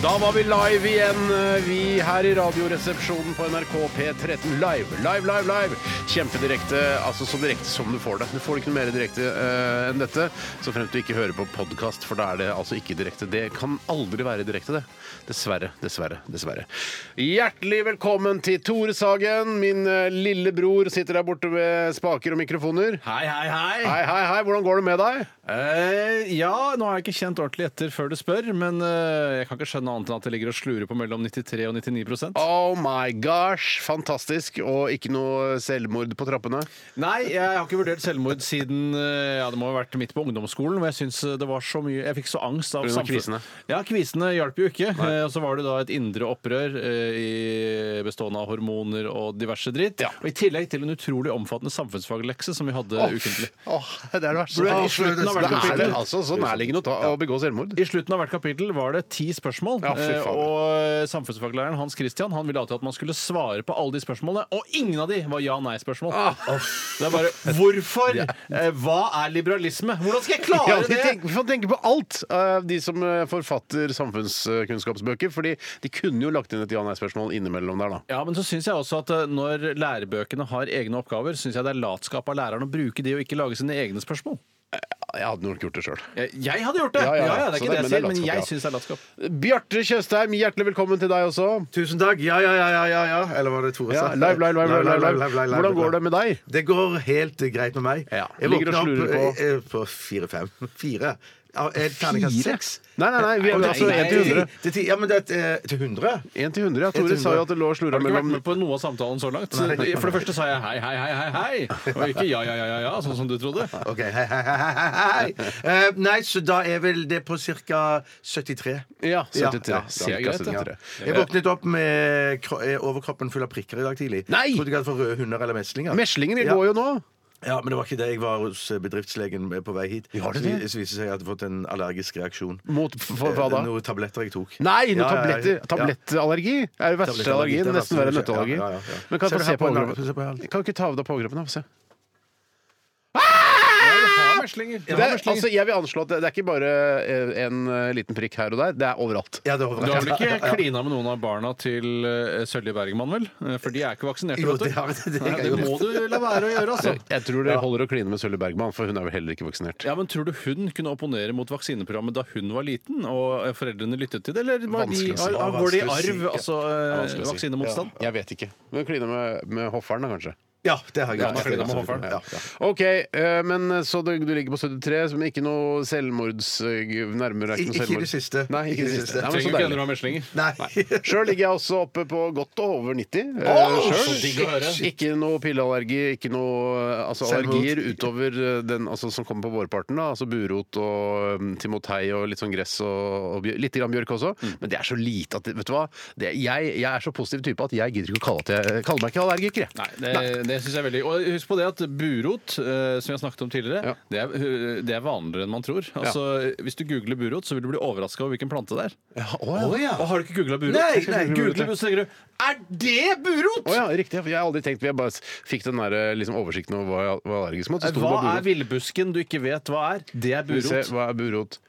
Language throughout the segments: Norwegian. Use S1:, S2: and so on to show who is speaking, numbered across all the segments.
S1: Da var vi live igjen, eh, vi her i Radioresepsjonen på NRK P13. Live, live, live. live. Kjempedirekte. Altså så direkte som du får det. Du får det ikke noe mer direkte eh, enn dette. Så fremt du ikke hører på podkast, for da er det altså ikke direkte. Det kan aldri være direkte, det. Dessverre, dessverre, dessverre. Hjertelig velkommen til Tore Sagen. Min eh, lillebror sitter der borte ved spaker og mikrofoner.
S2: Hei, hei, hei!
S1: Hei, hei, hei. Hvordan går det med deg?
S2: Eh, ja, nå har jeg ikke kjent ordentlig etter før du spør, men eh, jeg kan ikke skjønne annet enn at det ligger og slurer på mellom 93 og 99 prosent.
S1: Oh my gosh, fantastisk. Og ikke noe selvmord på trappene?
S2: Nei, jeg har ikke vurdert selvmord siden eh, ja, det må ha vært midt på ungdomsskolen, hvor jeg syns eh, det var så mye Jeg fikk så angst av
S1: På grunn av kvisene.
S2: samfunnet. Ja, kvisene hjalp jo ikke. Eh, og så var det da et indre opprør eh, i, bestående av hormoner og diverse dritt. Og i tillegg til en utrolig omfattende samfunnsfaglekse som vi hadde eh, ukentlig.
S1: Åh, det er det verste.
S2: Burde jeg i
S1: Åh,
S2: slutten av hvert
S1: det er det
S2: kapittel-
S1: altså så nærliggende å, ta, å begå selvmord.
S2: I slutten av hvert kapittel var det ti spørsmål.
S1: Ja, fy faen.
S2: eh, og samfunnsfaglæreren Hans Christian han ville alltid at man skulle svare på alle de spørsmålene, og ingen av de var ja-nei-spørsmål. Det er bare hvorfor? Eh, Hva er liberalisme? Hvordan skal
S1: Ja,
S2: jeg klare
S1: de tenker,
S2: det?
S1: vi får tenke på alt, eh, de som eh, forfatter samfunnskunnskapsbøker. Fordi de kunne jo lagt inn et ja-nei-spørsmål innimellom der, da.
S2: Ja, men så syns jeg også at eh, når lærebøkene har egne oppgaver, syns jeg det er latskap av læreren å bruke de og ikke lage sine egne spørsmål.
S1: Jeg hadde nok gjort det sjøl.
S2: Jeg, jeg hadde gjort det!
S1: Ja,
S2: Ja,
S1: ja,
S2: ja,
S1: ja.
S2: det er
S1: Så
S2: ikke
S1: det- men det er
S2: det jeg sier, men
S1: latskap, ja.
S2: jeg syns det er latskap.
S1: Bjarte Tjøstheim, hjertelig velkommen til deg også.
S3: Tusen takk. Ja, ja, ja, ja, ja, ja. Eller var det Tore
S1: Ja,
S3: sa?
S1: live, live, live, live, live, live. Hvordan går det med deg?
S3: Det går helt greit med meg.
S1: Ja.
S3: Jeg
S1: Ligger og
S3: våkna
S1: slurer på-
S3: opp eh, eh, på fire-fem. Fire. Ja, er det Terningkast seks?
S1: Nei, nei, nei. Vi er altså
S3: Nei,
S1: 1 til
S3: ti.
S1: 100.
S3: Til ti. Ja, men det er eh, til 100?
S1: 1 til 100, ja. Tore
S3: til
S1: sa jo at det lå og slura
S2: Har du ikke vært
S1: mellom
S2: med på noe av samtalen så langt? For det første sa jeg hei, hei, hei, hei, hei, og ikke ja, ja, ja, ja, ja sånn som du trodde.
S3: OK. Hei, hei, hei, hei, hei. Eh, Nei, så da er vel det på ca. 73.
S1: Ja,
S3: Ja,
S1: 73.
S3: ja,
S1: Cirka
S2: det er greit, det.
S1: 73.
S3: Jeg våknet opp med kro- eh, overkroppen full av prikker i dag tidlig.
S1: Nei!
S3: Trodde jeg hadde fått røde hunder eller meslinger.
S1: Meslinger
S3: Ja.
S1: går jo nå.
S3: Ja, men det var ikke det. Jeg var hos eh, bedriftslegen på vei hit.
S1: Var det
S3: Så vi-
S1: det?
S3: Så viste det seg at jeg hadde fått en allergisk reaksjon. Eh,
S1: Mot for, hva da?
S3: Noen tabletter jeg tok.
S1: Nei, noen
S3: Ja, ja, ja.
S1: tabletter.
S3: Ja.
S1: Tablettallergi er jo verste
S3: Tablettallergi,
S1: allergien.
S3: det er
S1: Nesten
S3: verste
S1: verre enn
S3: allergi.
S1: nøtteallergi.
S3: Ja, ja, ja.
S1: Men kan
S3: Se
S1: jeg få
S3: på
S1: se på
S3: halen,
S1: overkroppen?
S3: se på halen.
S1: Kan du ikke ta av deg på overkroppen? da? Få se.
S2: meslinger.
S1: Det er, altså, jeg vil anslå at det, det er ikke bare eh, en eh, liten prikk her og der. Det er overalt.
S3: Ja, det var
S2: Du har vel ikke klina med noen av barna til eh, Sølje Bergman, vel? Eh, For de er ikke vaksinerte,
S3: Jo,
S2: vet
S3: det
S2: du.
S3: har det. det,
S2: Nei,
S3: har
S2: det
S3: jeg
S2: må
S3: gjort.
S2: du la være å gjøre, altså.
S1: Jeg tror det holder å kline med Sølve Bergman, for hun er vel heller ikke vaksinert.
S2: Ja, men Tror du hun kunne opponere mot vaksineprogrammet da hun var liten, og eh, foreldrene lyttet til det? Eller var de,
S1: Vanskelig å si.
S2: har- har- går det i
S3: Vanskelig å
S2: arv,
S3: si, ja.
S2: altså
S1: Vanskelig
S2: eh,
S1: å si.
S2: vaksinemotstand?
S1: Jeg vet ikke. Men kline med, med hofferen, da, kanskje.
S3: Ja, det har jeg
S2: Ja, det er med hofferen.
S3: Ja, ja.
S1: OK, eh, men så du, du ligger på 73, som ikke noe selvmords... eh, Nærmere er
S3: I-
S1: ikke noe
S3: ikke i det
S1: selvmord.
S3: siste.
S1: Nei, ikke i det siste. Nei, men så
S2: Trenger ikke
S1: deilig.
S2: endre av meslinger.
S3: Nei.
S1: Sjøl ligger jeg også oppe på godt og over 90. eh, selv.
S2: så digg å høre.
S1: Ikke noe pilleallergi, ikke noe eh, altså,
S3: Selvmord.
S1: allergier utover eh, den altså, som kommer på vårparten. Da, altså burot og um, timotei og litt sånn gress og, og bjør- litt grann bjørk også.
S2: Mm.
S1: Men det er så lite at det- Vet du hva? Det, jeg, jeg er så positiv type at jeg gidder ikke å kalle, at jeg, kalle meg ikke allergiker, jeg.
S2: Nei, det, det syns jeg er veldig Og husk på det at burot, eh, som vi har snakket om
S1: Ja.
S2: tidligere, det, er, eh, det er vanligere enn man tror. Altså, Hvis du googler burot, så vil du bli overraska over hvilken plante det er.
S3: Å, ja.
S2: Og har du ikke googla burot?
S3: Nei,
S2: Skal
S3: nei,
S2: du google
S3: googlet.
S2: burot, så tenker du Er det burot?!
S1: Å ja, riktig. ja, for Jeg har aldri tenkt Jeg bare s- fikk den der, eh, liksom, oversikten over hva jeg var allergisk mot. Så sto det
S2: Eh, Hva
S1: bare
S2: er
S1: burot.
S2: villbusken du ikke vet hva er? Det
S1: Skal
S2: er
S1: vi se,
S2: burot.
S1: Hva er burot?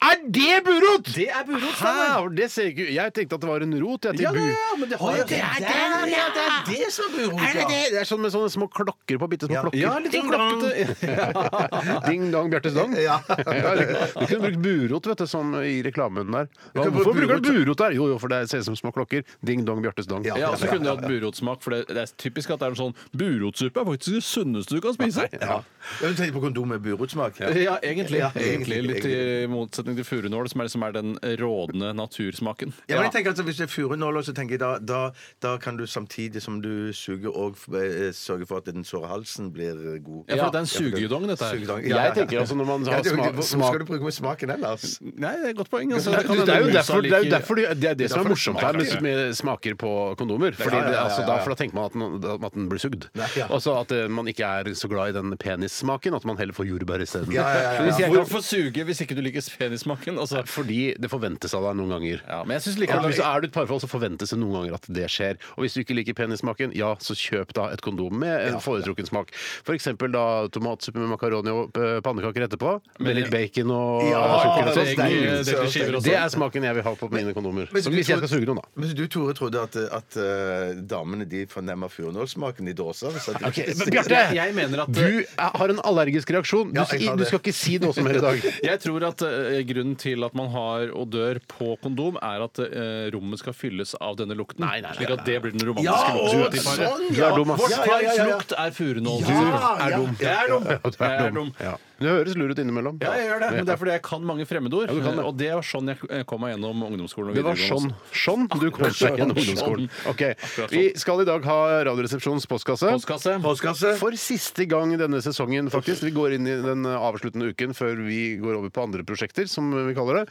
S1: Er det burot?!
S2: Det er burot, Steinar!
S1: Hæ? Det ser ikke ut Jeg tenkte at det var en rot. Jeg, til
S2: Ja,
S1: bu-
S2: ja, ja, men Ah, det har jo det er
S3: Der, ja, det er det som er burot,
S1: Er det
S3: ja.
S1: det? Det er sånn med sånne små klokker på bitte små
S3: Ja.
S1: klokker.
S2: Ja, litt sånn
S3: Ding dong.
S2: klokkete.
S1: Ding dong, Bjarte Stang.
S3: Ja.
S1: Ja, du du kunne brukt burot vet du, sånn i reklamen der. Hva,
S3: kan bruke
S1: hvorfor bruker du burot der? Jo, jo, for det ser ut som små klokker. Ding dong, Bjarte Stang.
S3: Ja.
S2: Ja, og så kunne de hatt burotsmak, for det, det er typisk at det er en sånn Burotsuppe er faktisk det sunneste du kan spise.
S3: Ja. Jeg tenkte på kondom med burotsmak.
S2: Ja, egentlig.
S3: Ja,
S2: egentlig.
S3: egentlig,
S2: Litt eh, i motsetning til furunål, som er, liksom er den rådende natursmaken.
S3: Ja, men jeg tenker altså, Hvis det er furunåler, så tenker jeg da, da, da kan du samtidig som du suger, og eh, sørge for at den såre halsen blir god.
S2: Ja, for det er en sugedong, dette her.
S3: Sugedong,
S1: Jeg tenker altså når man har
S3: Ja, det er jo
S1: smak-
S3: ikke- Hvor
S1: smak-
S3: skal du bruke med smaken ellers?
S2: Nei, det er et godt poeng. Altså,
S1: Det
S2: kan
S1: er, det,
S2: hende
S1: er jo
S2: musa
S1: derfor, det er jo
S2: liker-
S1: derfor det, det er det som er
S3: derfor
S1: morsomt her med,
S2: smaker.
S1: med smaker på kondomer. Fordi
S3: ja, ja,
S1: det,
S3: ja,
S1: altså,
S3: ja,
S1: da,
S3: ja.
S1: for da tenker man at den, at den blir sugd.
S3: Nei, ja.
S1: Altså at eh, man ikke er så glad i den penissmaken, at man heller får jordbær isteden.
S3: Ja, ja, ja, ja.
S1: Hvis jeg kan-
S2: Hvorfor suge hvis ikke du liker smaken. Altså.
S1: Fordi det forventes av deg noen ganger.
S2: Ja, men jeg synes
S1: Ja,
S2: likevel
S1: hvis er du et parforhold, så forventes det noen ganger at det skjer. Og hvis du ikke liker penissmaken, ja, så kjøp da et kondom med en foretrukken smak. For eksempel da tomatsuppe med makaroni og eh, pannekaker etterpå, med litt bacon og
S3: Ja,
S1: sukker og
S2: det er
S1: sånn.
S2: egentlig- det er skiver og
S1: Det
S2: sånn.
S1: er smaken jeg vil ha på mine kondomer.
S3: hvis
S1: Som
S3: du
S1: hvis jeg
S3: tror-
S1: skal suge noen, da.
S3: Men du, Tore, trodde at, at eh, damene de fornemmer furnålsmaken i dåsa? hvis at-
S1: Ok, men Bjarte,
S2: Jeg- jeg mener at-
S1: du er- har en allergisk reaksjon. Du,
S3: Ja, jeg
S1: si-
S3: har
S1: du
S3: det.
S1: skal ikke si noe som helst i dag.
S2: Jeg tror at eh, grunnen til at man har odør på kondom, er at eh, rommet skal fylles av denne lukten. slik at det blir den romantiske
S3: Ja,
S2: lukten.
S3: å,
S2: til paret.
S1: ja.
S3: sånn,
S1: Du er dum, ass.
S2: Vårt
S3: Ja, ja,
S2: pars
S3: ja, ja.
S2: lukt er furunål.
S3: Ja,
S2: Du er
S3: ja.
S2: dum. Jeg er dum.
S1: Ja, du er dum. Ja. Du høres lur ut innimellom.
S2: Ja, jeg gjør det, men det er fordi jeg kan mange fremmedord.
S1: Ja, du kan det.
S2: Og det var sånn jeg eh, kom meg gjennom ungdomsskolen. og
S1: Det var sånn,
S2: videregående
S1: sånn du kom deg gjennom ungdomsskolen. Ok, Vi skal i dag ha Radioresepsjonens postkasse.
S2: også. Postkasse.
S3: Postkasse?
S1: For siste gang denne sesongen, faktisk. Vi går inn i den avsluttende uken før vi går over på andre prosjekter, som vi kaller det.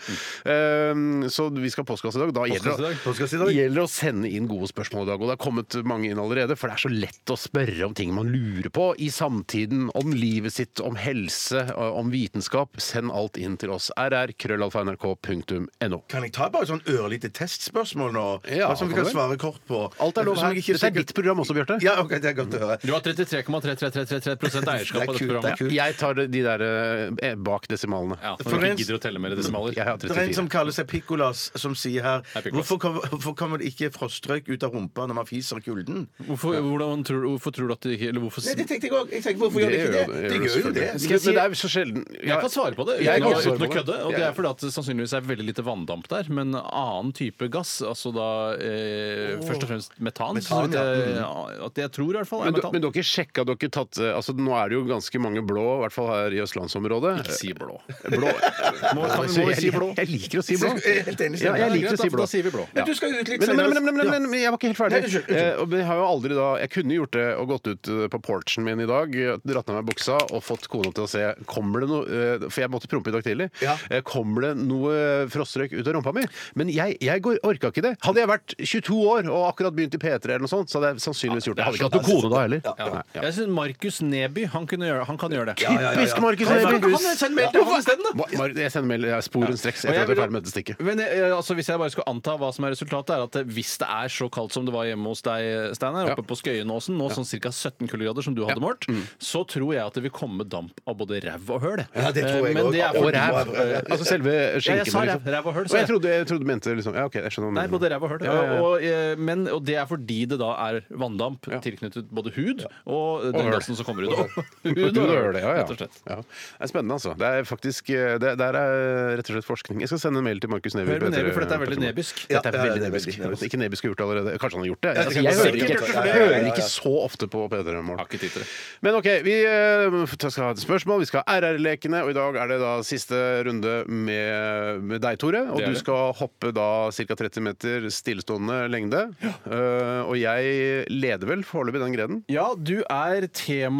S1: Ehm, Så vi skal ha postkasse i dag. Da gjelder
S2: Postkasse i
S1: det,
S2: dag.
S3: Postkasse i dag.
S1: gjelder det å sende inn gode spørsmål i dag. Og det har kommet mange inn allerede, for det er så lett å spørre om ting man lurer på i samtiden. Om livet sitt, om helse, eh, om vitenskap. Send alt inn til oss. rr.krøllalfa.nrk.no.
S3: Kan jeg ta bare et sånn ørlite testspørsmål nå?
S1: Ja,
S3: Bare som vi kan
S1: kan du?
S3: svare kort på.
S1: Alt er lov
S3: Som
S1: her.
S3: jeg ikke
S1: Dette er
S3: sikkert-
S1: ditt program også, Bjarte.
S3: Ja, ok, det er godt å høre.
S2: Du har 33,33333 eierskap
S3: Det er
S2: av dette
S3: kult, det er
S2: programmet.
S3: kult. Kult.
S1: Jeg tar de der eh, bak desimalene.
S2: Ja, for
S3: For
S2: når du
S3: en-
S2: ikke gidder å telle mer desimaler.
S1: Jeg har
S3: Det er en
S1: 34.
S3: som kaller seg Piccolas, som sier her
S2: Hei, Piccolas.
S3: hvorfor kommer, hvorfor kommer det ikke frostrøyk ut av rumpa når man fiser kulden?
S2: Hvorfor, hvordan tror, du- hvorfor tror du at det ikke Eller hvorfor
S3: Nei, det tenkte jeg òg. Hvorfor gjør det ikke det? Det gjør jo det.
S1: Skal jeg si- Men det er jo så sjelden
S2: Jeg kan svare på det
S1: Jeg kan
S2: uten, å-
S1: svare
S2: uten å
S1: på det.
S2: kødde. Og det
S1: Jeg-
S2: er fordi at det sannsynligvis er veldig lite vanndamp der. Men annen type gass, altså da eh, først og fremst metan, så
S3: Metan,
S2: vidt jeg, ja, at jeg tror i hvert fall er
S1: Mm. Men, du,
S2: metan.
S1: men dere sjekka dere tatt eh, altså Nå er det jo ganske mange blå, i hvert fall her i østlandsområdet.
S2: Ikke si blå.
S1: Eh, Blå.
S2: Må, kan, må vi si blå?
S1: Jeg, jeg liker å si blå.
S3: Så jeg er helt enig,
S1: Ja,
S3: Steinar.
S1: jeg
S2: Greit,
S1: liker å
S2: da,
S1: si
S2: for
S1: blå.
S2: da sier vi blå.
S3: Men du skal jo ut litt
S1: Men, men,
S3: senere.
S1: men, men, men, men jeg var ikke helt ferdig.
S3: Nei, unnskyld, unnskyld.
S1: Eh, og jeg har jo aldri da Jeg kunne gjort det og gått ut eh, på porchen min i dag, eh, dratt av meg buksa og fått kona til å se Kommer det noe eh, For jeg måtte prompe i dag tidlig.
S3: Ja.
S1: Eh, Kommer det noe frostrøyk ut av rumpa mi? Men jeg, jeg går- orka ikke det. Hadde jeg vært 22 år og akkurat begynt i P3 eller noe sånt, så hadde jeg sannsynligvis gjort det. Hadde ikke hatt noen kone da heller. Nei, ja.
S2: Jeg syns Markus Neby han, kunne gjøre, han kan gjøre det.
S3: Ja, ja, ja,
S1: Typisk Markus
S2: Han,
S1: Neby.
S2: han, han send mail til han isteden, da!
S1: Hva- Mar- Jeg sender mail jeg er sporen streks etter
S2: Og
S1: at
S2: jeg
S1: jeg er
S2: vil-
S1: ferdig med dette stikket.
S2: Men eh, altså, Hvis jeg bare skal anta hva som er resultatet, er at eh, hvis det er så kaldt som det var hjemme hos deg, eh, Steinar,
S1: Ja. Mm.
S2: oppe på Skøyenåsen, nå sånn ca. 17 kuldegrader som du hadde målt, så tror jeg at det vil komme damp av både ræv og høl.
S3: Ja, det tror jeg
S2: Eh, Men
S3: også.
S2: det er
S1: Og
S2: fordi-
S1: ræv. Altså selve skjenken.
S2: sa ræv.
S1: liksom.
S2: Ræv og høl,
S1: Og
S2: sa
S1: jeg
S2: jeg.
S1: trodde, jeg trodde du mente liksom Ja, OK, jeg skjønner hva du
S2: Nei,
S1: mener.
S2: både ræv og høl.
S1: Ja, ja, ja.
S2: Og, eh, men, og det er fordi det da er vanndamp tilknyttet både hud og den
S1: høl.
S2: gassen som kommer ut. Og
S1: Du
S2: Hud
S1: gjør det, ja, ja.
S2: rett og slett.
S1: ja. Det er spennende, altså. Det er faktisk eh, det, Der er rett og slett forskning. Jeg skal sende en mail til Markus Neby.
S2: Hør med
S1: på
S2: Neby, for dette er
S1: etter-
S2: veldig nebysk.
S3: Ja,
S1: Dette er
S3: ja, ja,
S1: veldig
S3: det er
S1: nebysk.
S3: veldig nebysk.
S1: Ikke Neby skal ha gjort det allerede. Kanskje han har gjort det?
S3: det
S1: Altså,
S3: kan
S1: jeg,
S3: godt
S1: hører
S3: være.
S1: ikke,
S3: Sikkert gjort det,
S1: jeg
S3: ja, ja,
S1: hører
S3: ja.
S1: ikke så ofte på P3 Morgen.
S2: Har ikke tid til det.
S1: Men OK, vi eh, skal ha et spørsmål. Vi skal ha RR-lekene, og i dag er det da siste runde med, med deg, Tore. Og
S2: Det er
S1: du
S2: det.
S1: skal hoppe da ca. 30 meter stillestående lengde. Eh, og jeg leder vel foreløpig den greden.
S2: Ja, du er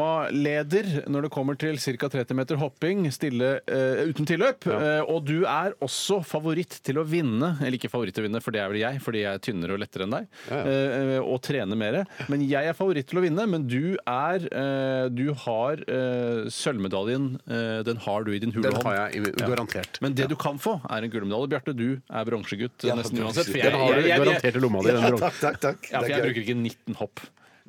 S2: temaleder når det kommer til ca. 30 meter hopping stille, eh, uten tilløp. Eh, og du er også favoritt til å vinne, eller ikke favoritt til å vinne, for det er vel jeg, fordi jeg er tynnere og lettere enn deg, eh, og trener mer. Men jeg er favoritt til å vinne, men du er eh, Du har eh, sølvmedaljen, eh, den har du i din hule
S1: Den
S2: hånd.
S1: har jeg i- garantert.
S2: Men det du kan få, er en gullmedalje. Bjarte, du er bronsegutt nesten uansett. For jeg,
S1: Den har
S2: jeg,
S1: du
S2: jeg, jeg,
S1: garantert i lomma di. den bronsen.
S3: Takk, takk, takk.
S2: ja, for
S3: Det er
S2: jeg
S3: gøy.
S2: bruker ikke 19 hopp.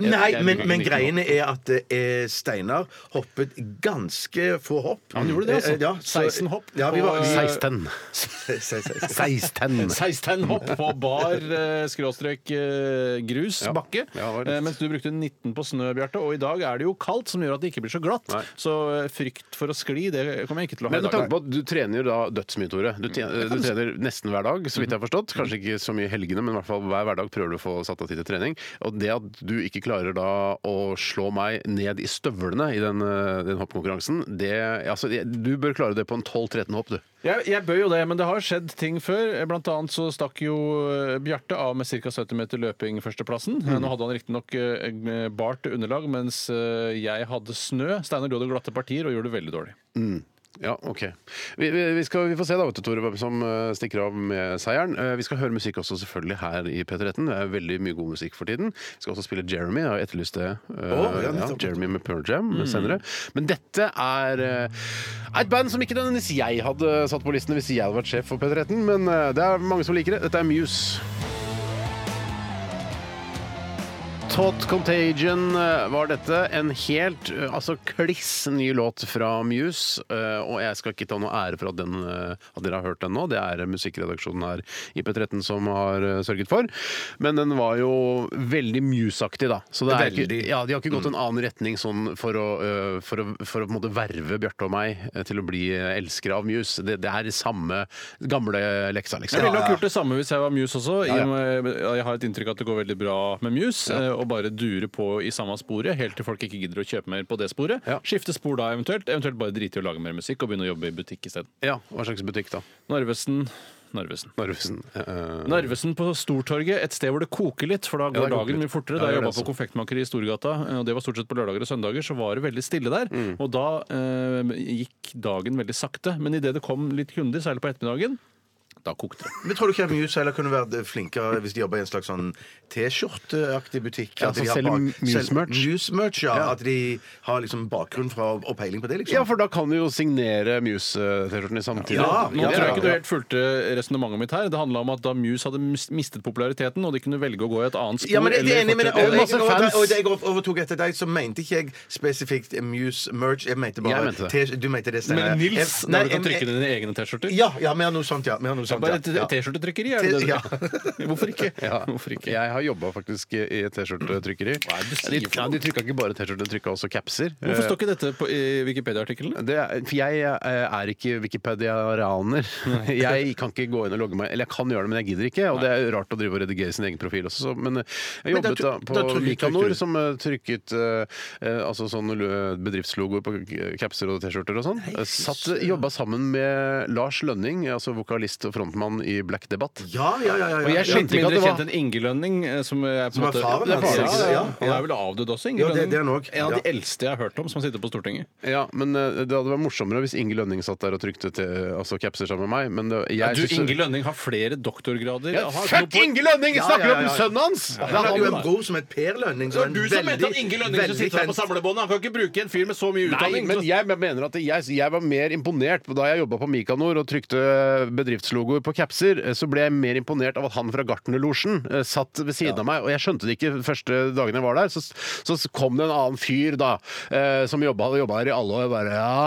S2: Jeg-
S3: Nei,
S2: jeg
S3: men,
S2: bruker
S3: men
S2: ikke 19 hopp.
S3: greiene er at eh, Steinar hoppet ganske få hopp.
S2: Han gjorde det, altså.
S3: Eh, ja, så-
S2: 16 hopp
S3: Ja, vi
S2: på-
S3: var, vi,
S1: 16.
S3: 16.
S1: 16.
S2: 16 hopp på bar eh, skråstrek eh, grus
S1: Ja.
S2: bakke.
S1: Ja, det var litt-
S2: eh, mens du brukte 19 på snø, Bjarte. Og i dag er det jo kaldt, som gjør at det ikke blir så glatt.
S1: Nei.
S2: Så eh, frykt for å skli, det kommer jeg ikke til å ha
S1: Men
S2: i
S1: med
S2: dag.
S1: tanke på at du trener jo da dødsmye, Tore. Du, tjener, du trener nesten hver dag, så vidt jeg har
S2: Mm.
S1: forstått. Kanskje ikke så mye i helgene, men i hvert fall hver hverdag prøver du å få satt av tid til trening. Og det at du ikke klarer da å slå meg ned i støvlene i den, eh, den hoppkonkurransen, det altså, jeg- Du bør klare det på en 12-13 hopp, du.
S2: Jeg, jeg bøy jo det, men det har skjedd ting før. Eh, Blant annet så stakk jo eh, Bjarte av med ca. 70 meter løping førsteplassen. Eh,
S1: Mm.
S2: Nå hadde han riktignok eh, bart underlag, mens eh, jeg hadde snø. Steinar, du hadde glatte partier og gjorde det veldig dårlig.
S1: Ja, ok. Vi, vi, vi, skal, vi får se da, vet du, Tore, hvem som eh, stikker av med seieren. Eh, Vi skal høre musikk også selvfølgelig her i P13. Det er veldig mye god musikk for tiden. Vi skal også spille Jeremy. Jeg har etterlyst det. eh,
S3: Å, ja,
S1: ja,
S3: nettopp. Mm.
S1: Jeremy med Pearl Jam eh, senere. Men dette er eh, et band som ikke nødvendigvis jeg hadde satt på listen hvis jeg hadde vært sjef for P13, men eh, det er mange som liker det. Dette er Muse. Tot Contagion eh, var dette. En helt eh, altså kliss ny låt fra Muse. eh, Og jeg skal ikke ta noe ære for at, den, eh, at dere har hørt den nå. Det er eh, musikkredaksjonen her i P13 som har eh, sørget for. Men den var jo veldig Muse-aktig, da. Så det er ikke,
S3: Veldig.
S1: ja, de har ikke gått
S2: Mm.
S1: en annen retning sånn for å, eh, for å, for å på en måte verve Bjarte og meg eh, til å bli eh, elskere av Muse. Det, det er samme gamle leksa,
S2: Jeg
S1: liksom.
S2: ville nok gjort det samme hvis jeg var Muse også.
S1: Ja, ja.
S2: i og med- Jeg har et inntrykk av at det går veldig bra med Muse, eh, og bare dure på i samme sporet helt til folk ikke gidder å kjøpe mer på det sporet.
S1: Ja.
S2: Skifte spor da eventuelt, eventuelt bare drite i å lage mer musikk og begynne å jobbe i butikk isteden.
S1: Ja, Hva slags butikk, da?
S2: Narvesen. Narvesen.
S1: Narvesen. eh,
S2: Narvesen på Stortorget, et sted hvor det koker litt, for da går
S1: det koker litt.
S2: dagen mye fortere.
S1: Ja,
S2: Da
S1: det
S2: jeg
S1: gjør
S2: jobba
S1: det altså.
S2: på konfektmakeri i Storgata, eh, og det var stort sett på lørdager og søndager, så var det veldig stille der.
S1: Mm.
S2: Og da eh, gikk dagen veldig sakte. Men idet det kom litt kunder, særlig på ettermiddagen, da kokte det.
S3: Men tror du ikke at Muse heller kunne vært eh, flinkere hvis de jobber i en slags sånn T-skjorteaktig butikk?
S1: Ja,
S3: at
S1: som
S3: de har
S1: selger
S3: bak-
S1: Muse
S3: selger
S1: merch.
S3: Muse merch, ja. At de har liksom bakgrunn fra og peiling på det, liksom.
S1: Ja, for da kan du jo signere Muse-T-skjortene samtidig.
S3: Ja,
S2: Nå
S3: ja,
S2: tror jeg ikke du
S3: ja.
S2: helt fulgte resonnementet mitt her. Det handla om at da Muse hadde mis- mistet populariteten, og de kunne velge å gå i et annet spor
S3: Ja, men det, det er enig, men
S2: fortsette-
S3: og, og,
S1: masse fans.
S3: og, og da jeg overtok etter deg, så mente ikke jeg spesifikt Muse merch. Jeg mente bare
S1: Jeg mente det.
S3: T- Du mente det, Steinar.
S2: Men Nils,
S3: Jeg- nei,
S2: når du kan
S3: jeg-
S2: trykke dine egne T-skjorter
S3: Ja, ja, vi har noe sånt, ja. Vi har noe sånt,
S2: Bare et
S3: ja. Ja.
S2: T-skjortetrykkeri, er det det du
S3: Ja.
S2: Hvorfor ikke?
S1: Ja.
S2: Hvorfor ikke?
S1: Jeg har jobba faktisk i et T-skjortetrykkeri.
S2: Hva er det du sier
S1: De,
S2: for
S1: ja,
S2: noe?
S1: de trykka ikke bare T-skjorter, de trykka også capser.
S2: Hvorfor
S1: Eh,
S2: står ikke dette på, i Wikipedia-artiklene?
S1: det er, for jeg eh, er ikke wikipediaraner. Jeg kan ikke gå inn og logge meg Eller jeg kan gjøre det, men jeg gidder ikke. Og det er rart å drive og redigere sin egen profil også, så, men eh, jeg
S3: Men da
S1: jobbet da,
S3: tryk- da
S1: på
S3: trykker- trykker
S1: Nikanor,
S3: du.
S1: som eh, trykket eh, eh, altså sånne lo- bedriftslogoer på k- capser og T-skjorter og sånn. Eh, Satt, jobba sammen med Lars Lønning, altså vokalist og frontmann i Black Debatt.
S3: Ja, ja, ja, ja, ja.
S1: Og jeg skjønte
S2: Litt
S1: ikke at
S2: mindre
S1: det var
S2: kjent enn Inge Lønning, eh, som er på en
S3: Som er
S2: måte
S3: faren
S2: Det er
S3: hans,
S2: faren,
S3: ikke det?
S2: ja.
S3: Ja,
S2: Han
S3: ja.
S2: er vel avdød også, Inge
S3: Ja, det-
S2: Lønning?
S3: det er han også,
S2: En av de
S3: ja.
S2: eldste jeg har hørt om som sitter på Stortinget.
S1: Ja, men eh, Det hadde vært morsommere hvis Inge Lønning satt der og trykte til, altså capser sammen med meg. Men det, jeg
S2: Du,
S1: synes-
S2: Inge Lønning har flere doktorgrader.
S1: Ja,
S2: Jeg har ikke noe
S1: Fuck
S2: på-
S1: Inge Lønning!
S3: Ja,
S1: Snakker du
S3: ja, ja,
S1: om
S3: ja.
S1: sønnen hans?! Det
S3: Han
S1: er
S3: hadde jo en
S1: han.
S3: bror som het Per Lønning.
S2: Det var du som mente at Inge Lønning
S3: veldig
S2: skulle sitte her på
S3: kjent-
S2: samlebåndet. Han kan ikke bruke en fyr med så mye
S1: Nei,
S2: utdanning.
S1: men
S2: Så-
S1: jeg mener at jeg, jeg var mer imponert da jeg jobba på Mikanor og trykte bedriftslogoer på capser. Så ble jeg mer imponert av at han fra Gartnerlosjen eh, satt ved siden av meg. Og jeg skjønte det ikke første dagen jeg var der. Så, så kom det en annen fyr da, eh, som jobba, hadde jobba her i alle år. og Bare ja,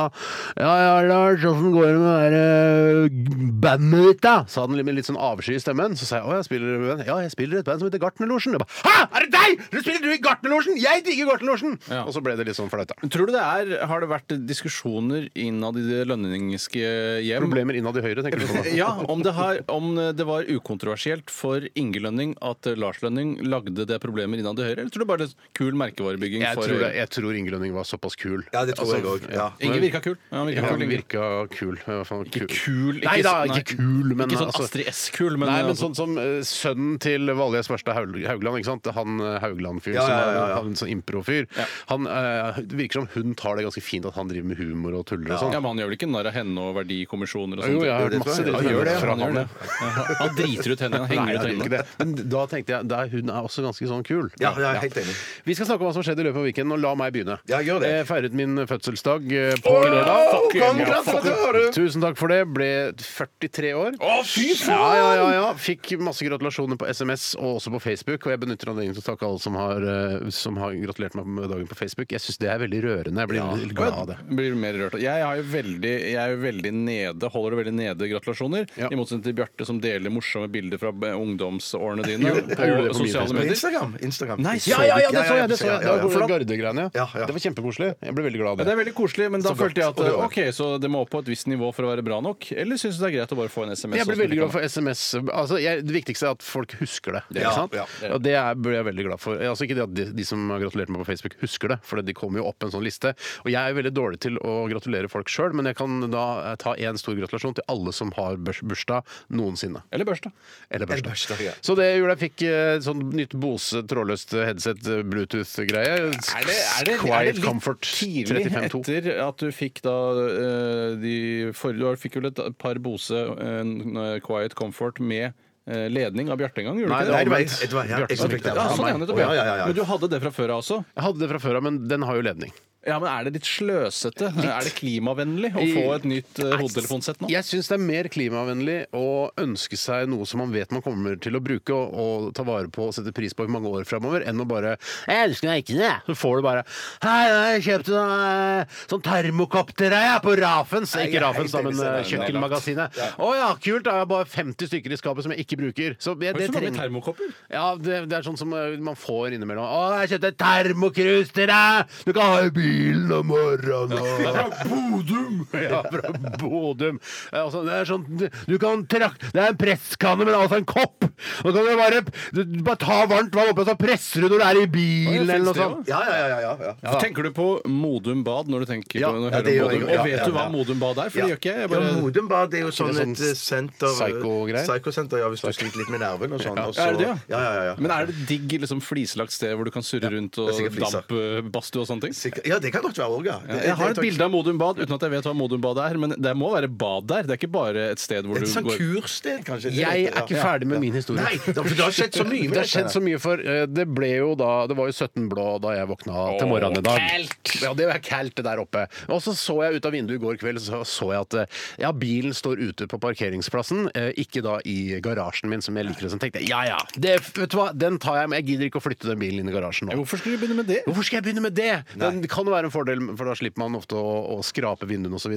S1: ja, ja, Lars, åssen går det med det der, eh, bandet ditt, da? Sa han med litt sånn avsky i stemmen. Så sa jeg å, jeg spiller i et band. Ja, jeg spiller i et band som heter Gartnerlosjen. Jeg ba, Hæ, er det deg?! Du spiller du i Gartnerlosjen?! Jeg digger Gartnerlosjen!
S2: Ja.
S1: Og så ble det litt sånn flaut, da.
S2: Men Tror du det er, Har det vært diskusjoner innad i det lønningske hjem?
S1: Problemer innad i Høyre, tenker du på nå?
S2: Ja, om det, har, om det var ukontroversielt for Inge Lønning at Lars Lønning lagde det problemet innad i Høyre, eller tror du bare det er kul merkevarebygging
S1: Jeg
S2: for
S1: tror, det,
S2: Høyre?
S1: jeg tror Inge Lønning var såpass kul. Altså,
S3: Ja, det tror jeg òg. Ja.
S2: Inge virka kul. Ja, han virka
S1: Han
S2: kul, Inge.
S1: virka kul. Ja, faen,
S2: Ikke kul
S1: Nei da,
S2: nei,
S1: ikke kul, men
S2: Ikke sånn
S1: altså-
S2: Astrid S-kul, men,
S1: Nei, men
S2: altså-
S1: sånn som eh, sønnen til Valje Svarstad Haul- Haugland, ikke sant? han eh, Haugland-fyr,
S3: Ja,
S1: som
S3: ja,
S1: er
S3: ja, ja.
S1: Han, sånn improfyr, han eh, det virker som hun tar det ganske fint at han driver med humor og tuller og
S2: ja,
S1: sånn.
S2: men Han gjør vel ikke narr av henne og verdikommisjoner og sånt?
S1: Jo, jeg har hørt
S3: det
S1: masse
S3: tror jeg.
S1: dritt
S2: han gjør det,
S1: fra
S2: han, gjør det.
S1: ja.
S2: Ja, han driter ut henne, han
S1: Nei,
S2: henger
S1: jeg
S2: ut
S1: gjør
S2: henne.
S1: ikke det. Men da tenkte jeg at hun er også ganske sånn kul.
S3: Ja, jeg er helt enig.
S1: Vi skal snakke om hva som skjedde i løpet av weekenden, og la meg begynne.
S3: Ja, gjør det.
S1: Jeg feiret min fødselsdag eh, på lørdag. Fuck yeah,
S3: gratulerer!
S1: Tusen takk for det. Ble 43 år.
S2: Å, fy
S1: Ja, ja, ja, ja. Fikk masse gratulasjoner på SMS og også på Facebook. Og jeg benytter anledningen til å takke alle som har, eh, som har gratulert meg med dagen på Facebook. Jeg syns det er veldig rørende. Jeg blir veldig glad av det.
S2: Blir mer rørt. Jeg, har jo veldig, jeg er jo veldig nede, holder det veldig nede gratulasjoner.
S1: Ja.
S2: I motsetning til Bjarte, som deler morsomme bilder fra b- ungdomsårene dine
S1: Gjorde- jeg
S2: på,
S1: gjorde det på min
S2: sosiale
S1: Facebook.
S3: Men
S2: medier.
S3: Instagram. Instagram.
S2: Nei,
S1: Ja, ja, ja, det så jeg! Det, så jeg. det var
S3: ja, ja.
S1: for gardegreiene.
S3: Ja, ja.
S1: Det var kjempekoselig. Jeg ble veldig glad
S2: Ja,
S1: av
S2: Det
S1: det.
S2: er veldig koselig, men da
S3: Så godt.
S2: følte jeg at
S3: Og det var-
S2: ok, så det må opp på et visst nivå for å være bra nok? Eller syns du det er greit å bare få en SMS?
S1: Jeg ble
S2: og så
S1: veldig glad for
S2: kan-
S1: SMS. Altså, jeg, det viktigste er at folk husker det.
S3: Ja,
S1: ikke sant?
S3: ja.
S1: Og det er, ble jeg veldig glad for. Altså, ikke det at de, de som har gratulert meg på Facebook, husker det, for de kommer jo opp en sånn liste. Og jeg er jo veldig dårlig til å gratulere folk sjøl, men jeg kan da eh, ta én stor gratulasjon til alle som har burs- bursdag noensinne.
S2: Eller børsta.
S1: Eller børsta.
S3: Eller børsta, ja.
S1: Så det gjorde jeg fikk eh, sånn nytt Bose trådløst headset, eh, Bluetooth-greie.
S2: Er det, er det,
S1: Quiet
S2: er det litt
S1: Comfort
S2: tidlig
S1: 35.2.
S2: etter at du fikk da eh, de for, Du fikk vel et par Bose en eh, Quiet Comfort med eh, ledning av Bjarte en gang? Gjorde
S1: Nei,
S2: du
S1: det
S2: ikke
S1: var
S2: det?
S3: Nei, det var
S1: omvendt.
S3: jeg- det var jeg-
S1: Bjarte
S3: jeg
S1: som
S3: fikk
S1: fikk det.
S3: det.
S2: Ja, sånn, ja,
S3: meg.
S2: nettopp,
S3: Å, ja, ja, ja,
S2: ja.
S3: ja.
S2: Men du hadde det fra før av også?
S1: Jeg hadde det fra før av, men den har jo ledning.
S2: Ja, men Er det litt sløsete? Er det klimavennlig å få et nytt eh, hodetelefonsett nå?
S1: Jeg syns det er mer klimavennlig å ønske seg noe som man vet man kommer til å bruke og, og ta vare på og sette pris på i mange år framover, enn å bare 'Jeg ønsker meg ikke det'. Så får du bare 'Hei, jeg kjøpte en eh, sånn termokopp til deg jeg, på Rafens'.
S3: Nei, jeg
S1: Ikke
S3: er
S1: Rafens, da,
S3: helt
S1: men eh,
S3: enig, det er
S1: kjøkkenmagasinet.
S3: Ja.
S1: 'Å ja, kult, da har jeg bare 50 stykker i skapet som jeg ikke bruker'. Så jeg, det trenger
S2: termokopper?
S1: ja, det, det er sånn som eh, man får innimellom. 'Å, jeg kjøpte et termokrus til deg! Du kan ha i bilen om morgenen!' Det er fra Bodum! Ja, fra Bodum. Eh, Altså, det er sånn du- Du kan trak... Det er en presskanne, men altså en kopp! Nå kan du bare, du, du bare ta varmt vann oppi, og så presser du når du er i bilen,
S2: finnes
S1: eller noe
S2: det,
S1: sånt.
S3: Ja, ja, ja, ja, ja.
S2: Ja. Tenker du på Modum Bad når du tenker
S1: Ja,
S2: på når du
S3: ja, det
S2: hører om
S3: gjør jeg
S2: Modum? Og
S3: jo. Ja,
S2: vet
S3: ja,
S2: du hva
S3: ja.
S2: Modum Bad er? For
S3: Ja.
S2: det gjør ikke jeg. jeg.
S3: Ja,
S2: Bare...
S3: Modum Bar, det er jo sånn
S1: sånn
S3: et eh, senter
S1: psycho-greier?
S3: Psycho-senter, ja, hvis du sliter litt med nerven og sånn. og
S2: Ja, er det det,
S3: så-
S2: ja?
S3: Ja, ja, ja.
S2: Men er det digg liksom, fliselagt sted hvor du kan surre rundt og
S3: det er sikkert flisa.
S2: dampbadstue og sånne ting?
S3: Sikkert- Ja, det kan godt være òg, ja. Det-
S2: Jeg har
S3: det-
S2: et bilde av Modum Bad uten at jeg vet hva Modum Bad er, men det må være bad der. Det er ikke bare et sted hvor
S3: Et sånn
S2: du
S3: sånt
S2: går
S3: kursted, kanskje? det
S1: Jeg
S3: heter,
S1: er
S3: ja.
S1: ikke ferdig med min historie.
S3: Nei, det har skjedd så mye med
S1: Det har skjedd
S3: dette.
S1: så mye, for eh, det ble jo da Det var jo 17 blå da jeg våkna til morgenen i dag. Ja, det er kaldt det der oppe. Og så så jeg ut av vinduet i går kveld, så så jeg at eh, ja, bilen står ute på parkeringsplassen, eh, ikke da i garasjen min, som jeg liker. Og sånn tenkte jeg ja ja, det, vet du hva, den tar jeg med. Jeg gidder ikke å flytte den bilen inn i garasjen nå.
S2: Hvorfor skulle du begynne med det?
S1: Hvorfor skal jeg begynne med det? Det kan jo være en fordel, for da slipper man ofte å, å skrape vinduene osv.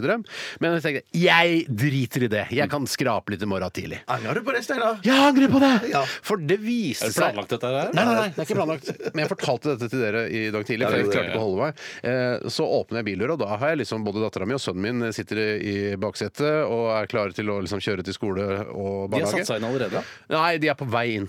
S1: Men jeg tenkte jeg driter i det. Jeg kan skrape litt i morgen tidlig.
S3: Angrer du på det, Steinar?
S1: Jeg angrer på det!
S3: Ja.
S1: For det viste
S2: Er det planlagt dette her?
S1: Nei, nei, nei, det er ikke planlagt. Men jeg fortalte dette til dere i dag tidlig, for jeg klarte ikke å holde meg. Eh, Så åpner jeg bildøra, og da har jeg liksom både dattera mi og sønnen min sitter i baksetet og er klare til å liksom kjøre til skole og
S2: De har
S1: barnehage.
S2: satt seg inn allerede.
S1: Nei, de er på vei inn.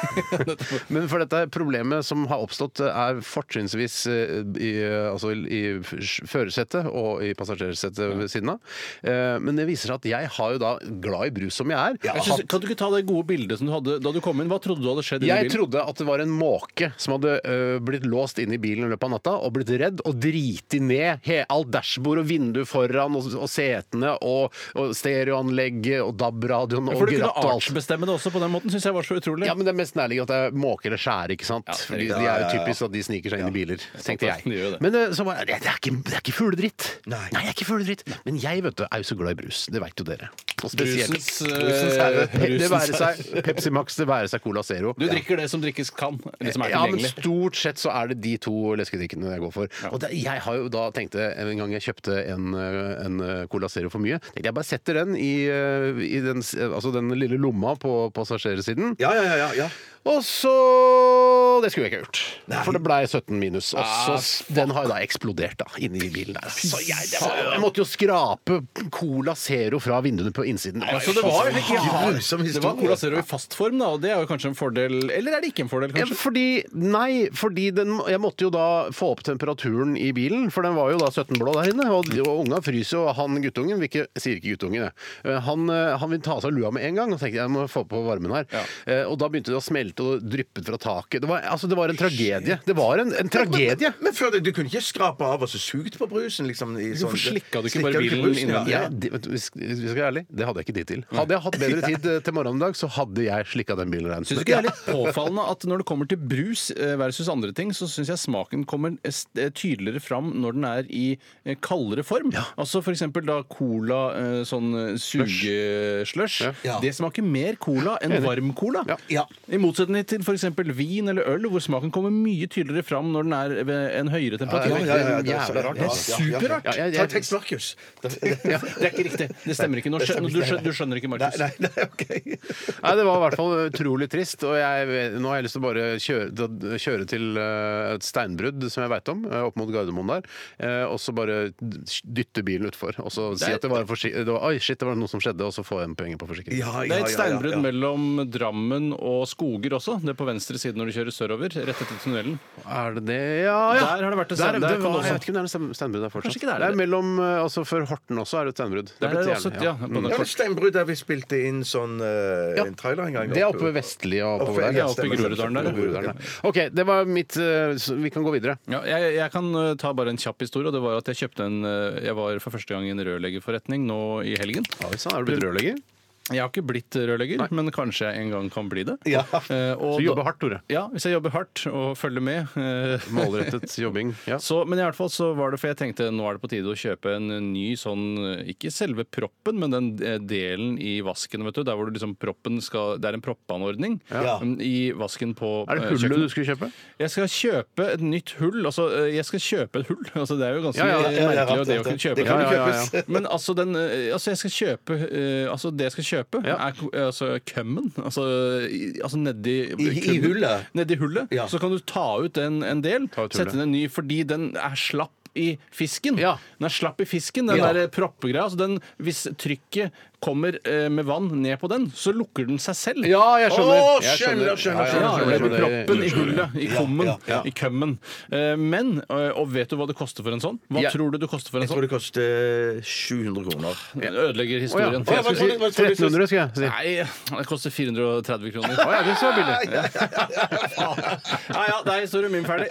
S1: Men for dette problemet som har oppstått, er fortrinnsvis eh, i, eh, altså i i f- førersetet og i passasjersetet ved siden av. Eh, Men det viser seg at jeg har jo da, glad i brus som jeg er,
S2: Jeg synes, kan du ikke ta det gode bildet som du hadde da du kom inn? Hva trodde du hadde skjedd?
S1: Jeg
S2: inni bilen?
S1: trodde at det var en måke som hadde ø, blitt låst inne i bilen i løpet av natta og blitt redd og driti ned he, alt dashbord og vindu foran og, og setene og, og stereoanlegget og DAB-radioen og
S2: For du kunne
S1: gratt og alt.
S2: artsbestemme det også på den måten, syns jeg var så utrolig.
S1: Ja, men Det er mest nærliggende at det er måke eller skjære. ikke sant?
S2: Ja, det er
S1: Fordi
S2: riktig.
S1: De er jo
S3: Ja, ja, ja.
S1: typisk at de sniker seg inn i biler, tenkte
S2: sant, de gjør
S1: jeg.
S2: det.
S1: Men ø, så var det, det, er ikke, det er ikke fugledritt.
S3: Nei.
S1: det er ikke fugledritt. Men jeg vet du, er jo så glad i brus. Det veit jo dere. Og spesielt-
S2: Brusens, eh,
S1: Brusens herre. Pe- Det være
S2: brusens
S1: seg Pepsi Max, det være seg Cola Zero.
S2: Du drikker det som drikkes kan. Det som er
S1: Ja, men
S2: tilgjengelig.
S1: stort sett så er det de to leskedrikkene jeg går for. Og det, jeg har jo da tenkt det en gang jeg kjøpte en, eh, en eh, Cola Zero for mye. tenkte Jeg bare setter den i, eh, i den, s- eh, altså den lille lomma på passasjersiden.
S3: Ja, ja, ja, ja, ja.
S1: Og så Det skulle jeg ikke ha gjort. For det blei 17 minus. Og
S2: Ah,
S1: så s- Den har jo da eksplodert da, inni bilen der. Så jeg, det var, jeg måtte jo skrape Cola Zero fra vinduene på innsiden.
S2: Ja, så det var,
S3: Det er grusom
S2: det var
S3: historie.
S2: Cola Zero i fast form, da, og det er jo kanskje en fordel. Eller er det ikke en fordel,
S1: Ja,
S2: kanskje?
S1: Fordi, nei, fordi den, jeg måtte jo da få opp temperaturen i bilen, for den var jo da 17 blå der inne. Og, og unga fryser jo, og han guttungen vil ikke, sier ikke guttungen, jeg. Eh, Han, eh, han vil ta av seg lua med en gang, og tenkte jeg må få på varmen her. Eh, Og da begynte det å smelte og dryppet fra taket. Det var, altså, det var en tragedie. Det var en, en tragedie.
S3: Men før det, du kunne ikke skrape av og så sugt på brusen, liksom? I
S2: Hvorfor
S3: sånn-
S2: slikka du ikke bare
S3: Slikka du
S2: bilen
S3: brusen,
S2: innvendig?
S3: Ja,
S1: Jeg, det, vet du, hvis hvis jeg skal være ærlig, det hadde jeg ikke tid til. Hadde jeg hatt bedre tid eh, til morgenen i dag, så hadde jeg slikka den bilen rein.
S2: Syns du ikke det er litt påfallende at når det kommer til brus eh, versus andre ting, så syns jeg smaken kommer eh, s- eh, tydeligere fram når den er i eh, kaldere form. Altså for eksempel da cola eh, sånn eh, sugeslush.
S3: Ja.
S2: Det smaker mer cola enn varm cola.
S3: Ja.
S2: I motsetning til f.eks. vin eller øl, hvor smaken kommer mye tydeligere fram når den er ved en høyere temperatur.
S3: ja, ja, ja, det er
S1: Jævla rart.
S3: så- ja,
S1: Det er
S3: ja,
S2: superrart.
S3: ja, ja, ja. Ta tekst Markus.
S2: Ja, det er ikke riktig. Det stemmer ikke. Nå skjønner, du, skjønner, du skjønner ikke,
S3: Nei,
S2: Markus.
S3: nei, nei, OK.
S1: Nei, Det var i hvert fall utrolig trist. Og jeg, nå har jeg lyst til å bare kjøre, da- kjøre til eh, et steinbrudd som jeg veit om, eh, opp mot Gardermoen der. eh, Og så bare dytte bilen utfor. Og så si
S2: Det er-
S1: at det var, en forsi- det var Oi, shit, det var noe som skjedde, og så få igjen penger på forsikringen.
S3: Ja, ja,
S2: Det er
S3: ja,
S2: et
S3: ja,
S2: steinbrudd
S3: ja.
S2: mellom Drammen og Skoger stikker også. Det er på venstre side når du kjører sørover. Rett etter tunnelen.
S1: Er det det? Ja, ja.
S2: Der har det vært et
S1: Der- det
S2: steinbrudd. Der kan
S1: var-
S2: også-
S1: Jeg vet ikke om det er noe stein- steinbrudd der fortsatt.
S2: Kanskje ikke det er
S1: det er
S2: det.
S1: mellom, eh, altså Før Horten også er det et steinbrudd. Det
S2: Der er det
S1: blitt Mm.
S2: også,
S1: jern,
S2: ja, på den
S3: Ja,
S2: korte-
S3: men Steinbrudd der vi spilte inn sånn eh,
S1: Ja.
S3: en trailer en gang.
S1: Det er oppe ved Vestli og oppover der.
S2: ja, oppe i Groruddalen der, ja.
S1: Groruddalen, ja. OK, det var mitt eh, så Vi kan gå videre.
S2: Ja, jeg, jeg kan eh, ta bare en kjapp historie. og Det var at Jeg kjøpte en eh, Jeg var for første gang i en rørleggerforretning nå i helgen.
S1: Oi sann, er du blitt rørlegger?
S2: Jeg har ikke blitt rørlegger, men kanskje jeg en gang kan bli det.
S3: Ja.
S2: Eh,
S1: Så
S2: og
S1: du jobber
S2: da-
S1: hardt, Tore.
S2: Ja, hvis jeg jobber hardt og følger med. eh,
S1: Målrettet jobbing. Ja.
S2: Så, men i hvert fall så var det for jeg tenkte nå er det på tide å kjøpe en ny sånn Ikke selve proppen, men den eh, delen i vasken, vet du. Der hvor du liksom proppen skal Det er en proppanordning
S3: Ja.
S2: mm, i vasken på
S1: Er det
S2: eh,
S1: hullet
S2: kjøkkenet.
S1: du skulle kjøpe?
S2: Jeg skal kjøpe et nytt hull. Altså, eh, jeg skal kjøpe et hull. Altså, det er jo ganske
S1: Ja, ja, ja,
S3: ja, ja,
S2: merkelig
S3: rett,
S2: og det å
S3: rett,
S2: kunne
S3: rett.
S2: kjøpe
S3: Det kan
S2: et
S3: jo
S2: hull.
S3: kjøpes.
S2: Men altså, den, eh, altså, jeg skal kjøpe eh, Altså, det jeg skal kjøpe,
S1: Ja.
S2: er ko- altså kømmen. Altså, i- altså nedi
S3: I- i
S2: kømmen.
S3: hullet?
S2: Nedi hullet.
S3: Ja.
S2: Så kan du ta ut en, en del,
S1: ut hullet.
S2: sette inn en ny, fordi den er slapp. I fisken.
S1: Ja.
S2: Den er slapp i fisken, den
S3: Ja.
S2: der proppegreia. Altså den, hvis trykket kommer eh, med vann ned på den, så lukker den seg selv.
S1: Ja, jeg skjønner.
S3: Å,
S1: Jeg
S3: skjønner, skjønner,
S1: Ja,
S2: Ja,
S1: ja,
S2: det
S1: jeg
S2: blir
S1: skjønner.
S2: proppen i hullet, i kummen,
S3: ja, ja.
S2: i kømmen. Eh, Men, eh, og vet du hva det koster for en sånn? Hva
S1: Ja.
S2: tror du det koster for en
S3: Jeg tror
S2: sånn?
S3: det koster 700 kroner.
S2: Den ødelegger
S1: Å, ja.
S2: historien.
S1: Jeg skulle si 1300, skal jeg si.
S2: Nei, det koster 430 kroner.
S1: Å Ah, ja, det så billig.
S3: Ah,
S2: Ja, ja, da er historien min ferdig.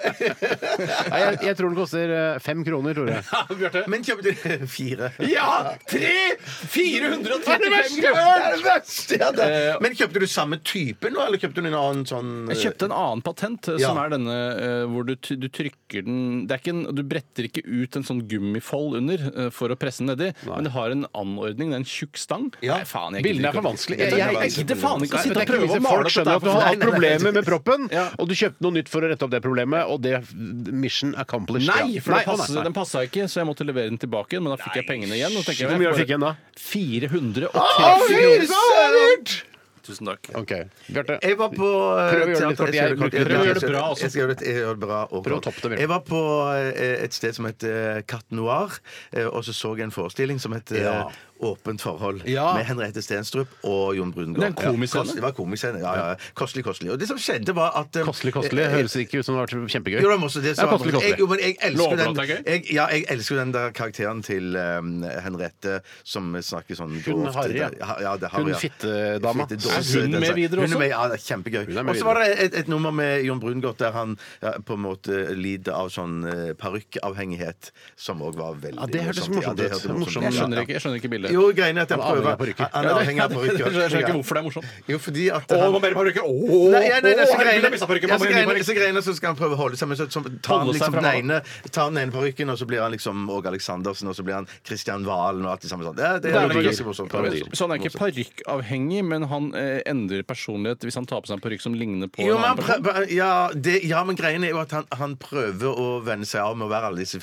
S1: Nei, jeg, jeg tror den koster eh, fem kroner, tror jeg.
S2: Bjarte?
S3: Men kjøpte du fire?
S2: Ja! Tre! 435
S3: Det
S2: kroner!
S3: er det verste jeg hadde! Eh, Men kjøpte du samme type nå, eller kjøpte du en annen sånn eh,
S2: Jeg kjøpte en annen patent, eh, som
S3: Ja.
S2: er denne eh, hvor du, t- du trykker den det er ikke en, Du bretter ikke ut en sånn gummifold under eh, for å presse den nedi, men det har en anordning. Det er en tjukk stang.
S3: Ja.
S2: Nei, faen, jeg
S1: Bildene er for
S2: gidder ikke å-
S1: vanskelig.
S2: Jeg, jeg, jeg
S3: vanskelig.
S2: gidder faen ikke å
S1: Nei, men det
S2: sitte
S1: er
S2: og
S1: ikke
S2: prøve
S1: visse
S2: å
S1: folk
S2: male dette
S1: skjønner
S2: her
S1: at du
S2: for
S1: har
S2: meg.
S1: hatt problemer med proppen,
S2: Ja.
S1: og du kjøpte noe nytt for å rette opp det problemet, og det mission accomplished.
S2: Nei,
S1: Ja. altså,
S2: for den
S1: å,
S2: passet- den passa ikke, så jeg måtte levere den tilbake. igjen, Men da fikk jeg pengene igjen. Og tenker jeg,
S1: Hvor mye fikk jeg igjen da?
S2: 430 kroner. Tusen takk.
S1: OK. Bjarte.
S3: Jeg var på eh,
S1: Prøv å gjøre det litt
S3: teater-
S1: kort.
S3: jeg skal
S1: Jeg
S3: kort-
S1: bruker-
S3: jeg-
S1: prøv å
S3: jeg-
S1: gjøre det bra også.
S3: Jeg skal gjøre det, jeg gjør det bra og
S1: Prøv å
S3: kort.
S1: toppe det, Bjørn.
S3: Jeg var på eh, et sted som het eh, Cat Noir, eh, og så så jeg en forestilling som het eh,
S1: Ja.
S3: Åpent forhold
S1: Ja.
S3: med Henriette Stenstrup og Jon Brungaard.
S2: Det er en komisk scene.
S3: Ja, kost- Det var komisk scene. Ja, ja. ja. Kostelig, kostelig. Og det som skjedde, var at eh,
S1: Kostelig, kostelig.
S3: eh,
S1: Høres ikke ut som det har vært kjempegøy.
S3: jo, det var masse det som
S1: Ja,
S3: var
S1: kostelig,
S3: masse-
S1: kostelig.
S3: Jeg, jo, men jeg elsker
S2: Lover
S3: den,
S2: at det er gøy?
S3: jeg, ja, jeg elsker den der karakteren til um, Henriette som snakker sånn grovt.
S1: Harry, ja.
S3: Ja, ja, det er Harry,
S1: Hun
S3: ja.
S1: fittedama.
S3: Fittedåse,
S2: Er hun
S3: den
S2: med
S3: sa-
S2: videre
S3: Hun
S2: også?
S3: er med, ja, det er kjempegøy.
S1: Hun er med
S3: Og så var det et, et nummer med Jon Brungot der han ja, på en måte lider av sånn eh, parykkavhengighet, som òg var veldig
S1: Ja, det hørtes
S3: morsomt. Ja,
S1: morsomt
S3: det
S1: ut.
S3: hørtes
S1: Morsomt.
S3: ut.
S2: Jeg skjønner
S3: Ja,
S2: ikke, jeg skjønner ikke
S3: ja.
S2: bildet.
S3: Jo, greiene er at han
S1: Han er avhengig av
S3: prøver
S1: parykker.
S3: Han er avhengig av
S2: Jeg skjønner
S3: parykker.
S2: ikke
S3: Ja.
S2: hvorfor det er morsomt.
S3: Jo, fordi
S2: Å,
S3: at
S2: det
S3: han-
S2: var mer parykk! Å,
S3: Nei,
S2: herregud,
S3: ja, nei, det er så greiene-
S2: jeg mistet parykken.
S3: Ja, så
S2: Mamma, jeg
S3: greiene-
S2: mistet
S3: så greiene så skal han prøve å holde seg, men så, så tar han
S2: Holde seg
S3: liksom
S2: fra
S3: den ene, tar han ene parykken, og så blir han liksom Åge Aleksandersen, og så blir han Kristian Valen og alt det samme sånt. Det, det,
S2: Det er
S3: er
S2: det
S3: jo
S2: gøy.
S3: ganske morsomt.
S1: Det er
S3: Det er
S2: Så han er ikke
S3: morsomt.
S2: parykkavhengig, men han eh, endrer personlighet hvis han tar på seg en parykk som ligner på
S3: jo,
S2: en
S3: men han
S2: annen person?
S3: prøver, ja, det, ja, men greiene er jo at han, han prøver å venne seg av med å være alle disse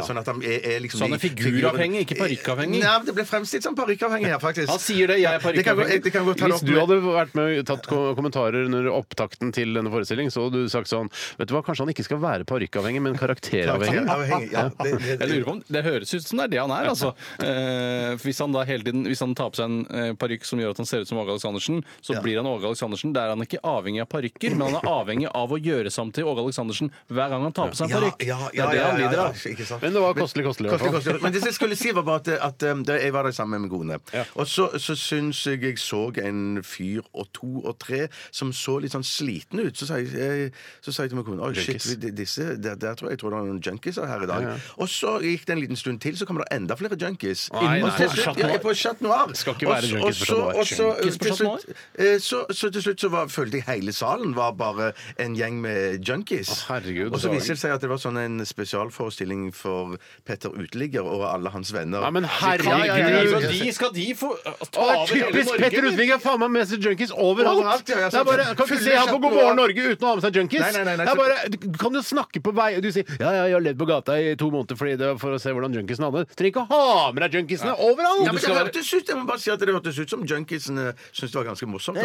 S2: Ja, ja.
S3: Sånn at han er, er liksom
S2: Så han er
S3: i figuren-
S2: figuravhengig, ikke parykkavhengig?
S3: Nei, men det ble fremstilt som parykkavhengig, ja, faktisk.
S2: Han sier det, jeg er
S3: Det kan gå-
S2: parykkavhengig.
S3: Det kan godt ta det
S1: Hvis
S3: opp
S1: du
S3: med-
S1: hadde vært med og tatt ko- kommentarer under opptakten til denne forestillingen, så hadde du sagt sånn Vet du hva, kanskje han ikke skal være parykkavhengig, men karakteravhengig.
S3: Avhengig, ja. Det, det,
S2: Jeg lurer på om Det høres ut som det er det han er, altså. Eh, for hvis han da hele tiden Hvis han tar på seg en eh, parykk som gjør at han ser ut som Åge Aleksandersen, så
S3: Ja.
S2: blir han Åge Aleksandersen. Der er han ikke avhengig av parykker, men han er avhengig av å gjøre seg om til Åge Aleksandersen hver gang han tar på seg en
S3: ja,
S2: parykk.
S3: ja,
S2: det
S3: ja,
S2: er det
S3: ja,
S2: han
S3: ja,
S2: lider
S3: ja,
S2: av.
S3: ikke sant?
S1: Men det var kostelig, kostelig. i hvert
S3: Kostelig,
S1: fall.
S3: kostelig. Men det jeg skulle si var bare at, at um, da jeg var der sammen med min kone. Og så, så syns jeg jeg så en fyr og to og tre som så litt sånn sliten ut. Så sa jeg, eh, så sa jeg til min kone Oi, shit,
S1: Junkies.
S3: vi- disse, der, der tror jeg, jeg tror det er noen junkies her i dag. Og så gikk det en liten stund til, så kommer det enda flere junkies.
S1: Nei,
S3: Og
S1: nei,
S3: til
S1: nei.
S3: slutt- ja, på Chat Noir.
S1: Skal ikke
S3: Og
S1: være
S3: så-
S1: junkies på
S3: og
S1: Chat Noir.
S3: så- og så-
S2: Junkies på
S3: til
S2: Chat Noir?
S3: slutt- eh, Så, så til slutt så var, følte jeg hele salen var bare en gjeng med junkies.
S1: Å, herregud.
S3: og så viser det seg at det var sånn en spesialforestilling for Petter Uteligger og alle hans venner.
S1: Nei,
S3: Altså,
S1: men herregud!
S2: Kan
S3: Ja, ja, ja, ja.
S2: ikke de- Skal de få ta
S1: Å, det er
S2: over hele
S1: typisk Petter
S2: Norge?
S1: Utvig er faen meg med seg junkies overalt.
S3: Overalt, ja, ja,
S1: det er bare, kan ikke
S3: Fyller
S1: se han på God
S3: chatten
S1: morgen
S3: overalt.
S1: Norge uten å ha med seg junkies.
S3: Nei, nei, nei, nei,
S1: det er
S3: så-
S1: bare, du kan jo snakke på vei Du sier ja, ja, jeg har levd på gata i to måneder fordi det, for å se hvordan junkiesene hadde det. Trenger ikke å ha med deg junkiesene overalt!
S3: Ja, men
S1: Du
S3: det
S1: skal være-
S3: hørtes ut, jeg må bare si at det hørtes ut som junkiesene syntes det var ganske morsomt. Da. De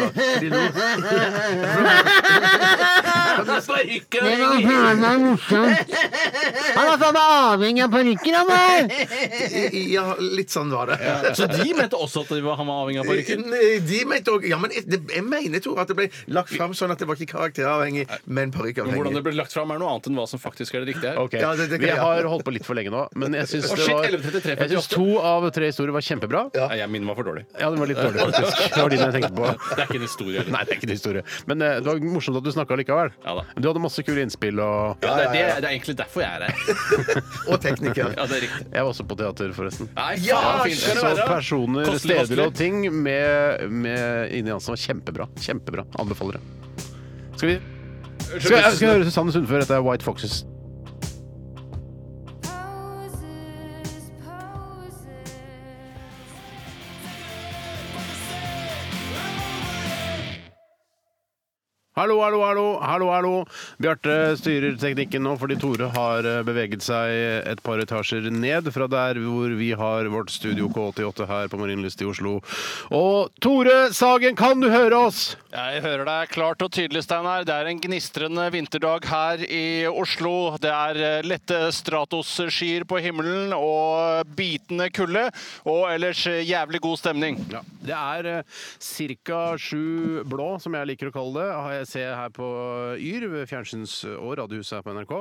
S3: lo.
S4: Det var faen meg morsomt. Han er faen meg avhengig av parykken, han der!
S3: Ja, litt sånn var det.
S5: Så de mente også at de var, han var avhengig av parykken?
S3: Nei, De mente òg Ja, men jeg, det- jeg mener, Tore, at det ble lagt fram sånn at det var ikke karakteravhengig, men
S5: Men Hvordan det
S3: parykkavhengig.
S5: ble lagt fram, er noe annet enn hva som faktisk er det riktige her.
S1: Ok,
S3: Ja, det- det
S1: Vi
S3: kan jeg.
S1: har holdt på litt for lenge nå, men jeg syns
S5: Å,
S1: det
S5: shit,
S1: var
S5: 11.33,
S1: Jeg syns
S5: 58.
S1: to av tre historier var kjempebra. Ja,
S5: Nei, jeg min var for dårlig.
S1: den var litt dårlig, faktisk. Det var din jeg tenkte på.
S5: Det er ikke en historie. heller.
S1: Nei, det er ikke en historie. Men eh, det var morsomt at du snakka likevel.
S5: Ja da.
S1: Du hadde masse kule innspill og
S5: Ja, det, er, det, er- det er egentlig derfor jeg er her.
S3: Og tekniker.
S5: Ja, det er riktig.
S1: Jeg var også på teater, forresten.
S5: Nei,
S3: Ja,
S5: faen, fint skal det
S1: Så
S5: være.
S1: personer,
S5: Kostelig,
S1: steder og
S5: kostelig.
S1: ting med, med Ine Jansen var kjempebra. Kjempebra. Anbefaler det. Skal vi skal, jeg skal høre Susanne Sundfør. Dette er White Foxes.
S6: Poses, poses.
S1: Hallo, hallo, hallo, hallo, hallo. Bjarte styrer teknikken nå fordi Tore har eh, beveget seg et par etasjer ned fra der hvor vi har vårt studio K88 her på Marienlyst i Oslo. Og Tore Sagen, kan du høre oss?
S2: Jeg hører deg klart og tydelig, Steinar. Det er en gnistrende vinterdag her i Oslo. Det er eh, lette stratosskyer på himmelen og bitende kulde. Og ellers eh, jævlig god stemning.
S1: Ja. Det er ca. sju blå, som jeg liker å kalle det. Har jeg ser her på Yr, ved fjernsyns- og radiohuset her på NRK.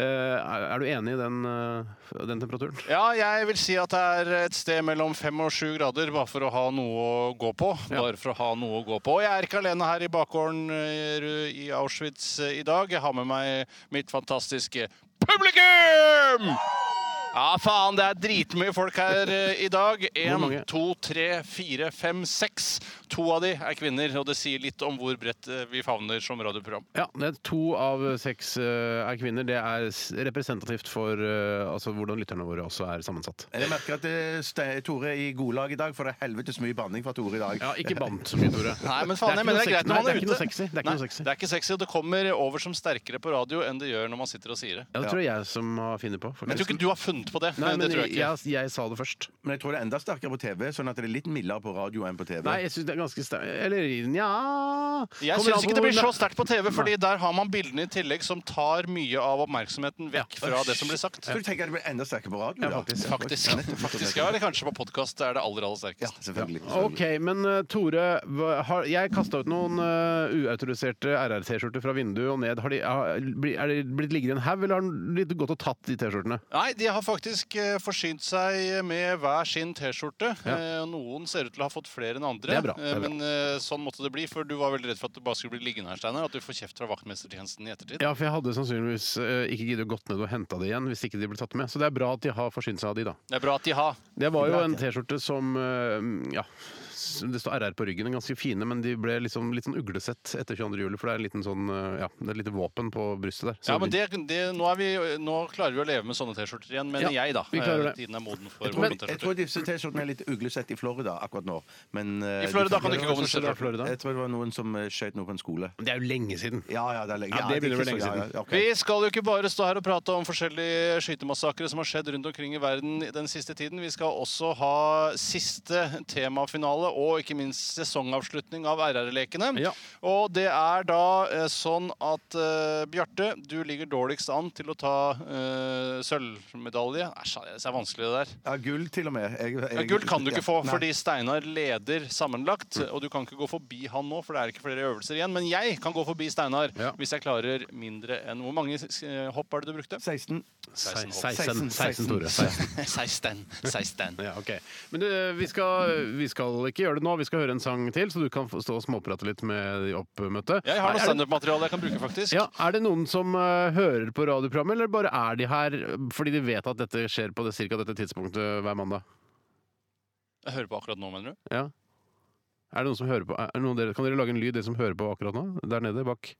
S1: Eh, Er er du enig i den, eh, den temperaturen?
S2: Ja, jeg vil si at det er et sted mellom fem og sju grader, bare for å ha noe å gå på. Bare for å ha noe å gå på. Og jeg er ikke alene her i bakgården eh, i Auschwitz eh, i dag. Jeg har med meg mitt fantastiske publikum! Ja, faen, det er dritmye folk her eh, i dag. Én,
S1: mange?
S2: to, tre, fire, fem, seks. To av de er kvinner, og det sier litt om hvor bredt eh, vi favner som radioprogram.
S1: Ja, det er to av seks eh, er kvinner. Det er s- representativt for eh, altså, hvordan lytterne våre også er sammensatt.
S3: Jeg merker at eh, Ste- Tore er i godlag i dag, for det er helvetes mye banning fra Tore i dag.
S1: Ja, ikke bant så mye, Tore.
S2: Nei, men faen,
S1: Det er
S2: jeg mener det
S1: ikke
S2: er
S1: noe
S2: greit når man er
S1: sexy. Nei, det er ikke noe sexy. Det er
S2: ute.
S1: ikke
S2: Nei,
S1: noe sexy.
S2: Det er ikke sexy, og det kommer over som sterkere på radio enn det gjør når man sitter og sier det.
S1: Ja, det tror jeg jeg som har funnet på.
S2: Jeg tror ikke du har funnet på det. eh,
S1: Nei,
S2: det
S1: men
S2: tror jeg
S1: jeg,
S2: ikke.
S1: jeg, sa det først.
S3: Men jeg tror det er enda sterkere på TV, sånn at det er litt mildere på radio enn på TV.
S1: Nei, jeg syns det er ganske sterkt Eller nja
S2: Jeg syns ikke det blir så sterkt på TV, fordi der har man bildene i tillegg som tar mye av oppmerksomheten vekk fra det som blir sagt.
S3: Så du tenker at det blir enda sterkere på radio? da?
S1: faktisk.
S2: Faktisk. Faktisk, ja, Eller kanskje på podkast er det aller, aller
S3: Ja,
S2: sterkest.
S3: selvfølgelig.
S1: OK, men eh, Tore, hva- har, jeg kasta ut noen eh, uautoriserte RR-T-skjorter fra vinduet og ned. Har de, har, bli- er de blitt liggende i en haug, eller har de blitt gått og tatt de T-skjortene?
S2: Nei, de har faktisk eh, forsynt seg med hver sin T-skjorte. Eh, Noen ser ut til å ha fått flere enn andre.
S1: Det er bra, det er
S2: Eh,
S1: bra.
S2: Men eh, sånn måtte det bli, for du var veldig redd for at det bare skulle bli liggende her, Steinar. At du får kjeft fra vaktmestertjenesten i ettertid.
S1: Ja, for jeg hadde sannsynligvis eh, ikke giddet å gått ned og henta det igjen hvis ikke de ble tatt med. Så det er bra at de har forsynt seg av de, da.
S2: Det er bra at de har.
S1: Det var jo en T-skjorte som eh, ja, s- det står RR på ryggen, den er ganske fine, men de ble liksom litt sånn uglesett etter 22. juli, for det er en liten sånn eh, ja, det er et lite våpen på brystet der. Så
S2: Ja, men
S1: vi-
S2: det, det, nå, er vi, eh, nå klarer vi å leve med sånne T-skjorter igjen, mener
S1: Ja,
S2: jeg, da.
S1: vi klarer
S2: Eh,
S1: det.
S2: Tiden er moden for
S3: Men
S2: våpen
S3: jeg tror
S2: T-skjorter.
S3: disse T-skjortene er litt uglesett i Florida akkurat nå. Men, eh,
S2: I Florida kan du ikke gå
S1: Hva skjedde
S2: med
S1: i
S2: T-skjorter.
S1: Florida?
S3: Jeg tror det var noen som eh, skjøt noe på en skole.
S1: Det er jo lenge siden.
S3: Ja, ja, det er lenge,
S1: Ja, det begynner
S3: er
S1: vel
S3: ikke
S1: lenge
S3: så- ja,
S1: siden.
S3: ja, ok.
S2: Vi skal jo ikke bare stå her og prate om forskjellige skytemassakrer som har skjedd rundt omkring i verden den siste tiden. Vi skal også ha siste temafinale og ikke minst sesongavslutning av RR-lekene.
S1: Ja.
S2: Og det er da eh, sånn at eh, Bjarte, du ligger dårligst an til å ta eh, sølvmedalje. Æsj, det er vanskelig det der.
S3: Ja, gull til og med. Jeg,
S2: Ja,
S3: jeg-
S2: gull kan du ikke få,
S3: Nei.
S2: fordi Steinar leder sammenlagt. Og du kan ikke gå forbi han nå, for det er ikke flere øvelser igjen. Men jeg kan gå forbi Steinar
S1: Ja.
S2: hvis jeg klarer mindre enn Hvor mange eh, hopp var det du brukte?
S3: 16.
S2: 16 hopp.
S1: 16,
S3: 16,
S1: 16 Tore. 16.
S2: 16. 16.
S1: Ja, ok. Men eh, vi, skal, vi skal ikke gjøre det nå. Vi skal høre en sang til, så du kan få stå og småprate litt med de oppmøtte.
S2: Jeg har
S1: Er
S2: noe
S1: det-
S2: standup-materiale jeg kan bruke, faktisk.
S1: Ja, Er det noen som eh, hører på radioprogrammet, eller bare er de her fordi de vet at dette skjer på det, cirka dette tidspunktet hver mandag?
S2: Jeg hører på akkurat nå, mener du?
S1: Ja. Er det noen som hører på? Er det noen av dere, kan dere lage en lyd, dere som hører på akkurat nå? Der nede, bak?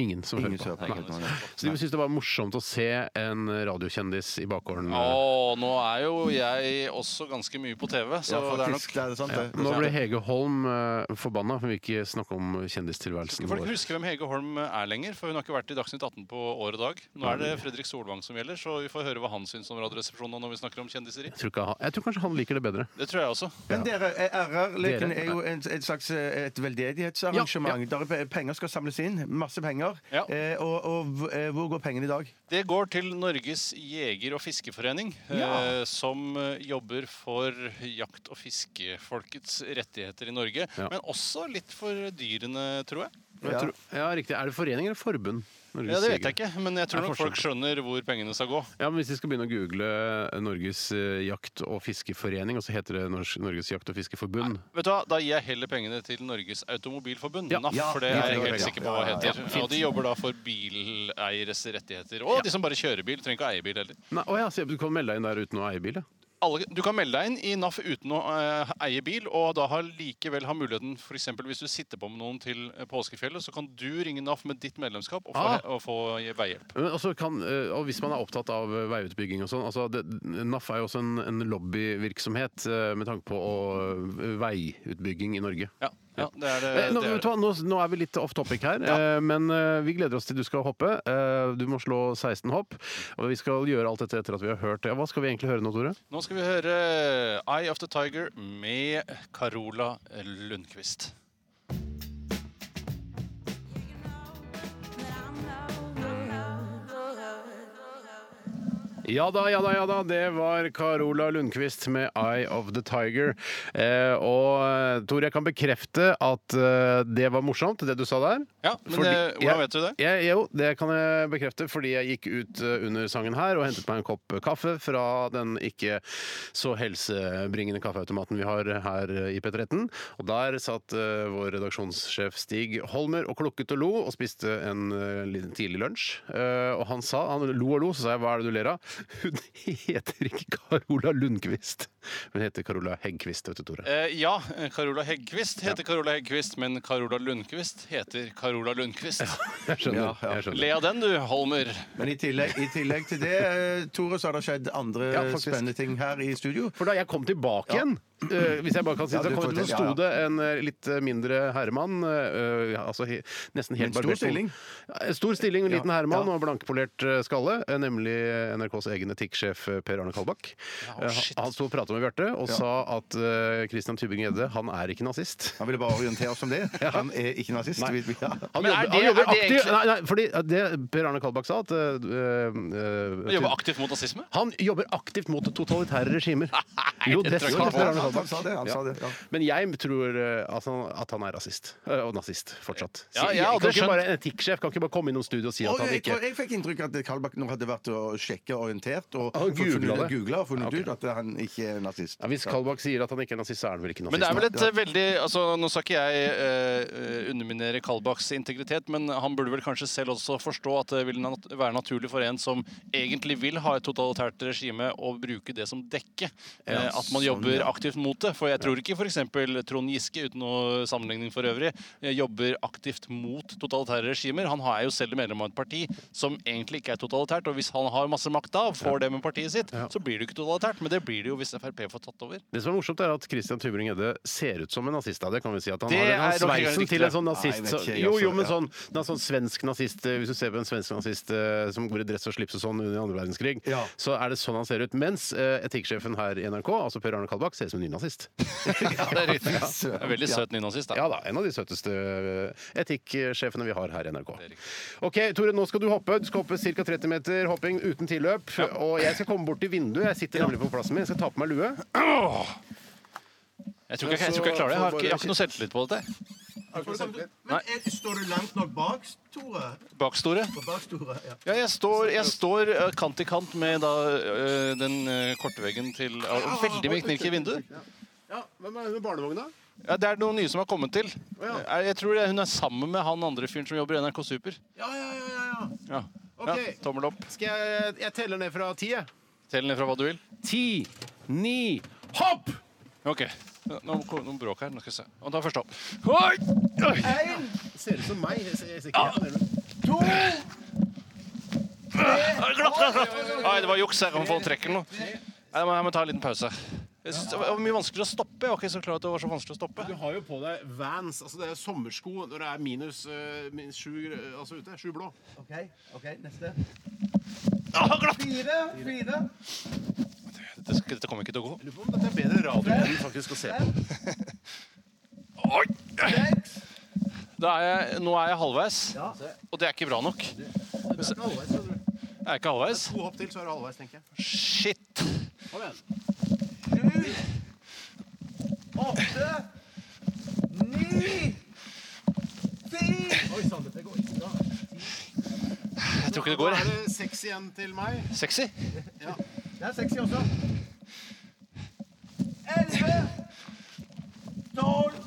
S1: Ingen som
S3: Ingen
S1: hører
S3: som
S1: på.
S3: hører på.
S1: Nei.
S3: Nei.
S1: Så de syntes det var morsomt å se en radiokjendis i bakgården. eh,
S2: Å, nå er jo jeg også ganske mye på TV, så det er nok
S3: faktisk. Det er sant, det.
S1: Nå ble Hege Holm eh, forbanna, for vi ikke snakke om kjendistilværelsen
S2: Folk
S1: vår.
S2: husker hvem Hege Holm er lenger, for hun har ikke vært i Dagsnytt 18 på år og dag. Nå er det Fredrik Solvang som gjelder, så vi får høre hva han syns om Radioresepsjonen når vi snakker om kjendiseri.
S1: Jeg tror, ikke, han- jeg tror kanskje han liker det bedre.
S2: Det tror jeg også.
S3: Men dere, RR-leken
S1: Dere.
S3: er jo en, et slags eh, et veldedighetsarrangement.
S1: Ja,
S3: Der er pe- penger skal samles inn. Masse penger.
S2: Ja.
S3: Eh, og og hv- eh, hvor går pengene i dag?
S2: Det går til Norges jeger- og fiskeforening, eh, som eh, jobber for jakt- og fiskefolkets rettigheter i Norge.
S1: Ja.
S2: Men også litt for dyrene, tror jeg.
S1: Jeg tror, ja, riktig. Er det forening eller forbund? Norges
S2: Ja, Det vet
S1: Jeger.
S2: jeg ikke, men jeg tror
S1: Det er
S2: nok folk skjønner hvor pengene skal gå.
S1: Ja, men Hvis de skal begynne å google Norges eh, jakt- og fiskeforening, og så heter det Nors- Norges jakt- og fiskeforbund
S2: Vet du hva, Da gir jeg heller pengene til Norges Automobilforbund, NAF,
S3: Ja,
S2: for det
S3: vi
S2: er jeg helt
S3: trenger penger.
S2: sikker på hva heter. og De jobber da for bileieres rettigheter. Og de som bare kjører bil. Trenger ikke å eie bil heller.
S1: Nei, å ja, så Du kan melde deg inn der uten å eie bil? ja.
S2: Alle, du kan melde deg inn i NAF uten å eh, eie bil, og da har likevel ha muligheten for eksempel hvis du sitter på med noen til eh, påskefjellet, så kan du ringe NAF med ditt medlemskap og få,
S1: Ah.
S2: og få veihjelp.
S1: Men også kan, eh, og hvis man er opptatt av eh, veiutbygging og sånn altså det, NAF er jo også en, en lobbyvirksomhet eh, med tanke på å, eh, veiutbygging i Norge.
S2: Ja, ja, det er det.
S1: Eh, Nå,
S2: det, er
S1: vet du
S2: det.
S1: hva, nå, nå er vi litt off topic her, eh, men eh, vi gleder oss til du skal hoppe. Eh, Du må slå 16 hopp, og vi skal gjøre alt dette etter at vi har hørt det. Ja, hva skal vi egentlig høre nå, Tore?
S2: Nå skal vi høre eh, Eye of the Tiger med Carola eh, Lundqvist.
S1: Ja da, ja da, ja da. Det var Carola Lundqvist med 'Eye of the Tiger'. Eh, og eh, Tore, jeg kan bekrefte at eh, det var morsomt, det du sa der.
S2: Ja, men
S1: Fordi-
S2: eh,
S1: jeg-
S2: hvordan vet du det?
S1: Jeg, jo, det kan jeg bekrefte, fordi jeg gikk ut eh, under sangen her og hentet meg en kopp kaffe fra den ikke så helsebringende kaffeautomaten vi har her eh, i P13. Og der satt eh, vår redaksjonssjef Stig Holmer og klukket og lo og spiste en eh, liten tidlig lunsj. Eh, og han sa, han lo og lo, så sa jeg hva er det du ler av? Hun heter ikke Carola Lundqvist. Hun heter Carola Heggqvist, vet du, Tore.
S2: Eh, ja, Carola Heggquist heter Carola Heggquist, men Carola Lundqvist heter Carola Lundqvist.
S1: Jeg skjønner. Jeg skjønner.
S2: Le av den du, Holmer.
S3: Men i tillegg, i tillegg til det, eh, Tore, så har det skjedd andre
S1: Ja, faktisk.
S3: spennende ting her i studio.
S1: For da jeg kom tilbake igjen øh, Hvis jeg bare kan si
S3: Ja,
S1: det,
S3: du
S1: så kom
S3: får
S1: jeg til- så sto
S3: fortelle,
S1: det en øh, litt øh, mindre herremann øh, ja, altså, he- Nesten helt
S3: Men stor
S1: barbert hode.
S3: stilling.
S1: Ja, Stor stilling, en liten
S3: Ja,
S1: herremann
S3: ja.
S1: og blankpolert øh, skalle. øh, Nemlig øh, NRKs egen etikksjef øh, Per Arne Kalbakk.
S2: Ja, å,
S1: Eh,
S2: shit.
S1: han sto og prata med Bjarte og sa at øh, Christian Tybing-Gjedde, han er ikke nazist.
S3: Han ville bare orientere oss om det. Han er ikke nazist. Vi- Ja.
S1: Han
S2: Men
S1: jobber,
S2: er det-
S1: han jobber
S2: er det
S1: aktivt
S2: egentlig-
S1: nei, nei, fordi øh, det Per Arne Kalbakk sa, at øh, øh,
S2: Du jobber aktivt mot nazisme?
S1: han jobber aktivt mot totalitære regimer.
S2: Nei,
S1: Jo,
S2: det
S1: det
S2: tror jeg
S1: sa
S2: ikke på.
S1: Per Arne
S3: Han,
S1: Kalbakk.
S3: han sa det. Han sa det ja.
S1: Men jeg tror eh, at han, at han er rasist. Eh, Og nazist, fortsatt.
S2: Ja,
S1: Så
S2: ja,
S1: kan
S2: og det
S1: ikke
S2: skjøn-
S1: bare en etikksjef kan ikke bare komme innom studio og si
S3: Og
S1: at han
S3: jeg,
S1: ikke
S3: jeg fikk inntrykk av at Karlbakk nå hadde vært og sjekket orientert og
S1: Han googlet det.
S3: googlet og funnet
S1: Ja, ok.
S3: ut at han ikke er nazist.
S1: ja, Hvis Kalbakk sier at han ikke er nazist, så er han vel ikke nazist?
S2: Men det er vel et
S1: da?
S2: eh, veldig altså, Nå skal ikke jeg eh, eh, underminere Kalbaks integritet, men han burde vel kanskje selv også forstå at det vil nat være naturlig for en som egentlig vil ha et totalitært regime, å bruke det som dekke. eh, at man jobber aktivt mot det. For jeg tror ikke f.eks. Trond Giske, uten noe sammenligning for øvrig, eh, jobber aktivt mot totalitære regimer. Han er jo selv medlem av et parti som egentlig ikke er totalitært. Og hvis han har masse makt da, og får det med partiet sitt, så blir det jo ikke totalitært. Men det blir det jo hvis Frp får tatt over.
S1: Det som er morsomt, er at Christian Tybring-Gjedde ser ut som en nazist. Da. Det kan vi si at Han
S2: Det
S1: har den
S2: er nok
S1: sveisen
S2: riktig,
S1: til en
S2: det.
S1: sånn nazist.
S3: Nei,
S1: så,
S3: vet ikke jeg
S1: jo,
S3: også,
S2: altså,
S1: jo, men
S3: ja.
S1: sånn, det er sånn svensk nazist eh, Hvis du ser på en svensk nazist eh, som går i dress og slips og sånn under andre verdenskrig,
S3: Ja.
S1: så er det sånn han ser ut. Mens eh, etikksjefen her i NRK, altså Per Arne Kalbakk, ser ut som en nynazist.
S2: Det er riktig. En veldig søt nynazist, da.
S1: Ja da, en av de søteste eh, etikksjefene vi har her i NRK. Ok, Tore, nå skal du hoppe. Du skal hoppe ca. 30 meter hopping uten tilløp. Og jeg skal komme bort til vinduet. Jeg sitter nemlig på plassen min. Jeg skal ta på meg lue.
S2: Jeg tror ikke jeg, jeg, tror ikke jeg klarer det. Jeg har ikke, jeg har ikke noe selvtillit på dette.
S3: Står du langt nok bak, Tore?
S2: Bakstore. Ja, jeg står, jeg står eh, kant i kant med da, eh, den eh, korte veggen til ja, Veldig mye knirk i vinduet.
S1: Ja, Hvem er hun barnevogna?
S2: Ja, det er noen nye som har kommet til.
S1: ja.
S2: Eh, Jeg tror det er- hun er sammen med han andre fyren som jobber i NRK Super.
S1: Ja, ja, ja. ja, ja.
S2: Ja.
S1: Ok.
S2: Ja, tommel opp.
S1: Skal jeg, jeg teller ned fra ti, jeg.
S2: Tell ned fra hva du vil.
S1: Ti, ni, hopp!
S2: OK. Ja, Nå kommer det noen bråk her. Nå skal vi se. Og da først opp. Oi! Oi!
S1: Ser ut som meg. Jeg ser, jeg ser ikke helt ned.
S7: Oi, Glatt, glatt, glatt! Oi, det var juks her om folk trekker den nå. Nei, Jeg må, jeg må ta en liten pause. Jeg synes det var mye vanskeligere å stoppe. Jeg var ikke så klar at det var så vanskelig å stoppe.
S1: Du har jo på deg Vans, altså det er sommersko når det er minus, eh, minus sju eh, altså ute. Sju blå.
S8: OK, ok, neste.
S7: Åh, glatt!
S8: Fire, fire,
S7: Dette, skal- dette kommer ikke til å gå.
S1: Lurer på om dette er bedre radio enn faktisk å se på.
S7: Oi!
S8: seks
S7: Da er jeg, nå er jeg halvveis,
S8: Ja,
S7: og det er ikke bra nok. Jeg
S1: Halvveis, tror jeg.
S7: er ikke halvveis.
S1: To hopp til, så er det halvveis, tenker jeg.
S7: Shit!
S1: Kom igjen.
S8: åtte, ni, ti Oi sann, dette går ikke bra.
S7: Jeg tror ikke det
S1: Da
S7: går.
S1: er
S7: jeg.
S1: det seks igjen til meg.
S7: Sexy?
S8: Det er sexy også. Elleve, tolv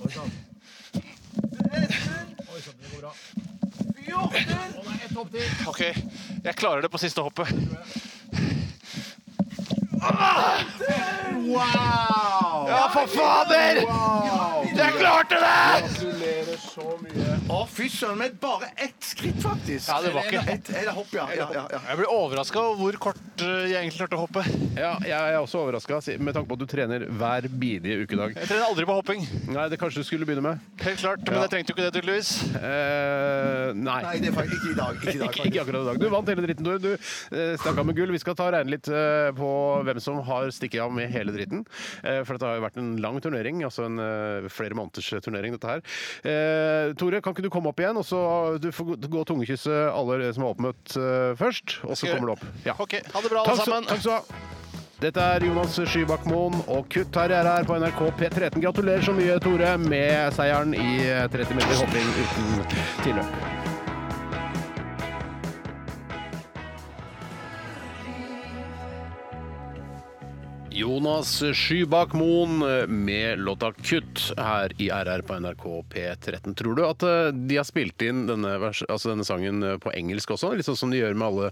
S8: Tretten Fjorten
S7: OK, jeg klarer det på siste hoppet.
S1: Wow!
S7: Ja, for fader! Jeg klarte det!
S1: Gratulerer så mye.
S3: Å, fy søren, men bare ett skritt, faktisk.
S7: Ja, det var ikke-
S3: Ett- eller hopp, ja. ja, ja, ja.
S7: Jeg ble overraska over hvor kort eh, jeg egentlig klarte å hoppe. Jeg
S1: Ja, jeg er også overraska, med tanke på at du trener hver bidige ukedag.
S7: trener aldri på hopping.
S1: Nei, det kanskje du skulle begynne med?
S7: Helt klart, Men jeg trengte jo ikke det, tydeligvis.
S1: Eh, nei.
S3: Nei, det er faktisk ikke i dag. Ikke i dag
S1: Ikke akkurat i dag. Du vant hele dritten, Tore. Du eh, stakk av med gull. Vi skal ta og regne litt eh, på hvem som har stikket av med hele dritten. Eh, For dette har jo vært en lang turnering, altså en eh, flere måneders turnering, dette her. Eh, Tore, kan ikke du komme opp igjen, og så eh, du får gå- gå og tungekysse alle som har oppmøtt eh, først, og så
S7: Skal jeg
S1: kommer du opp. Ja.
S7: OK, ha det bra, alle
S1: Takk så-
S7: sammen.
S1: Takk skal du ha. Dette er Jonas Skybakmoen og Kutt Terje her på NRK P13. Gratulerer så mye, Tore, med seieren i eh, 30 meter hopping uten tilløp. Jonas Skybakk Moen med låta 'Kutt' her i RR på NRK P13. Tror du at eh, de har spilt inn denne, vers, altså denne sangen eh, på engelsk også? Litt sånn som de gjør med alle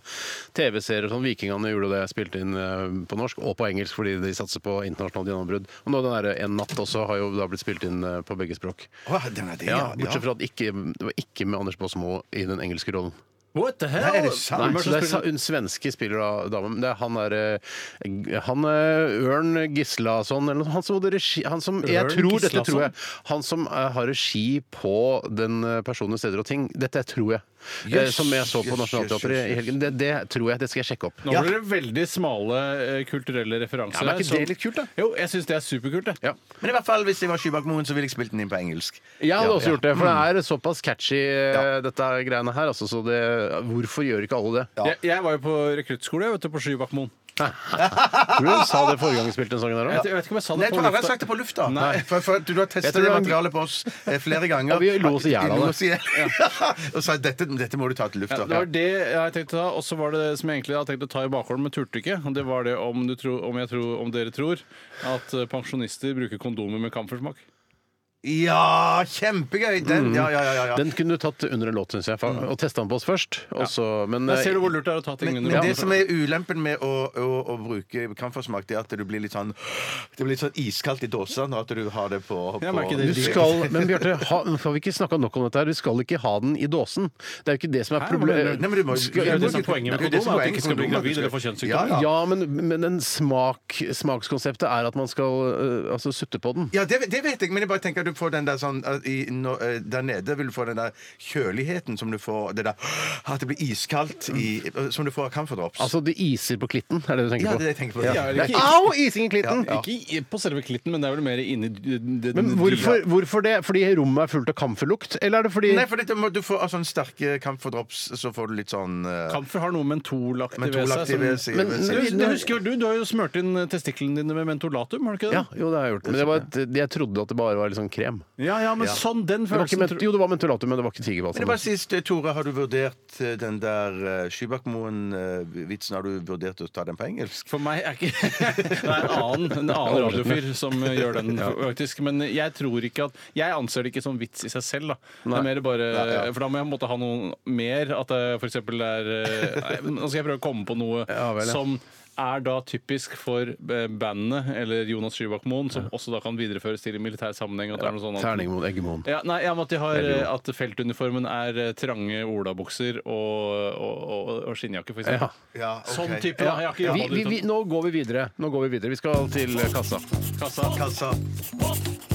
S1: TV-serier. sånn Vikingene gjorde det, spilte inn eh, på norsk og på engelsk fordi de satser på internasjonalt gjennombrudd. Og nå den derre 'En natt' også har jo da blitt spilt inn eh, på begge språk.
S3: Å, den er det, ja.
S1: Ja, bortsett fra at ikke, det var ikke med Anders Baasmo i den engelske rollen.
S2: What the hell?
S3: Nei, er det sant?
S1: Nei,
S3: Hvem
S1: så det er sa- en svenske spiller da, damen. Det er han der eh, g- Han eh, Ørn Gislason eller noe sånt. Han som, hadde regi, han som Jeg
S2: Ørn
S1: tror, dette
S2: Gislason?
S1: tror jeg. Han som eh, har regi på den eh, personen, steder og ting. Dette tror jeg. Eh,
S3: Jøss,
S1: som jeg så på
S3: jøss,
S1: Nationaltheatret
S3: jøss,
S1: i helgen. Det, det tror jeg. Det skal jeg sjekke opp.
S2: Nå blir det veldig smale eh, kulturelle referanser.
S1: Ja, men er ikke
S2: her,
S1: det litt kult, da?
S2: sånn- Jo, jeg syns det er superkult. Det.
S1: Ja.
S3: Men i hvert fall, hvis jeg var Skybakmoen, så ville jeg spilt den inn på engelsk.
S1: Jeg hadde
S3: Ja,
S1: også
S3: ja. Mm.
S1: gjort det, for det er såpass catchy, eh, dette greiene her. Altså, så det, hvorfor gjør ikke alle det?
S2: Jeg, jeg var jo på rekruttskole jeg vet du, på Skybakkmoen.
S1: Tror du hun sa det forrige gang vi spilte den sangen her
S2: Jeg,
S1: òg?
S2: vet- jeg vet ikke om jeg sa
S3: Nei,
S2: det
S3: jeg tror
S2: på
S3: aldri jeg har
S2: lufta.
S3: sagt det på lufta.
S2: Nei.
S3: For, for du har
S1: Jeg
S3: testet
S1: tror det
S3: det
S1: var-
S3: materialet på oss eh, flere ganger.
S1: Ja, vi lo oss i hjel av
S3: Vi
S1: det.
S3: lo oss i hjel. Og sa dette, dette må du ta til lufta.
S2: Det var det jeg tenkte å ta, og så var det det som jeg egentlig hadde tenkt å ta i bakhånden, men turte ikke. Og det var det om, du tror, om, jeg tror, om dere tror at eh, pensjonister bruker kondomer med kamfersmak.
S3: Ja, kjempegøy! Den, ja, ja, ja, ja, ja.
S1: Den kunne du tatt under en låt, syns jeg.
S3: Mm.
S1: fa- Og testa den på oss først. Og så, men eh,
S2: Der ser du hvor lurt det er å ta ting
S3: Men,
S2: under
S3: men det
S2: armen.
S3: som er ulempen med å, å, å bruke kamfersmak, det er at du blir litt sånn Det blir litt sånn iskaldt i dåsa når at du har det på, på
S2: Jeg merker det.
S1: Du skal, men Bjarte, ha, nå får vi ikke snakka nok om dette her. Du skal ikke ha den i dåsen. Det er jo ikke det som er
S2: Hæ?
S3: Nei,
S1: problemet.
S3: men du må,
S2: Det er jo det som er poenget med
S3: Det er jo det
S2: kondom,
S3: som er
S2: at du ikke skal bli
S3: poenget med
S2: gravid
S3: kondom,
S2: eller få
S3: at du skal-
S2: kjønnssykdom.
S3: Ja, ja.
S1: Ja, men, men en smak, smakskonseptet er at man skal øh, altså, sutte på den.
S3: Ja, det, det vet jeg, men jeg bare tenker at du får den der sånn at i, nå, eh, Der nede vil du få den der kjøligheten som du får Det der ah, At det blir iskaldt i, eh, som du får av camferdrops.
S1: Altså, det iser på klitten, er det du tenker
S3: ja, det er
S1: på?
S3: det jeg tenker på.
S2: Ja,
S1: Nei, Au! Ising i klitten!
S3: Ja, ja.
S2: Ikke i- på selve klitten, men det er vel mer inni d- d-
S1: Men
S2: d-
S1: hvorfor, hvorfor det? Fordi rommet er fullt av kamferlukt? Eller er det fordi
S3: Nei, for dette må, du får av sånne sterke camferdrops, så får du litt sånn eh,
S2: Kamfer har noe mentolaktig ved seg.
S3: Mentolaktig
S2: som-
S3: ved seg.
S2: Men-
S3: ved seg.
S2: du, du husker jo du, du har jo smurt inn testiklene dine med mentolatum, har du ikke det?
S1: ja, jo, det har jeg gjort. Men det var et, jeg trodde at det bare var liksom krem.
S2: ja, ja, men sånn den
S1: Det var ikke
S2: følelsen
S1: ment, jo, det var mentolatum, men det var ikke
S3: Men
S1: tigerbalsam.
S3: det var sist, eh, Tore, har du vurdert eh, den der eh, Skybakmoen-vitsen? Har du vurdert å ta den på engelsk?
S2: For meg er ikke Det er en annen, en annen radiofyr som eh, gjør den, faktisk. Men jeg tror ikke at Jeg anser det ikke som vits i seg selv, da. Det er mer bare For da må jeg måtte ha noe mer. At det f.eks. er eh, nei, Nå skal jeg prøve å komme på noe
S1: Ja, vel, ja.
S2: som er da typisk for eh, bandene, eller Jonas Skybakk Moen, som også da kan videreføres til i militær sammenheng. At det er noe sånn at
S1: Terning mot Eggemoen.
S2: ja, nei, ja, men at, de har, eh, at feltuniformen er eh, trange olabukser og, og, og, og skinnjakke, for eksempel.
S3: Ja, ok.
S2: Sånn type. da. Jeg har ikke
S1: Vi,
S2: jobba
S1: vi, vi, nå går vi videre. Nå går vi videre. Vi skal til kassa.
S2: kassa.
S3: Kassa.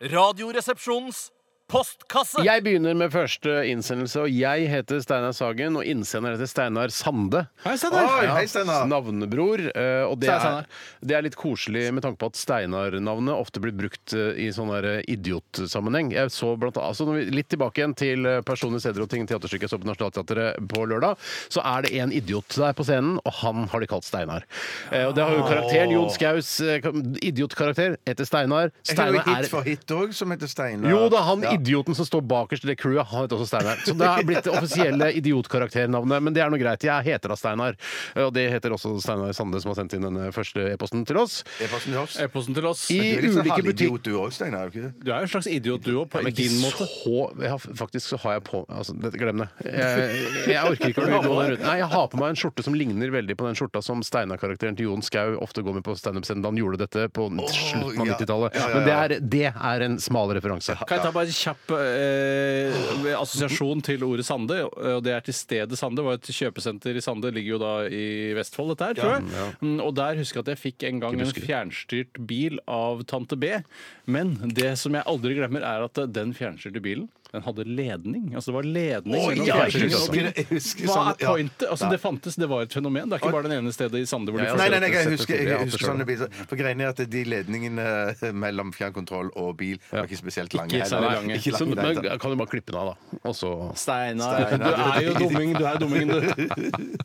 S9: Radioresepsjonens postkasse.
S1: Jeg begynner med første innsendelse, og jeg heter Steinar Sagen, og innsender heter Steinar Sande.
S2: Hei, Steinar!
S3: Oi, hei, Steinar.
S1: Navnebror. eh, Og det er,
S2: Steinar Steinar.
S1: det er litt koselig med tanke på at Steinar-navnet ofte blir brukt eh, i sånn der, eh, idiotsammenheng. Jeg så blant annet, altså når vi, Litt tilbake igjen til eh, Personlige steder og ting, teaterstykket jeg så på Nationaltheatret på lørdag, så er det en idiot der på scenen, og han har de kalt Steinar. Eh, Og det har jo karakteren Jon Skaus eh, idiotkarakter heter Steinar.
S3: Jeg har jo
S1: Steinar
S3: hit for hit òg, som heter Steinar.
S1: jo da, han
S3: Ja.
S1: idioten som står bakerst i det crewet, han heter også Steinar. Så det har blitt det offisielle idiotkarakternavnet, men det er noe greit. Jeg heter da Steinar. Eh, Og det heter også Steinar Sande, som har sendt inn denne første e-posten til oss.
S3: Det er fra Snøhofs.
S2: E-posten til oss.
S1: I
S3: Du er litt sånn
S1: ulike butikker
S3: halvidiot du òg, Steinar. er du ikke det?
S2: Du er jo en slags idiot, du òg, på
S1: men
S2: din måte.
S1: Så, jeg har, faktisk så har jeg på altså, det- Glem det. Jeg, jeg orker ikke å gå den ruten. Nei, jeg har på meg en skjorte som ligner veldig på den skjorta som Steinar-karakteren til Jon Skau ofte går med på standup-scenen da han gjorde dette på slutten av
S3: ja.
S1: 90-tallet.
S3: Ja, ja,
S1: Men det
S3: ja.
S1: er, det er en smal referanse.
S2: Kan jeg ta bare en kjapp eh, assosiasjon til ordet Sande? Og det er til stedet Sande. var et kjøpesenter i Sande, ligger jo da i Vestfold, dette her, tror jeg. Mm, Og der husker jeg at jeg fikk en gang en fjernstyrt bil av tante B. Men det som jeg aldri glemmer, er at den fjernstyrte bilen den hadde ledning. Altså det var ledning.
S3: Å,
S2: mellom
S3: ja, jeg
S2: fjernstyrte
S3: husker
S2: bilen.
S3: det, jeg husker
S2: Hva
S3: sånn,
S2: er
S3: ja.
S2: pointet? Altså Det fantes, det var et fenomen. Det er ikke bare det ene stedet i Sande hvor du
S3: Nei, nei, nei,
S2: dette.
S3: jeg husker, jeg,
S1: Ja,
S3: husker sånne biler. For greiene er at de ledningene eh, mellom fjernkontroll og bil var ikke spesielt lange.
S2: Ikke særlig lange.
S3: Ikke
S1: Så,
S3: lange, nei,
S1: men,
S3: da.
S1: kan du bare klippe den av, da? Og så
S2: Steinar. Du er jo dumming, du er dummingen, du.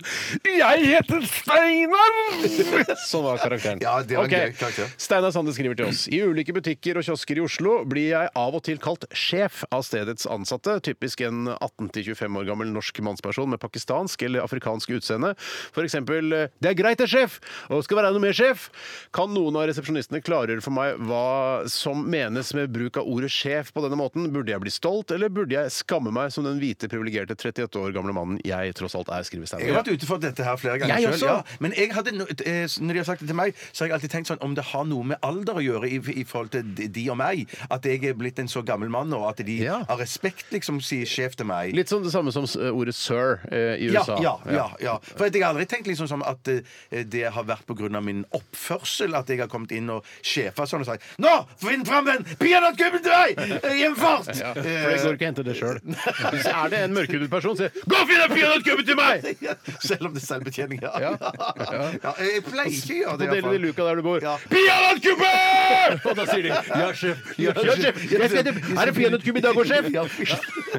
S1: Jeg heter Steinar! Sånn var karakteren.
S3: Ja, det var en
S1: Ok.
S3: gøy karakter.
S1: Steinar Sande skriver til oss. I ulike butikker og kiosker i Oslo blir jeg av og til kalt sjef av stedets ansatte. Typisk en 18-25 år gammel norsk mannsperson med pakistansk eller afrikansk utseende. For eksempel 'Det er greit, det, sjef', og 'Skal være noe mer, sjef'. Kan noen av resepsjonistene klargjøre for meg hva som menes med bruk av ordet sjef på denne måten? Burde jeg bli stolt, eller burde jeg skamme meg som den hvite, privilegerte 38 år gamle mannen jeg tross alt er, skriver Steinar.
S3: Jeg har vært ute for dette her flere ganger
S1: Jeg
S3: selv,
S1: også.
S3: Ja. Men jeg hadde, no- eh, når de har sagt det til meg, så har jeg alltid tenkt sånn om det har noe med alder å gjøre i, i forhold til de- de og meg. At jeg er blitt en så gammel mann, og at de
S1: Ja.
S3: av respekt liksom sier sjef til meg.
S1: Litt sånn det samme som eh, ordet sir eh, i
S3: ja,
S1: USA.
S3: ja, ja, ja. For jeg har aldri tenkt liksom som at eh, det har vært pga. min oppførsel at jeg har kommet inn og sjefa sånn og sagt Nå! Finn fram den peanøttkuben til meg! eh, I en fart! Eh,
S1: Ja, for jeg går ikke og henter det sjøl. Er det en mørkhudet person, sier jeg, 'gå og finn en peanøttgubbe til meg'!
S3: Ja, Selv om det er selvbetjening, ja.
S1: Ja.
S3: ja. jeg pleier ikke å gjøre
S1: På
S3: det. i hvert
S1: deler i
S3: fall.
S1: luka der du bor.
S3: Ja.
S1: Peanøttgubbe! Og da sier de 'ja, sjef'. Ja, sjef. Jeg skal, til- er det peanøttgubbe i dag òg, sjef?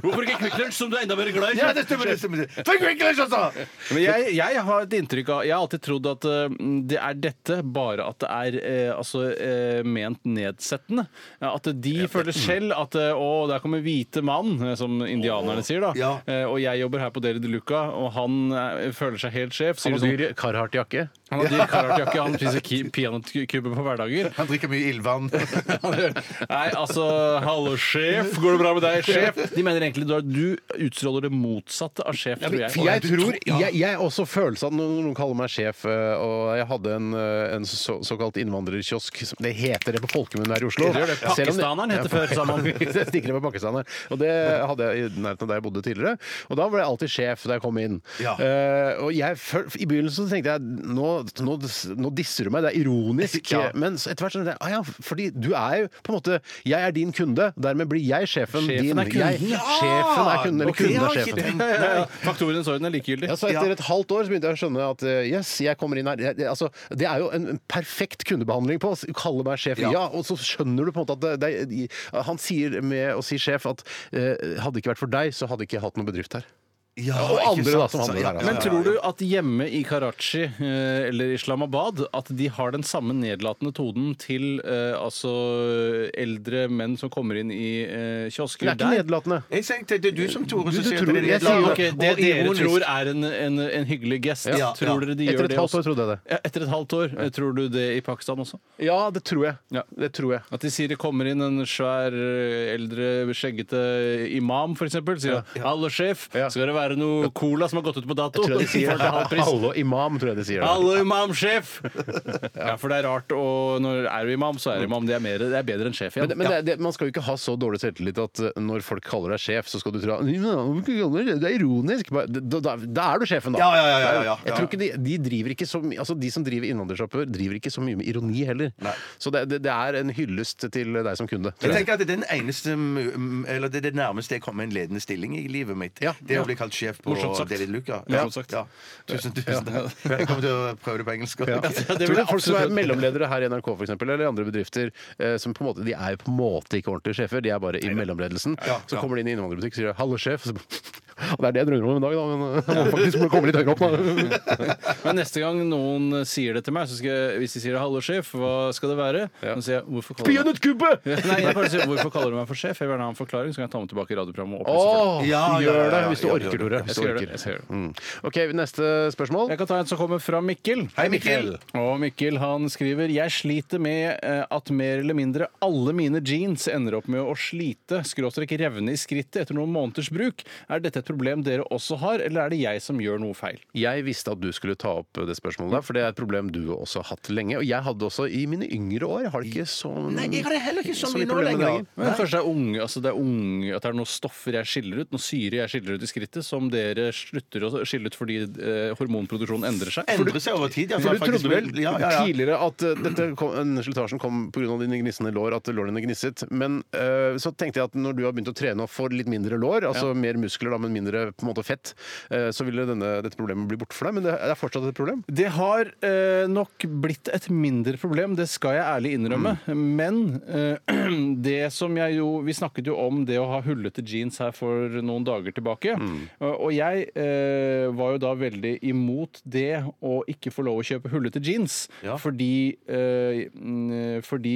S2: Hvorfor ikke Quick Lunch, som du er enda mer glad i?
S3: Ja, det stemmer, det stemmer. Ta en Quick Lunch, altså!
S2: Men jeg, jeg har et inntrykk av Jeg har alltid trodd at eh, det er dette, bare at det er eh, altså, eh, ment nedsettende. Ja, at de føler selv at eh, Å, der kommer hvite mann, eh, som indianerne sier, da.
S3: ja.
S2: Eh, og jeg jobber her på Deli de Luca, og han eh, føler seg helt sjef. Sier
S1: Han
S2: han,
S1: har
S2: sånn,
S1: dyr Carhartt-jakke.
S2: han har dyr karatjakke, han spiser ki- peanøttkuber på hverdager.
S3: Han drikker mye ildvann.
S2: Nei, altså Hallo, sjef. Går det bra med deg, sjef? De mener egentlig da du utstråler det motsatte av sjef, tror jeg.
S1: Jeg tror, jeg, jeg er også følelse av når noen kaller meg sjef, eh, og jeg hadde en, eh, en så, såkalt innvandrerkiosk, som- det heter det på folkemunne her i Oslo.
S2: Det gjør det.
S1: Selv om det-
S2: Pakistaneren het det før, sa man.
S1: Jeg stikker det på pakistaner. Og det hadde jeg i nærheten av der jeg bodde tidligere. Og da ble jeg alltid sjef da jeg kom inn.
S3: Ja.
S1: Eh, og jeg, føl- I begynnelsen så tenkte jeg nå, nå, nå disser du meg, det er ironisk.
S3: Ja.
S1: Men så etter hvert så tenkte jeg ah, ja, fordi du er jo på en måte Jeg er din kunde, dermed blir jeg sjefen,
S2: Sjefen
S1: din.
S2: er kunden.
S1: Jeg, sjefen er kunden, eller
S3: Ok,
S1: kunden er
S3: jeg har ikke
S1: sjefen.
S3: tenkt-
S2: Faktorenes orden er likegyldig.
S1: Ja, så etter
S3: Ja.
S1: et halvt år så begynte jeg å skjønne at eh, yes, jeg kommer inn her. Jeg, jeg- altså, det er jo en, en perfekt kundebehandling på å s- kalle meg sjef. Ja.
S3: Ja.
S1: og så skjønner du på en måte at det, det, han sier med å si sjef at eh, hadde det ikke vært for deg, så hadde ikke jeg hatt noen bedrift her.
S3: Ja,
S1: Og
S3: ikke
S1: andre da,
S3: sant?
S1: som handler
S3: Ja,
S1: der, altså.
S2: Men tror du at hjemme i Karachi eh, eller Islamabad at de har den samme nedlatende tonen til eh, altså eldre menn som kommer inn i eh, kiosker
S1: Det er ikke
S2: der?
S1: nedlatende.
S3: Jeg tenkte, det er du som Tore
S1: Du-
S3: som
S1: du
S3: sier at
S1: tror-
S3: det er
S1: jeg sier jo
S3: nedlatende
S2: Ok, det
S3: og
S2: dere
S3: ironisk.
S2: tror er en, en, en hyggelig gest.
S3: Ja,
S2: tror
S3: ja.
S2: dere de
S1: Etter
S2: gjør
S1: et
S2: det
S1: halvt
S2: også?
S1: år trodde jeg det.
S2: Ja, etter et halvt år. Eh, Tror du det i Pakistan også?
S1: Ja, det tror jeg.
S2: Ja.
S1: Det tror jeg.
S2: At de sier det kommer inn en svær, eh, eldre, skjeggete imam, f.eks. Sier han 'hallo, sjef,
S1: Ja.
S2: skal det være noe cola som har gått ut på dato?'
S1: Tror jeg de sier
S2: For til halv pris.
S1: Hallo imam, tror jeg de sier. det.
S2: Hallo, imam, sjef! ja, for det er rart. Og når er du imam, så er du imam. Det er, mer, det er bedre enn sjef igjen.
S1: Men, men det, det, man skal jo ikke ha så dårlig selvtillit at eh, når folk kaller deg sjef, så skal du tro at «Nei, men hvorfor kaller du det? det er ironisk. Bare, Da, da, da er du sjefen, da.
S3: Ja, ja, ja, ja, ja, ja.
S1: Jeg tror ikke de, de driver ikke så mye Altså De som driver innvandrersjapper, driver ikke så mye med ironi heller. Så det, det, det er en hyllest til deg som kunde.
S3: Jeg tenker at det er den eneste mm, Eller det er det nærmeste jeg kommer en ledende stilling i livet mitt.
S1: Ja.
S3: Det er å bli kalt sjef på
S2: Morsomt sagt.
S3: Daily Luca.
S2: Morsomt sagt.
S3: Ja. Tusen, tusen takk. Jeg kommer til å prøve det på engelsk.
S1: Ja.
S2: det
S1: Tror
S2: vil
S1: du
S2: jeg
S1: folk som
S2: absolutt
S1: er
S2: tro.
S1: mellomledere her i NRK for eksempel, eller i andre bedrifter, eh, som på en måte, de er jo på en måte ikke ordentlige sjefer, de er bare i mellomledelsen. Så kommer de inn i innvandrerbutikk og sier 'hallo, sjef'. Og så bare, «Og det er det jeg drømmer om en dag, da, men eh, jeg må faktisk komme litt høyere opp. Da.
S2: Men neste gang noen sier det til meg, så skal jeg, hvis de sier 'hallo, sjef', hva skal det være? Så sier jeg 'hvorfor kaller du meg
S1: Peanøttkubbe!
S2: Nei, jeg bare sier, Hvorfor kaller du meg for sjef? Jeg vil gjerne ha en forklaring, så kan jeg ta meg tilbake i radioprogrammet. og
S1: Å,
S2: opplyse folk.
S3: Ja, ja,
S1: gjør
S3: ja,
S1: det
S3: ja,
S1: hvis du
S3: ja,
S1: orker,
S3: ja,
S1: Tore.
S3: ja,
S2: Jeg
S1: Hvis du
S2: skal gjøre det.
S1: orker.
S2: Jeg skal gjøre det.
S1: Mm. OK, neste spørsmål.
S2: Jeg kan ta en som kommer fra Mikkel.
S3: Hei, Mikkel.
S2: Og Mikkel han skriver Jeg sliter med eh, at mer eller mindre alle mine jeans ender opp med å slite, skråstrek revne i skrittet etter noen måneders bruk. Er dette et problem dere også har, eller er det jeg som gjør noe feil?
S1: Jeg visste at du skulle ta opp eh, det spørsmålet, der, for det er et problem du også har hatt lenge. Og jeg hadde det også i mine yngre år. Har det ikke sånn så
S3: Nei, jeg har det heller ikke så
S1: så
S3: mye
S1: mye
S3: nå
S1: problemer med det
S3: lenger.
S1: lenger.
S2: Men kanskje det er unge, altså det er unge, at det er noen stoffer jeg skiller ut, noe syre jeg skiller ut i skrittet, som dere slutter å skille ut fordi eh, hormonproduksjonen endrer seg?
S3: Endrer seg over tid, ja.
S1: For du
S3: faktisk
S1: trodde vel
S3: vil- ja, ja, ja.
S1: tidligere at eh, dette kom, denne slitasjen kom pga. dine gnissende lår, at lårene dine gnisset. Men eh, så tenkte jeg at når du har begynt å trene og får litt mindre lår, altså mer muskler da, men mindre på en måte fett, eh, så ville denne, dette problemet bli borte for deg. Men det er fortsatt et problem.
S2: Det har eh, nok blitt et mindre problem, det skal jeg ærlig innrømme. Men eh, det som jeg jo Vi snakket jo om det å ha hullete jeans her for noen dager tilbake. Og- Og jeg eh, var jo da veldig imot det å ikke få lov å kjøpe hullete jeans, fordi eh, mm, Fordi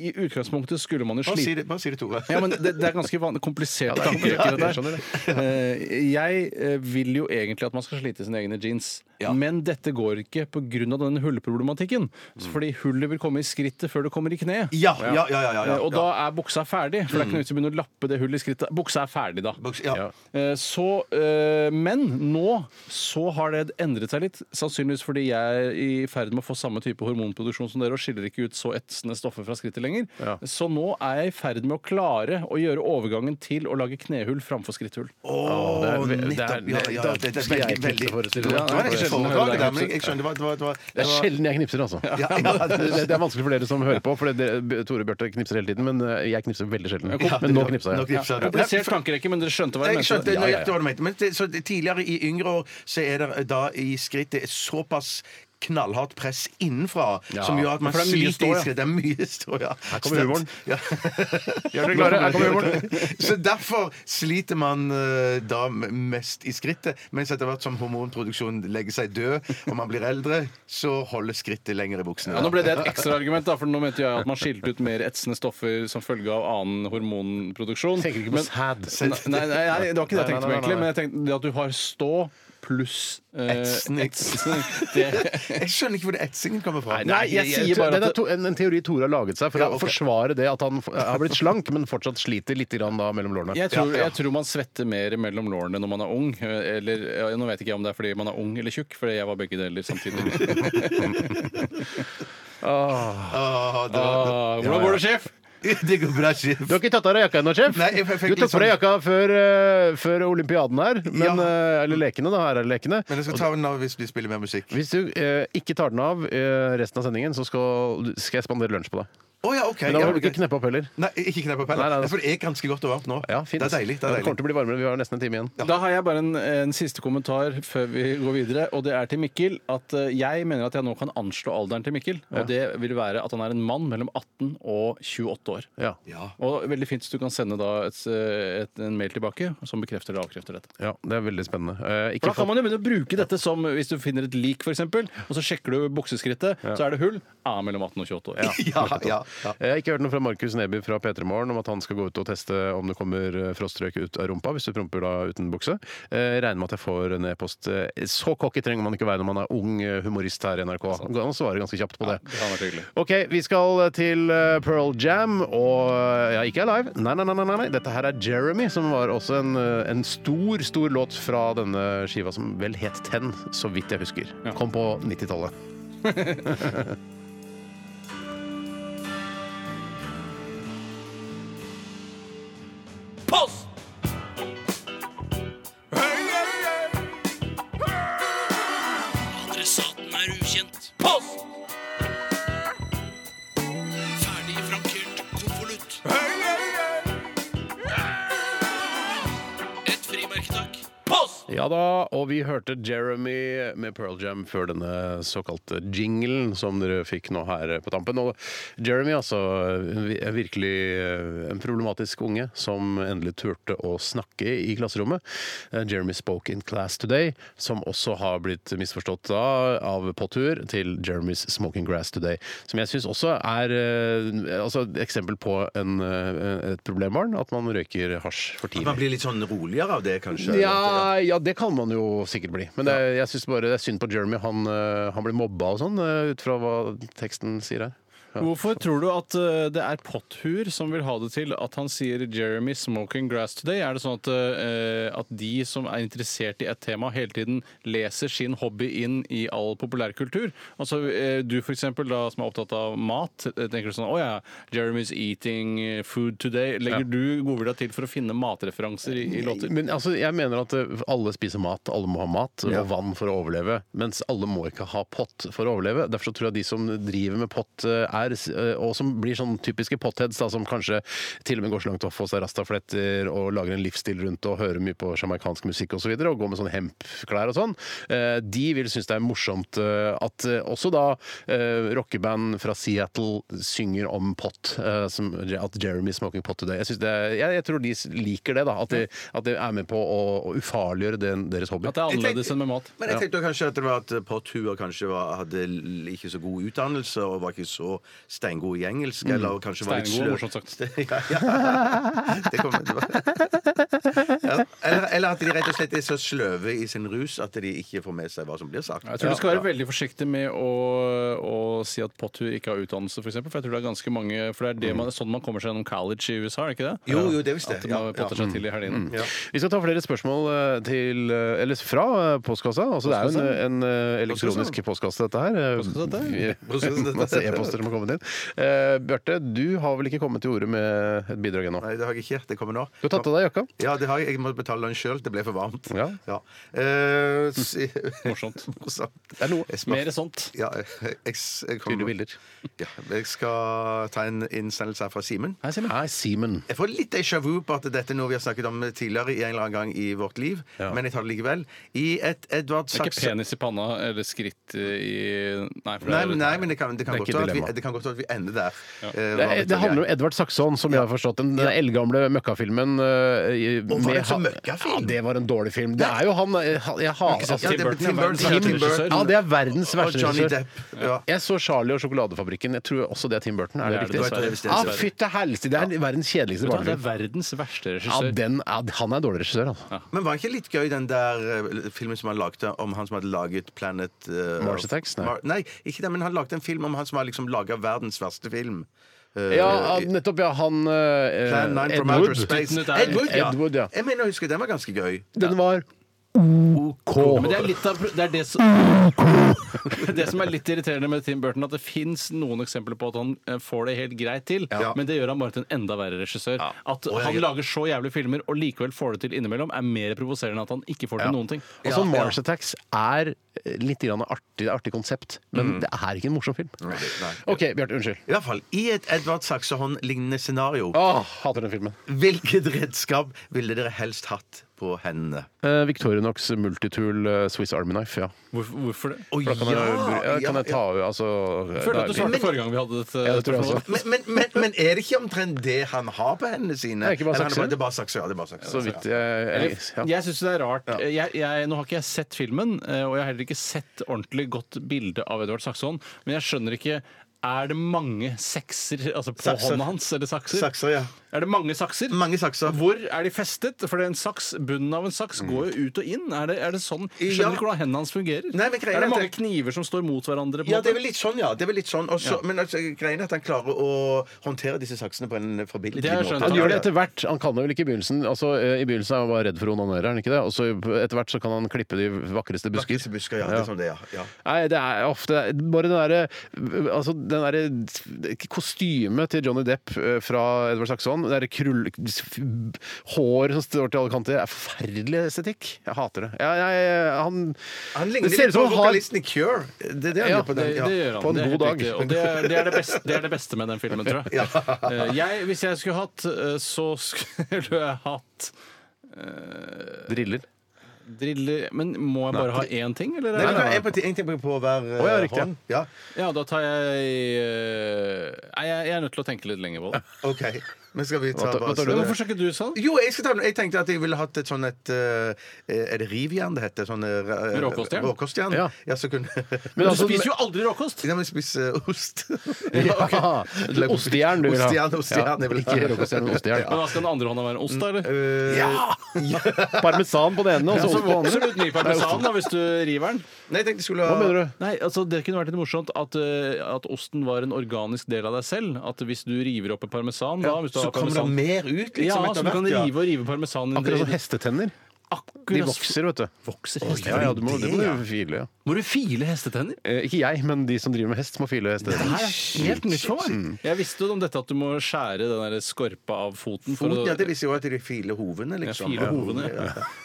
S2: i utgangspunktet skulle man jo
S3: Bare
S2: slite
S3: si det, bare si det Tore.
S2: ja, men det, det er ganske van- komplisert
S1: det er
S2: tankerekke,
S1: komplisert,
S2: dette her.
S1: jeg skjønner
S2: Eh, Jeg eh, vil jo egentlig at man skal slite sine egne jeans, men dette går ikke pga. denne hullproblematikken. Fordi hullet vil komme i skrittet før det kommer i kneet.
S3: Mm. Ja, ja, ja, ja, ja, ja.
S2: Eh, Og da er buksa ferdig. For det er ikke noe vits i å begynne å lappe det hullet i skrittet. Buksa er ferdig da.
S3: Boks- ja.
S2: Eh, Så, eh, men nå så har det endret seg litt. Sannsynligvis fordi jeg er i ferd med å få samme type hormonproduksjon som dere og skiller ikke ut så etsende stoffer fra skrittet lenger. Så nå er jeg i ferd med å klare å gjøre overgangen til å lage knehull framfor skritthull.
S3: Åh, nettopp. Ja, ja, ja. Det det er veldig, veldig Det var
S2: det er sjelden
S3: ikke
S2: jeg hører
S3: overklage
S2: deg
S3: der, men jeg- jeg skjønner det var- det var- det var-
S1: Det er sjelden jeg knipser, altså. det, det er vanskelig for dere som hører på, for det, det, Tore Bjarte knipser hele tiden, men eh, jeg knipser veldig sjelden. Men nå knipsa
S3: Nå
S1: jeg.
S3: knipsa du.
S2: Komplisert tankerekke, men dere skjønte hva jeg
S3: Jeg skjønte
S2: mente.
S3: nøyaktig hva du mente. Men det, så det- tidligere, i yngre år, så er det eh, da i skrittet et såpass knallhardt press innenfra som gjør at man
S2: for det er mye
S3: sliter
S2: stå,
S3: i
S2: ja.
S3: skrittet. Det er mye stå, ja. Her
S1: kommer humoren.
S3: Ja.
S1: Gjør dere klare? Her kommer humoren.
S3: Så derfor sliter man eh, da mest i skrittet. Mens etter hvert som hormonproduksjonen legger seg død, og man blir eldre, så holder skrittet lenger i buksene.
S2: Ja, nå ble det et ekstraargument, da, for nå mente jeg at man skilte ut mer etsende stoffer som følge av annen hormonproduksjon.
S1: Tenker ikke på
S2: Men-
S1: sæd.
S2: Nei, nei, nei, det var ikke det jeg tenkte på
S1: Nei, nei, nei,
S2: egentlig,
S1: nei.
S2: men jeg tenkte det at du har stå pluss eh,
S3: Etsen.
S2: etsen. Det,
S3: Jeg skjønner ikke hvor det etsingen kommer fra.
S1: Nei, jeg sier bare at det er to, en, en teori Tore har laget seg for
S3: Ja,
S1: å
S3: ok.
S1: forsvare det at han f- har blitt slank, men fortsatt sliter litt grann da mellom lårene.
S2: jeg, tror, jeg tror man svetter mer mellom lårene når man er ung. eh, Eller, ja, nå vet ikke jeg om det er fordi man er ung eller tjukk, for jeg var begge deler samtidig.
S3: Åh, det, var-
S2: Ah, hvordan går det, sjef?
S3: det går bra, sjef.
S1: Du har ikke tatt av deg jakka ennå, sjef?
S3: Nei, jeg fikk
S1: du tok på
S3: liksom-
S1: deg jakka før, eh, før olympiaden her. Men,
S3: Ja.
S1: eh, eller lekene, da. Her er det lekene.
S3: Men jeg skal ta den av hvis vi spiller mer musikk.
S1: Hvis du eh, ikke tar den av eh, resten av sendingen, så skal, skal jeg spandere lunsj på deg.
S3: Å ja, OK.
S1: Men da
S3: ja,
S1: må du
S3: ok.
S1: ikke kneppe opp heller.
S3: Nei, ikke knepp opp
S1: Nei, nei, nei.
S3: heller. For det er ganske godt og varmt nå.
S1: Ja, fint.
S3: Det er deilig.
S1: Ja,
S3: Det er
S1: kommer
S3: deilig.
S1: til å bli varmere. Vi har nesten en time igjen.
S2: Da har jeg bare en, en siste kommentar før vi går videre, og det er til Mikkel. At eh, jeg mener at jeg nå kan anslå alderen til Mikkel, og det vil være at han er en mann mellom 18 og 28 år.
S1: Ja.
S2: Og veldig fint hvis du kan sende da et, eh, et, en mail tilbake som bekrefter eller avkrefter dette.
S1: Ja, det er veldig spennende. Eh,
S2: For
S1: ikke
S2: da kan man jo begynne å bruke dette som hvis du finner et lik, f.eks., og så sjekker du bukseskrittet, så er det hull. Er mellom 18 og 28 år.
S3: Ja, ja, ja.
S1: Jeg har eh, ikke hørt noe fra Markus Neby fra P3 Morgen om at han skal gå ut og teste om det kommer frostrøyk ut av rumpa hvis du promper da uten bukse. Eh, regner med at jeg får en e-post. Eh, Så cocky trenger man ikke være når man er ung eh, humorist her i NRK. Man kan svare ganske kjapt på det.
S2: det hadde vært hyggelig.
S1: OK, vi skal til eh, Pearl Jam, og eh, ja, ikke Alive. Nei, nei, nei, nei, nei. Dette her er Jeremy, som var også en, eh, en stor, stor låt fra denne skiva som vel het Ten, så vidt jeg husker. Kom på 90-tallet.
S9: Post! Adressaten er ukjent. Post! Ferdig frankert konvolutt. Et frimerke, takk. Post!
S1: Ja da, og vi hørte Jeremy med Pearl Jam før denne såkalte jinglen som dere fikk nå her på tampen. Og Jeremy, altså, vi- er virkelig eh, en problematisk unge som endelig turte å snakke i klasserommet. Eh, Jeremy spoke in class today, som også har blitt misforstått da av Pottur til Jeremy's smoking grass today, som jeg syns også er eh, altså, et eksempel på en, eh, et problembarn, at man røyker hasj for tidlig.
S3: Man blir litt sånn roligere av det, kanskje? eller?
S1: Ja, ja, det kan man jo sikkert bli. Men det, er- jeg synes bare det er synd på Jeremy. Han, øh, han blir mobba og sånn, øh, ut fra hva teksten sier her.
S2: Hvorfor tror du at eh, det er Potthur som vil ha det til at han sier 'Jeremy smoking grass today'? Er det sånn at, eh, at de som er interessert i et tema, hele tiden leser sin hobby inn i all populærkultur? Altså eh, du for eksempel, da, som er opptatt av mat, eh, tenker du sånn 'Å ja, Jeremy's eating eh, food today'. Legger du godvilja til for å finne matreferanser i, i låter?
S1: Men altså, jeg mener at øh, alle spiser mat, alle må ha mat og vann for å overleve. Mens alle må ikke ha pott for å overleve. Derfor så tror jeg de som driver med pott, øh, er, øh, og som blir sånn typiske pottheads, da, som kanskje til og med går så langt å få seg rastafletter og lager en livsstil rundt og hører mye på sjamaikansk musikk osv., og, så videre, og går med sånn hempklær og sånn, eh, de vil synes det er morsomt eh, at eh, også da eh, rockeband fra Seattle synger om pott, eh, som, at Jeremy smoking pot today. Jeg, synes det, er- jeg, jeg tror de liker det, da. At de, at de er med på å, å ufarliggjøre den, deres hobby.
S2: At det er
S3: Jeg
S2: annerledes
S3: tenkte-
S2: enn med mat?
S3: Men jeg tenkte jo kanskje at det var at Pothuer kanskje var, hadde l- ikke så god utdannelse og var ikke så steingod i engelsk.
S1: Mm.
S3: Eller kanskje var litt
S2: Steingod,
S3: sløv.
S2: morsomt sagt.
S3: Ste- Ja, ja. Det kommer til å være- ja. eller, eller at de rett og slett er så sløve i sin rus at de ikke får med seg hva som blir sagt.
S2: Jeg tror du skal være veldig forsiktig med å, å si at Pottur ikke har utdannelse, f.eks. For, eksempel, for jeg tror det er ganske mange For det er det
S1: Mm.
S2: man, sånn man kommer seg gjennom college i USA, er det ikke det?
S3: Jo, jo, det er visst det.
S2: At man
S3: Ja,
S2: potter seg til i helgene.
S1: Vi skal ta flere spørsmål eh, til, eh, eller fra eh, postkassa. Altså, det er jo en, en eh, elektronisk postkasse, dette her. Eh, Masse e-poster som har kommet inn. Eh, Bjarte, du har vel ikke kommet til orde med et bidrag ennå?
S3: Nei, det har jeg ikke. Det kommer nå.
S1: Du har tatt av deg jakka?
S3: Ja, det har jeg. Jeg må betale den sjøl. Det ble for varmt.
S1: Ja. Mm.
S3: Eh, si-
S2: Morsomt.
S3: Morsomt.
S1: Det er noe.
S3: Jeg smak-
S2: Mer sånt.
S3: Ja, jeg, jeg, jeg kommer-
S1: Tydelig bilder.
S3: Ja, jeg skal ta en innsendelse her fra Simen.
S2: Hei, Simen.
S1: Hei, Simen.
S3: Jeg får litt déjà vu på at dette er noe vi har snakket om tidligere i en eller annen gang i vårt liv, men jeg tar det likevel. I et Edvard
S2: Det er ikke
S3: Sachs...
S2: penis i panna eller skritt i Nei, for det
S3: Nei,
S2: er,
S3: nei, men det kan, det, kan
S1: Det er
S3: godt
S1: ikke
S3: være at
S1: dilemma.
S3: vi, det kan godt være at vi ender der. Eh,
S1: Det,
S3: hva vet
S1: det
S3: jeg.
S1: handler om Edvard Saxon, som jeg har forstått den. Den eldgamle møkkafilmen. øh, i-
S3: var
S1: med
S3: det så
S1: ha-
S3: møkkafilm?
S1: Ja, det var en dårlig film. Det er jo han Jeg, jeg hater
S3: Ja,
S1: Tim
S3: det er
S1: Burton.
S3: Tim Burton.
S2: Tim
S3: Tim
S2: Burton.
S3: Burton.
S1: Ja, det er verdens
S3: Og
S1: verste
S3: Johnny
S1: regissør.
S3: Depp. Ja.
S1: Jeg så Charlie og sjokoladefabrikken. Jeg tror også det er Tim Burton. Er det,
S2: Det er det
S1: riktig?
S3: dessverre. Det er
S1: ah,
S3: dessverre.
S1: fytte helsike! Det er verdens kjedeligste
S2: Vet du hva, det er
S1: barnefilm.
S2: verdens verste
S1: Ja,
S2: regissør.
S1: den er, han er en dårlig regissør, altså.
S3: Men var det ikke litt gøy den der eh, filmen som han lagde om han som hadde laget Planet eh,
S1: Mars Attacks? Nei.
S3: Mar nei, ikke den, men han lagde en film om han som har liksom laga verdens verste film. Eh,
S1: Ja,
S3: i-
S1: nettopp, ja. Han øh,
S3: Plan 9
S1: Ed
S3: from Outer
S1: Wood.
S3: Space.
S2: Nytt er-
S3: Ed Wood, ja.
S1: Ed Wood, ja.
S3: Jeg mener å huske den var ganske gøy.
S1: Den var OK.
S2: Men det er litt av det, er det, som, det som er litt irriterende med Tim Burton, at det fins noen eksempler på at han eh, får det helt greit til,
S3: Ja.
S2: men det gjør han bare til en enda verre regissør. At
S3: Og jeg-
S2: han lager så jævlige filmer og likevel får det til innimellom, er mer provoserende enn at han ikke får til noen ting.
S1: Altså, Mars Attacks er eh, litt grann artig, artig konsept, men det er ikke en morsom film. OK, Bjarte. Unnskyld.
S3: I hvert fall i et Edvard Saxehånd-lignende scenario.
S1: Åh, hater den filmen.
S3: Hvilket redskap ville dere helst hatt på hendene?
S1: Eh, Victorinox Multitool eh, Swiss Army Knife, ja.
S2: Hvorfor, hvorfor det?
S3: Å,
S1: For da kan, jeg, ja, kan jeg ta av altså,
S2: Jeg føler at du
S1: da-
S2: svarte forrige gang vi hadde dette
S1: Ja, det tror jeg også.
S3: Men, men, men, men er det ikke omtrent det han har på hendene sine?
S1: Det er ikke bare
S3: Eller han
S1: sakser?
S3: det er bare sakser, ja, det er bare sakser.
S1: Så vidt jeg, jeg ja.
S2: Jeg syns det er rart. Jeg, jeg, nå har ikke jeg sett filmen, eh, og jeg har heller ikke sett ordentlig godt bilde av Edvard Saxon, men jeg skjønner ikke er det mange sekser altså på
S3: Sakser.
S2: hånda hans? Eller sakser?
S3: Sakser, ja.
S2: Er det mange sakser?
S3: Mange sakser. Mm.
S2: Hvor er de festet? For det er en saks, Bunnen av en saks går jo ut og inn. Er det, er det sånn? Jeg
S3: Ja.
S2: Skjønner ikke hvordan hendene hans fungerer.
S3: Nei, men greia
S2: er
S3: er
S2: det
S3: at
S2: mange
S3: det-
S2: kniver som står mot hverandre? På en
S3: Ja, det er
S2: måte?
S3: vel litt sånn, ja. Det er vel litt sånn. Og så- Men altså, greien er at han klarer å håndtere disse saksene på en forbilledlig
S2: Det har jeg skjønt.
S3: måte.
S1: Han gjør det etter hvert. Han kan det vel ikke i begynnelsen. Altså, eh, I begynnelsen er han bare redd for å onanere, er han ikke det? Og så eh, etter hvert så kan han klippe de vakreste busker.
S3: Vakreste busker, ja. Det er sånn det, er, ja.
S1: Nei, det er ofte Bare den derre altså, den derre kostymet til Johnny Depp eh, fra Edvard Saxon, det derre krull... Hår som står til alle kanter, er forferdelig estetikk. Jeg hater det. Jeg, jeg, han,
S3: Han ligner
S1: det ser
S3: litt
S1: ut som
S3: på
S1: han har
S3: vokalisten i Cure. Det er det han
S1: Ja,
S3: gjør på
S2: Det,
S3: den. Ja.
S2: det gjør han.
S1: på en
S2: det er
S1: god
S2: helt
S1: dag.
S2: riktig. Og det, er- det, er det, beste, det er det beste med den filmen, tror jeg. Eh, jeg hvis jeg skulle hatt, eh, så skulle jeg hatt eh,
S1: driller.
S2: Driller Men må jeg bare ha én ting, eller?
S3: Nei, nei, en, på, en ting på hver eh,
S1: Å, ja, riktig, ja.
S3: hånd. Ja,
S2: Ja, da tar jeg eh, Nei, jeg, jeg er nødt til å tenke litt lenger på det.
S3: OK. Men skal vi ta
S1: Hva tar- hva
S3: bare
S1: tar
S2: Men
S1: du?
S3: så-
S2: Hvorfor skal ikke du sånn?
S3: Jo, jeg, skal ta, den. jeg tenkte at jeg ville hatt et sånn et eh, Er det rivjern det heter? Sånn eh,
S2: Råkostjern?
S3: råkostjern?
S1: Ja.
S3: så kunne
S1: Men
S2: Du
S1: altså,
S2: spiser jo aldri råkost!
S3: Ja, men spise ost.
S1: Ja, du- ostejern du vil ha.
S3: Ostejern, ostejern, jeg
S1: ja,
S3: vil ha.
S1: ikke råkostjern, men ostejern.
S2: Men hva skal den andre hånda være? Ost, da? eller?
S3: Eh,
S1: Parmesan på det ene, og så ost på det andre.
S2: Altså, Absolutt ny parmesan da, hvis du river den.
S3: Nei, jeg tenkte jeg skulle
S1: Hva
S3: ha
S1: mener du?
S2: Nei, altså Det kunne vært litt morsomt at, eh, at osten var en organisk del av deg selv. At hvis du river opp en parmesan da, hvis du
S3: Så
S2: har
S3: kommer det
S2: parmesan
S3: mer ut, liksom,
S2: Ja,
S3: etter
S2: så du kan
S3: hvert, ja.
S2: rive og rive parmesanen
S1: Akkurat
S2: din.
S1: som hestetenner.
S2: Akkurat
S1: De vokser, vet du.
S2: Vokser
S1: Ja,
S2: hestetenner.
S1: ja, du må, det må du file, ja.
S2: Må du file hestetenner?
S1: Eh, ikke jeg, men de som driver med hest, må file
S2: Det
S1: hestetenner.
S2: her er helt nytt for meg.
S3: Mm.
S2: Jeg visste jo om dette at du må skjære den der skorpa av foten. For
S3: Foten, ja, det
S2: å,
S3: viser jo at de filer hovene, liksom.
S2: file hovene.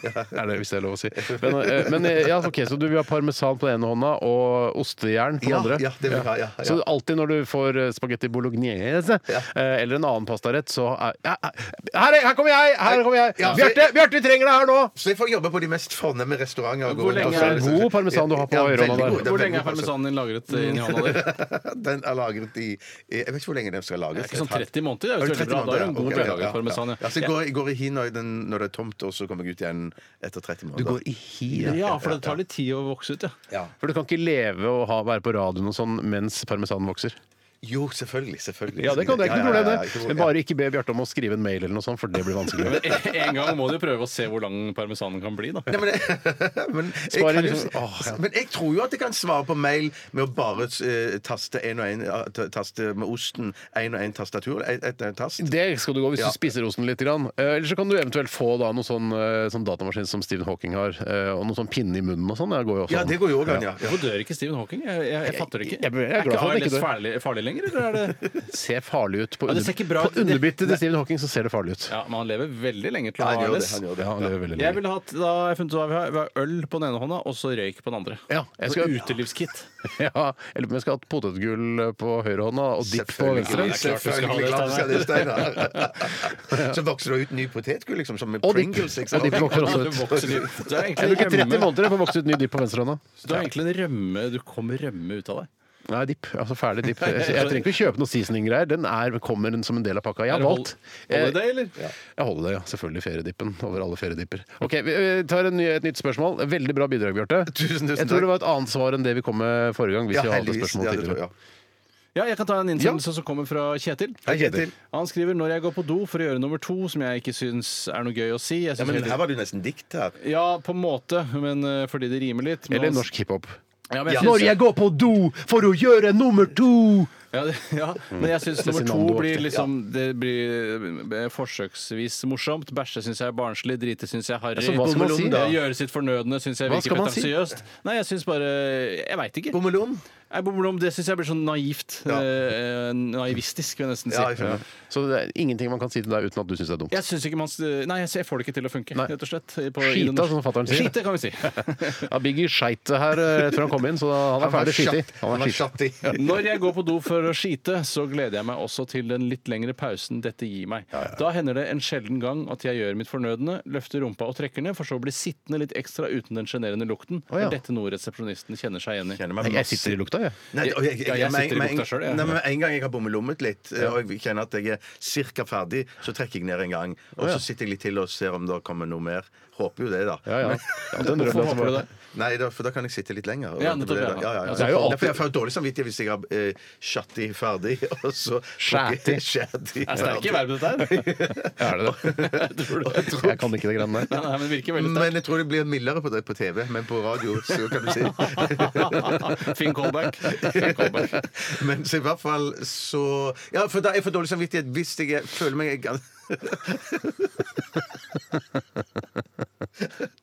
S1: Er det, hvis det er lov å si. Men, eh, men eh, ja, ok, Så du vil ha parmesan på den ene hånda og ostejern på den
S3: Ja,
S1: andre?
S3: ja, det vil jeg ha, ja, ja.
S1: Så alltid når du får eh, spagetti bolognese eh, eller en annen pastarett, så er ja, her, er- her kommer jeg! Her kommer jeg!
S3: Ja, så-
S1: Bjarte, Bjarte, vi trenger deg her nå!
S3: Så jeg får jobbe på de mest fornemme restauranter. og gå
S2: Hvor
S3: rundt og
S2: lenge er det-
S3: så-
S1: God parmesan du har på
S3: Ja,
S1: høyrehånda
S3: veldig
S1: der.
S3: god, det
S2: hvor lenge
S3: veldig Mm.
S2: er
S3: god
S2: parmesan din lagret eh, inni hånda di?
S3: parmesan. Den er lagret i eh, Jeg vet ikke hvor lenge den skal
S2: Det
S3: lagres.
S2: er ikke sånn
S3: Et halvt-
S2: 30 måneder, det er jo
S3: Ja,
S2: veldig bra. Da er det en god
S3: ok,
S2: tørrlaget parmesan, ja.
S3: Ja, så jeg går, jeg går i hi når, den, når det er tomt, og så kommer jeg ut igjen etter 30 måneder.
S1: i hi,
S2: Ja, for det tar litt tid å vokse ut, ja.
S1: For du kan ikke leve og ha, være på radioen og sånn mens parmesanen vokser.
S3: Jo, selvfølgelig. selvfølgelig
S1: Ja, det kan du. Det er ikke noe problem,
S3: Ja, ja, ja,
S1: det. Men bare ikke be Bjarte om å skrive en mail eller noe sånt, for det blir vanskelig.
S2: Men en gang må du prøve å se hvor lang parmesanen kan bli, da.
S3: Nei, men, men, jeg
S1: Sparer
S3: kan jo,
S1: liksom- Åh, ja.
S3: men jeg tror jo at jeg kan svare på mail med å bare eh, taste en og en, ja, ta- taste med osten én og én tastatur. Et, et, et tast.
S1: Det skal du gå hvis
S3: Ja.
S1: du spiser osten litt. Grann. Eh, Eller så kan du eventuelt få da, noen sånn, eh, sånn datamaskin som Stephen Hawking har, eh, og noen sånn pinne i munnen og sånn. Det går jo også
S3: Ja,
S1: an.
S3: det går jo òg an, ja. ja.
S2: Hvorfor dør ikke Stephen Hawking? Jeg, jeg, jeg fatter det ikke.
S1: Jeg- jeg er glad for
S2: ikke
S1: at han ikke
S2: ALS
S1: dør.
S2: farlig, farlig lenger, eller er det
S1: Ser farlig ut. På,
S2: Ja, det ser
S1: under,
S2: ikke bra ut.
S1: på underbittet til Stephen Hawking så ser det farlig ut.
S2: Ja, men han lever veldig lenge til
S3: Ja,
S2: han
S3: han
S2: har
S3: gjør det,
S2: ALS.
S3: han gjør det.
S1: Ja, han lever veldig
S2: Jeg
S1: lenge.
S2: ville hatt da har jeg funnet ut hva vi har. Vi har øl på den ene hånda, og så røyk på den andre.
S1: Ja, jeg skal-
S2: Så Utelivskit.
S1: Ja, eller men jeg skal ha potetgull eh, på høyrehånda og dipp på venstre.
S2: det er klart du skal ha
S3: Selvfølgelig
S2: det,
S3: klart du skal ha det, Steinar. Så vokser det ut ny potetgull, liksom, som med
S1: Og dipp.
S3: Pringles. ikke
S1: Og
S3: sant?
S1: dipp vokser også
S2: Du vokser liv. Så det er
S1: Jeg
S2: egentlig
S1: bruker 30
S2: en rømme.
S1: måneder på å vokse ut ny dipp på venstrehånda.
S2: Så du har egentlig en rømme Du kommer rømme ut av deg.
S1: Nei, dipp. Altså ferdig dipp. Jeg trenger ikke å kjøpe noe seasoning-greier. Den er, kommer som en del av pakka. Jeg har
S2: Er det hol-
S1: valgt. eh,
S2: holiday, eller?
S1: Jeg holder det, ja. Selvfølgelig feriedippen over alle feriedipper. Ok, Vi eh, tar en ny, et nytt spørsmål. Veldig bra bidrag, Bjarte.
S3: Tusen, tusen
S1: Jeg
S3: takk.
S1: tror det var et annet svar enn det vi kom med forrige gang. Hvis
S3: Ja,
S1: vi hadde
S3: heldigvis.
S1: spørsmål
S3: Ja, det tror jeg,
S1: tidligere.
S3: ja.
S2: Ja, jeg kan ta en innsendelse som kommer fra Kjetil.
S3: Hei, Kjetil.
S2: Han skriver når jeg går på do for å gjøre nummer to, som jeg ikke syns er noe gøy å si. Jeg
S3: Ja,
S2: synes
S3: men
S2: hele
S3: her var det jo nesten dikt her.
S2: tiden- ja, på en måte, men eh, fordi det rimer litt. men
S1: Eller
S2: han-
S1: norsk hiphop.
S2: Ja, men jeg
S3: Ja.
S2: synes-
S1: går på do for å gjøre nummer to!
S2: Ja, det, ja. Men jeg
S1: Mm.
S2: syns nummer to
S1: Cezinando-aktig.
S2: blir liksom Det blir eh, forsøksvis morsomt. Bæsje syns jeg er barnslig. Drite syns jeg er harry.
S1: Ja, så Altså, hva skal man si?
S2: Eh, Gjøre sitt fornødne syns jeg
S1: Hva
S2: virker
S1: skal man si?
S2: pretensiøst. Nei, jeg syns bare Jeg veit ikke.
S3: Bommelom?
S2: Nei, Bommelom, det syns jeg blir sånn naivt.
S3: Ja.
S2: Eh, naivistisk, vil jeg nesten si.
S3: Ja, jeg skjønner.
S1: Så det er ingenting man kan si til deg uten at du syns det er dumt.
S2: Jeg syns ikke man s- Nei, jeg får det ikke til å funke, rett og slett. på- i det
S1: Skita, som
S2: norske-
S1: fatter'n sier.
S2: Skite, kan vi si.
S1: Ja, Biggie skeit her eh, rett før han kom inn, så han er ferdig skiti. Han er skiti.
S3: skjattig.
S2: Når jeg går på do for å skite, så gleder jeg meg også til den litt lengre pausen dette gir meg. Da hender det en sjelden gang at jeg gjør mitt fornødne, løfter rumpa og trekker ned, for så å bli sittende litt ekstra uten den sjenerende lukten.
S1: Å, ja.
S2: Er dette noe resepsjonisten kjenner seg igjen i?
S3: Kjenner meg
S1: Nei, Jeg sitter i lukta, jeg.
S3: Nei, og jeg,
S2: Ja, jeg
S3: men-
S2: sitter i
S3: men-
S2: lukta selv, jeg.
S3: Nei, men En gang jeg har bommelommet litt, eh, og jeg kjenner at jeg er cirka ferdig, så trekker jeg ned en gang. Og så sitter jeg litt til og ser om det kommer noe mer. Håper jo det, da.
S1: Ja, ja. ja den
S2: Hvorfor
S1: rødløs-
S2: håper du det?
S3: Nei, da, for da kan jeg sitte litt lenger. og
S2: Ja,
S3: vente på
S2: nettopp, ja.
S3: det, da. ja, ja, ja.
S2: Altså,
S1: er
S2: Det
S1: jo
S3: Nei,
S1: alltid-
S3: for Jeg får dårlig samvittighet hvis jeg har eh, shatti ferdig, og så
S1: Shatti.
S2: Altså,
S3: Shatti
S2: Det er sterke
S3: ferdig.
S2: verb, dette her.
S1: Er det det? Jeg kan ikke de greiene der.
S2: Nei, nei, men det virker veldig
S3: Men jeg tror det blir mildere på, det på TV, men på radio så kan du si
S2: sterkt. Fin callback. Fin callback.
S3: Men så i hvert fall så Ja, for da er jeg for dårlig samvittighet hvis jeg er- føler meg gan-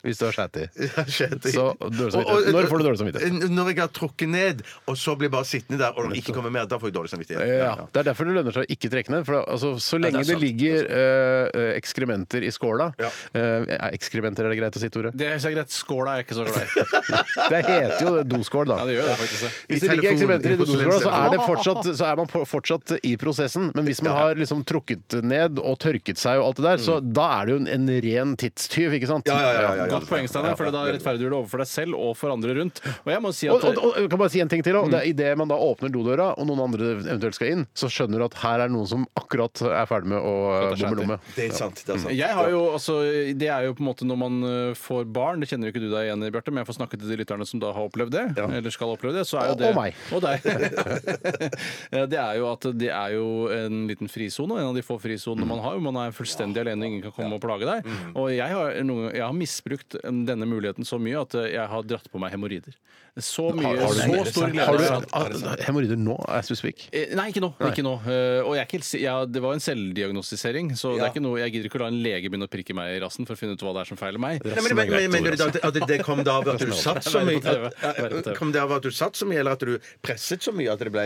S1: Hvis du har skjæti.
S3: Ja, shit.
S1: Så dårlig samvittighet. Når får du dårlig samvittighet?
S3: N- Når jeg har trukket ned, og så blir jeg bare sittende der og ikke kommer mer, da får jeg dårlig samvittighet.
S1: Ja, Det er derfor det lønner seg å ikke trekke ned. For det- altså, så lenge det,
S3: sant.
S1: ligger eh, ekskrementer i skåla
S3: Ja.
S1: eh, er Ekskrementer, er det greit å si, Tore?
S2: Det er så greit. Skåla er jeg ikke så glad i.
S1: Det heter jo doskål, da.
S2: Ja, det gjør det faktisk.
S1: Hvis det ligger
S3: telefonen,
S1: ekskrementer i
S3: i
S1: doskåla, så er,
S3: konsulentstempelen.
S1: det fortsatt, så er man på- fortsatt i prosessen. Men hvis man har liksom trukket ned og tørket seg og alt det der, så da er det jo en, en ren tidstyv, ikke sant?
S3: Ja, ja, ja, ja, ja.
S2: Godt poeng, Steinar, for da rettferdiggjør du overfor deg selv og for andre rundt. Og jeg må si
S1: Og, og,
S2: at
S1: og jeg kan bare si en ting til også. Det er Idet man da åpner dodøra, og noen andre eventuelt skal inn, så skjønner du at her er noen som akkurat er ferdig med å eh, bomme lomme.
S3: Det er sant. det er sant.
S2: Jeg har jo, altså, Det er jo på en måte når man eh, får barn, det kjenner jo ikke du deg igjen i, Bjarte, men jeg får snakke til de lytterne som da har opplevd det, eller skal oppleve det, så er jo
S1: Og-
S2: det
S1: og meg.
S2: Og deg. Eh, det er jo at det er jo en liten frisone, en av de få frisonene man har. hvor Man er fullstendig alene, ingen kan komme og plage deg.
S1: Mm.
S2: Og jeg har, noen, jeg har misbrukt eh, denne muligheten så mye at eh, jeg har dratt på meg hemoroider. Så mye,
S1: Har du-
S2: så stor glede.
S1: Har du
S2: av at-
S1: ah, hemoroider nå? Er jeg suspik?
S2: Eh, Nei, ikke nå. Ikke nå. Eh, Og jeg er ikke, helt si- ja, det var en selvdiagnostisering, så det er ikke noe, jeg gidder ikke å la en lege begynne å prikke meg i rassen for å finne ut hva det er som feiler meg.
S3: Nei, men, men, men, men, men, at- at det kom da av at du satt så mye at- Kom det av at du satt så mye, eller at du presset så mye at det ble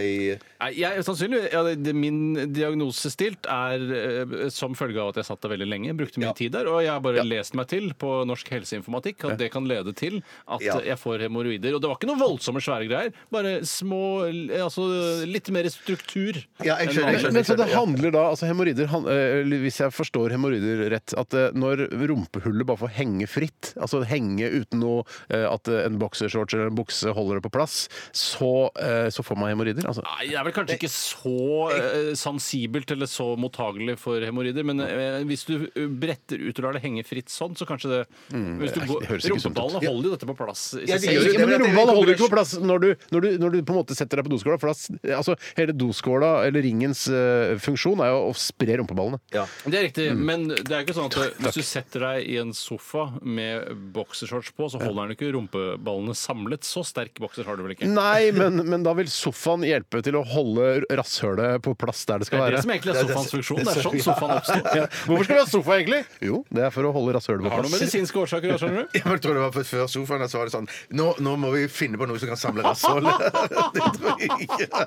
S2: Nei, jeg, sannsynlig, ja, det, det- Min diagnose stilt er eh, som følge av at jeg satt der veldig lenge, brukte mye tid der, og jeg har bare lest meg til på Norsk helseinformatikk at det kan lede til at
S3: Ja.
S2: eh, jeg får hemoroider. Og det var ikke noe voldsomme svære greier, bare små eh, Altså litt mer struktur.
S3: Ja, jeg
S2: enn
S3: skjønner, jeg
S2: vanlig.
S3: skjønner.
S1: Men så det handler da, altså hemorrider, han- eh, eller Hvis jeg forstår hemoroider rett, at eh, når rumpehullet bare får henge fritt, altså henge uten noe eh, at eh, en boksershorts eller en bukse holder det på plass, så, eh, så får man hemoroider? Altså.
S2: Nei, jeg er vel kanskje ikke så eh, sensibelt eller så mottagelig for hemoroider, men eh, hvis du eh, bretter ut og lar det henge fritt sånn, så kanskje det Hvis du
S1: Mm, det er-
S2: går,
S1: det høres ikke sunt ut.
S2: Rumpeballene holder jo dette på plass. i seg
S3: Ja, de
S2: selv.
S3: gjør jo
S1: Ikke,
S3: det,
S1: men
S3: men at det er
S1: Rumpeball
S3: en
S1: holder ikke
S3: kombinasjon.
S1: på plass når du, når, du, når du på en måte setter deg på doskåla. For da, s- altså, hele doskåla, eller ringens eh, funksjon, er jo å spre rumpeballene.
S2: Det er riktig,
S1: Mm.
S2: men det er ikke sånn at hvis du setter deg i en sofa med boksershorts på, så holder den ikke rumpeballene samlet. Så sterk bokser har du vel ikke?
S1: Nei, men, men da vil sofaen hjelpe til å holde rasshølet på plass der det
S2: Det
S1: skal
S2: er det
S1: være.
S2: som egentlig er sofaens funksjon. Det er sånn sofaen oppstår.
S1: Ja. Hvorfor skal vi ha sofa, egentlig? Jo, det er for å holde rasshølet på
S2: Har noen
S1: plass.
S2: medisinske årsaker, da, skjønner du?
S3: Jeg tror det var for- før sofaen, og så var det sånn Nå, nå må vi finne på noe som kan samle rassholdet. Det tror jeg ikke.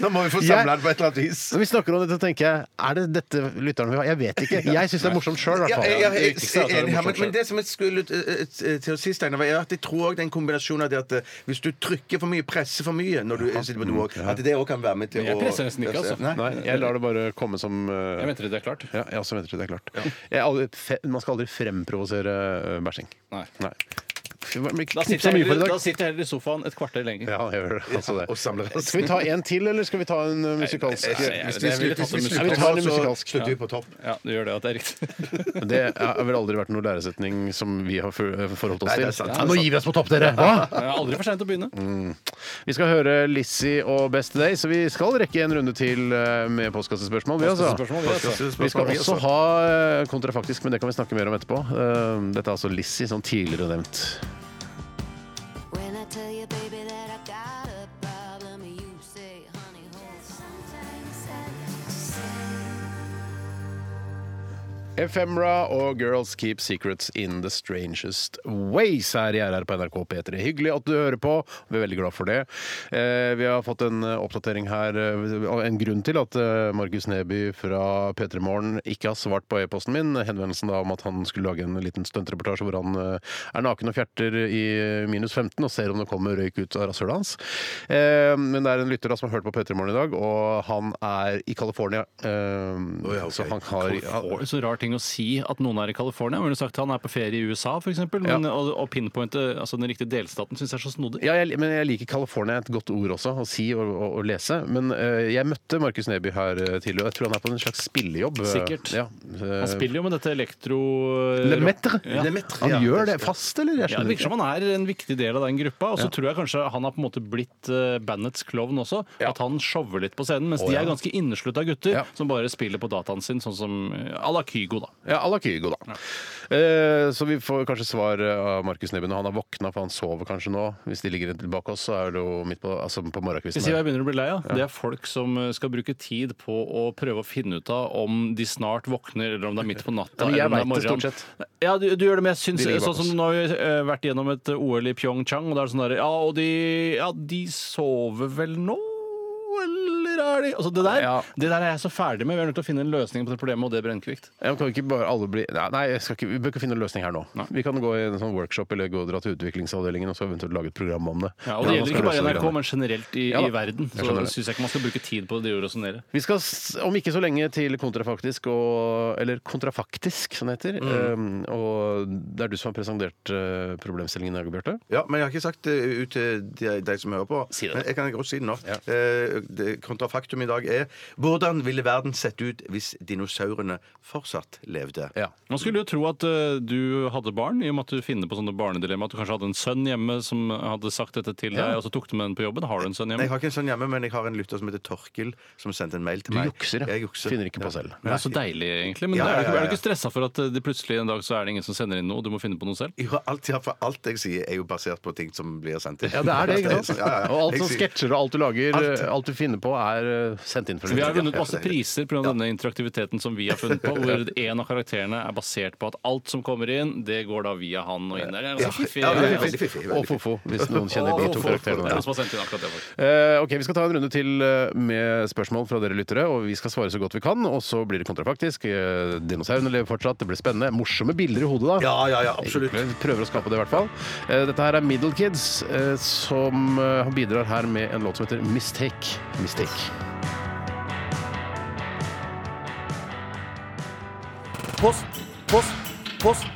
S3: Nå må vi få
S1: Jeg-
S3: samla det på et eller annet vis.
S1: Når vi snakker om dette, tenker jeg Er det dette lytterne vil ha? Jeg vet ikke. Jeg syns det er morsomt sjøl, i
S3: Ja,
S1: hvert
S3: jeg, jeg,
S1: fall.
S3: jeg,
S2: viktigste er at det er
S3: er enig her, men,
S2: morsomt
S3: men det som jeg skulle eh, eh, til å si, Steinar, er at jeg tror også det er en kombinasjon av det at eh, hvis du trykker for mye, presser for mye når du sitter
S1: Mm,
S3: på do også, at det òg kan være med til
S2: Men jeg
S3: å
S2: presser nesten ikke, altså.
S3: Nei.
S1: Nei, jeg lar det bare komme som eh,
S2: Jeg venter til det er klart.
S1: ja, jeg også venter til det er klart. Jeg er aldri, fe, man skal aldri fremprovosere eh, bæsjing.
S2: Nei. Da
S1: Knipsa
S2: sitter
S1: mye
S2: jeg
S1: for i
S2: heller, da
S1: dag.
S2: sitter jeg heller i sofaen et kvarter lenger.
S1: Ja, jeg gjør det, altså det.
S3: Og samler rass.
S1: Skal vi ta en til, eller skal vi ta en eh, musikalsk?
S2: Nei, nei, nei,
S3: Hvis
S2: det
S3: vi
S2: ville tatt en
S3: slutter- hvis vi
S1: Ja, vi
S2: musikal.
S3: slutter
S1: tar en
S3: nå, så
S1: musikalsk.
S3: slutter vi på topp.
S2: Ja, du gjør det, at det er riktig.
S1: Det har vel aldri vært noen læresetning som vi har for- forholdt oss
S3: Nei, det
S1: til.
S3: er sant, det er
S1: Ja, nå gir vi oss på topp, dere! Hva?
S2: Det er aldri for seint å begynne.
S1: Vi skal høre Lizzie og Best Day, så vi skal rekke en runde til eh, med postkassespørsmål. Vi, altså.
S2: Postkassespørsmål, vi, altså.
S1: vi skal også ha eh, kontrafaktisk, men det kan vi snakke mer om etterpå. Eh, Dette er altså Lizzie, som tidligere nevnt.
S6: When I tell you, baby, that I got a problem, you say, honey, hold on.
S1: Ephemera og Girls Keep Secrets In The Strangest Ways her i RR på NRK P3. Hyggelig at du hører på. Vi er veldig glad for det. Eh, vi har fått en eh, oppdatering her, eh, og en grunn til at eh, Markus Neby fra P3 Morgen ikke har svart på e-posten min. Henvendelsen da om at han skulle lage en liten stuntreportasje hvor han eh, er naken og fjerter i eh, minus 15 og ser om det kommer røyk ut av rasshølet hans. Eh, men det er en lytter da som har hørt på P3 Morgen i dag, og han er i California. Eh,
S3: ja, ok.
S1: Så han har
S2: Det er Så rar ting å si at noen er i California. Ville du sagt han er på ferie i USA, f.eks.? Ja.
S1: Ja.
S2: Og, og pinpointe altså den riktige delstaten syns jeg er så snodig.
S1: Ja, jeg, men jeg liker California et godt ord også, å si og, og, og lese. Men eh, jeg møtte Markus Neby her eh, tidligere, og jeg tror han er på en slags spillejobb. eh,
S2: Sikkert.
S1: Ja. Eh,
S2: Han spiller jo med dette elektro...
S1: Le Maître.
S2: Ja.
S3: Le Maître,
S1: Han
S3: ja,
S1: gjør det
S3: det-
S1: fast, eller? Jeg
S2: Ja, det
S1: skjønner
S2: virker som han er en viktig del av den gruppa. Og så tror jeg kanskje han har på en måte blitt eh, bandets klovn også. At han shower litt på scenen, mens
S1: Å,
S2: de
S1: ja.
S2: er ganske inneslutta gutter
S1: Ja.
S2: som bare spiller på dataen sin, sånn som eh, à la Kygo, da.
S1: Ja, à la Kygo, da. Eh, så vi får kanskje svar eh, av Markus Neby når han har våkna, for han sover kanskje nå. Hvis de ligger rett bak oss, så er det jo midt på, altså, på
S2: Skal
S1: morgenkvisten.
S2: jeg si hva
S1: her.
S2: jeg begynner å bli lei av? Det er folk som eh, skal bruke tid på å prøve å finne ut av om de snart våkner, eller om det er midt på
S1: Ja,
S2: natta.
S1: men jeg
S2: eller om
S1: vet det
S2: er morgenen.
S1: stort sett.
S2: Ja, du, du gjør det, men jeg syns
S1: De ligger bak
S2: Sånn som
S1: oss.
S2: nå har vi eh, vært gjennom et OL i Pyeongchang, og da er det sånn derre Ja, og de Ja, de sover vel nå? Eller er de Altså, det der,
S1: Ja.
S2: det der er jeg så ferdig med. Vi er nødt til å finne en løsning på det problemet, og det er brennkvikt.
S1: Ja, men kan vi ikke bare alle bli Nei, nei jeg skal ikke, vi bør ikke finne en løsning her nå. Vi kan gå i en sånn workshop eller gå og dra til utviklingsavdelingen og så eventuelt lage et program om det.
S2: Ja,
S1: Hvordan man
S2: og det gjelder
S1: skal
S2: ikke
S1: løse
S2: bare
S1: de
S2: NRK,
S1: greiene.
S2: men generelt i,
S1: Ja da,
S2: i verden.
S1: jeg
S2: Så
S1: skjønner det.
S2: syns jeg ikke man skal bruke tid på det å resonnere.
S1: Vi skal s- om ikke så lenge til kontrafaktisk, og, eller kontrafaktisk, som det heter. Um, og det er du som har presentert eh, problemstillingen i dag, Bjarte.
S3: Ja, men jeg har ikke sagt det ut til de, de som hører på.
S1: Si det.
S3: Men jeg kan godt si det nå. Eh, det- kontrafaktum i dag er hvordan ville verden sett ut hvis dinosaurene fortsatt levde?
S1: Ja.
S2: Man skulle jo tro at eh, du hadde barn, i og med at du finner på sånne barnedilemma. At du kanskje hadde en sønn hjemme som hadde sagt dette til deg, og så tok du med den på jobben. Har du en sønn
S3: Jeg
S2: hjemme?
S3: har ikke en sånn hjemme, men jeg har en lytter som heter Torkil, som sendte en mail til
S1: Du
S3: meg.
S1: jukser, ja.
S3: Jeg jukser.
S1: Finner ikke på selv.
S2: Det er så deilig, egentlig. Men
S3: Ja,
S2: er du
S3: ja,
S2: ikke-
S3: ja,
S2: er du
S3: ja.
S2: ikke stressa for at eh, det plutselig en dag så er det ingen som sender inn noe, og du må finne på noe selv?
S3: Jo, alt, ja, for alt jeg sier, er jo basert på ting som blir sendt inn.
S1: Ja, det er det, ikke sant?
S3: Ja, ja, ja.
S1: Og alt
S3: Jeg
S1: som
S3: sier-
S1: sketsjer og alt du lager,
S3: Alt.
S1: eh, alt du finner på, er eh, sendt inn for
S2: Vi har
S1: lytterne.
S2: vunnet masse priser pga. denne interaktiviteten som vi har funnet på, hvor en av karakterene er basert på at alt som kommer inn, det går da via han og inn der. Det er ganske fiffig.
S3: Ja,
S2: Det
S3: veldig
S2: er
S3: fiffig, veldig
S1: Og
S3: fiffig.
S1: Fofo, hvis noen kjenner de to karakterene.
S2: noen som har sendt inn akkurat det. faktisk.
S1: Eh, ok, Vi skal ta en runde til eh, med spørsmål fra dere lyttere, og vi skal svare så godt vi kan. Og så blir det kontrafaktisk. Eh, Dinosaurene lever fortsatt, det blir spennende. Morsomme bilder i hodet, da.
S3: Ja, ja, ja, absolutt.
S1: Vi prøver å skape det, i hvert fall. Eh, dette her er Middle Kids, eh, som eh, bidrar her med en låt som heter Mistake. Mistake.
S8: Post, post, post.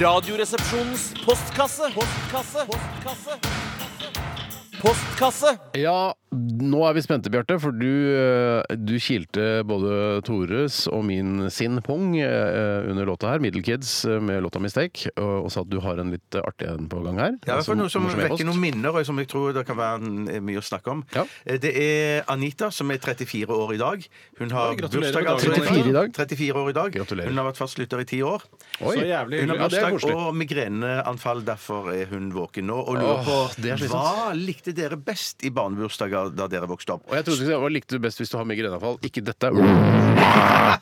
S8: Radioresepsjonens postkasse. Postkasse. Postkasse. Postkasse.
S1: Ja, nå er vi spente, Bjarte, for du, eh, du kilte både Tores og min sin pung eh, under låta her, Middle Kids, eh, med låta 'Mistake', og, og sa at du har en litt eh, artig en på gang her.
S3: Ja, i hvert fall
S1: Altså,
S3: noe som
S1: morsom e-post.
S3: vekker noen minner, og som jeg tror det kan være en- mye å snakke om.
S1: Ja.
S3: Eh, Det er Anita, som er 34 år i dag. Hun har
S2: Oi, gratulerer
S3: bursdag
S2: med
S3: altså-
S2: dagen,
S1: 34 i dag.
S3: 34 år i dag.
S1: Gratulerer.
S3: Hun har vært fastlytter i ti år.
S1: Oi.
S2: Så jævlig hyggelig.
S3: Hun har
S1: Ja, det er
S3: bursdag
S1: koselig.
S3: og migreneanfall, derfor er hun våken nå. Og lurer
S1: Åh,
S3: på
S1: det er slitsomt.
S3: hva likte dere best i barnebursdager da dere vokste opp?
S1: Og jeg trodde ikke det var likte du best hvis du har migreneanfall. Ikke dette. Nei,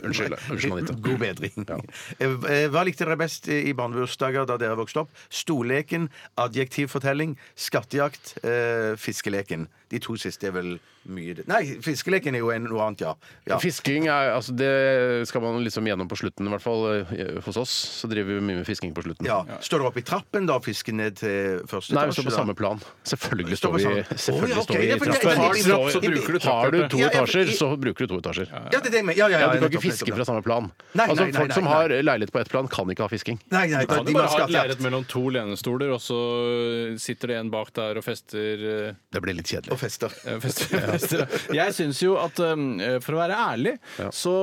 S1: unnskyld. Unnskyld, Anita.
S3: God bedring. Eh, eh, Hva likte dere best i i barnebursdager da dere vokste opp? Storleken, adjektivfortelling, skattejakt, eh, fiskeleken. De to siste er vel mye det- Nei, fiskeleken er jo en, noe annet, ja. ja.
S1: Fisking er, altså det skal man liksom gjennom på slutten, i hvert fall eh, hos oss. Så driver vi mye med fisking på slutten.
S3: ja. Står dere opp i trappen da og fisker ned til første
S1: Nei, vi
S3: etasje?
S1: står på
S3: da?
S1: samme plan. Selvfølgelig
S3: Står
S1: står
S3: på
S1: vi,
S3: samme- Å,
S1: selvfølgelig
S3: ja, ok,
S1: står vi
S3: det
S1: i
S3: er fordi jeg-
S1: trappen.
S3: Har du trapp, så bruker du
S1: Har du to
S3: Ja, ja,
S1: etasjer,
S3: i-
S1: så bruker du to etasjer.
S3: Ja, det er det jeg mener. Ja, ja, ja,
S1: Ja, du kan
S3: nettopp,
S1: ikke fiske
S3: nettopp,
S1: fra samme plan.
S3: Nei,
S1: Altså,
S3: nei, nei,
S1: Folk som
S3: nei,
S1: har leilighet på ett plan, kan ikke ha fisking.
S3: Nei, nei,
S2: Kan
S3: de
S2: du
S3: må ha
S2: bare ha et
S3: skattejakt.
S2: lerret mellom to lenestoler, og så sitter det en bak der og fester eh,
S1: Det blir litt
S3: Og
S1: kjedelig.
S3: fester.
S2: Eh, fest- fester, ja. Jeg syns jo at um, eh, For å være ærlig, så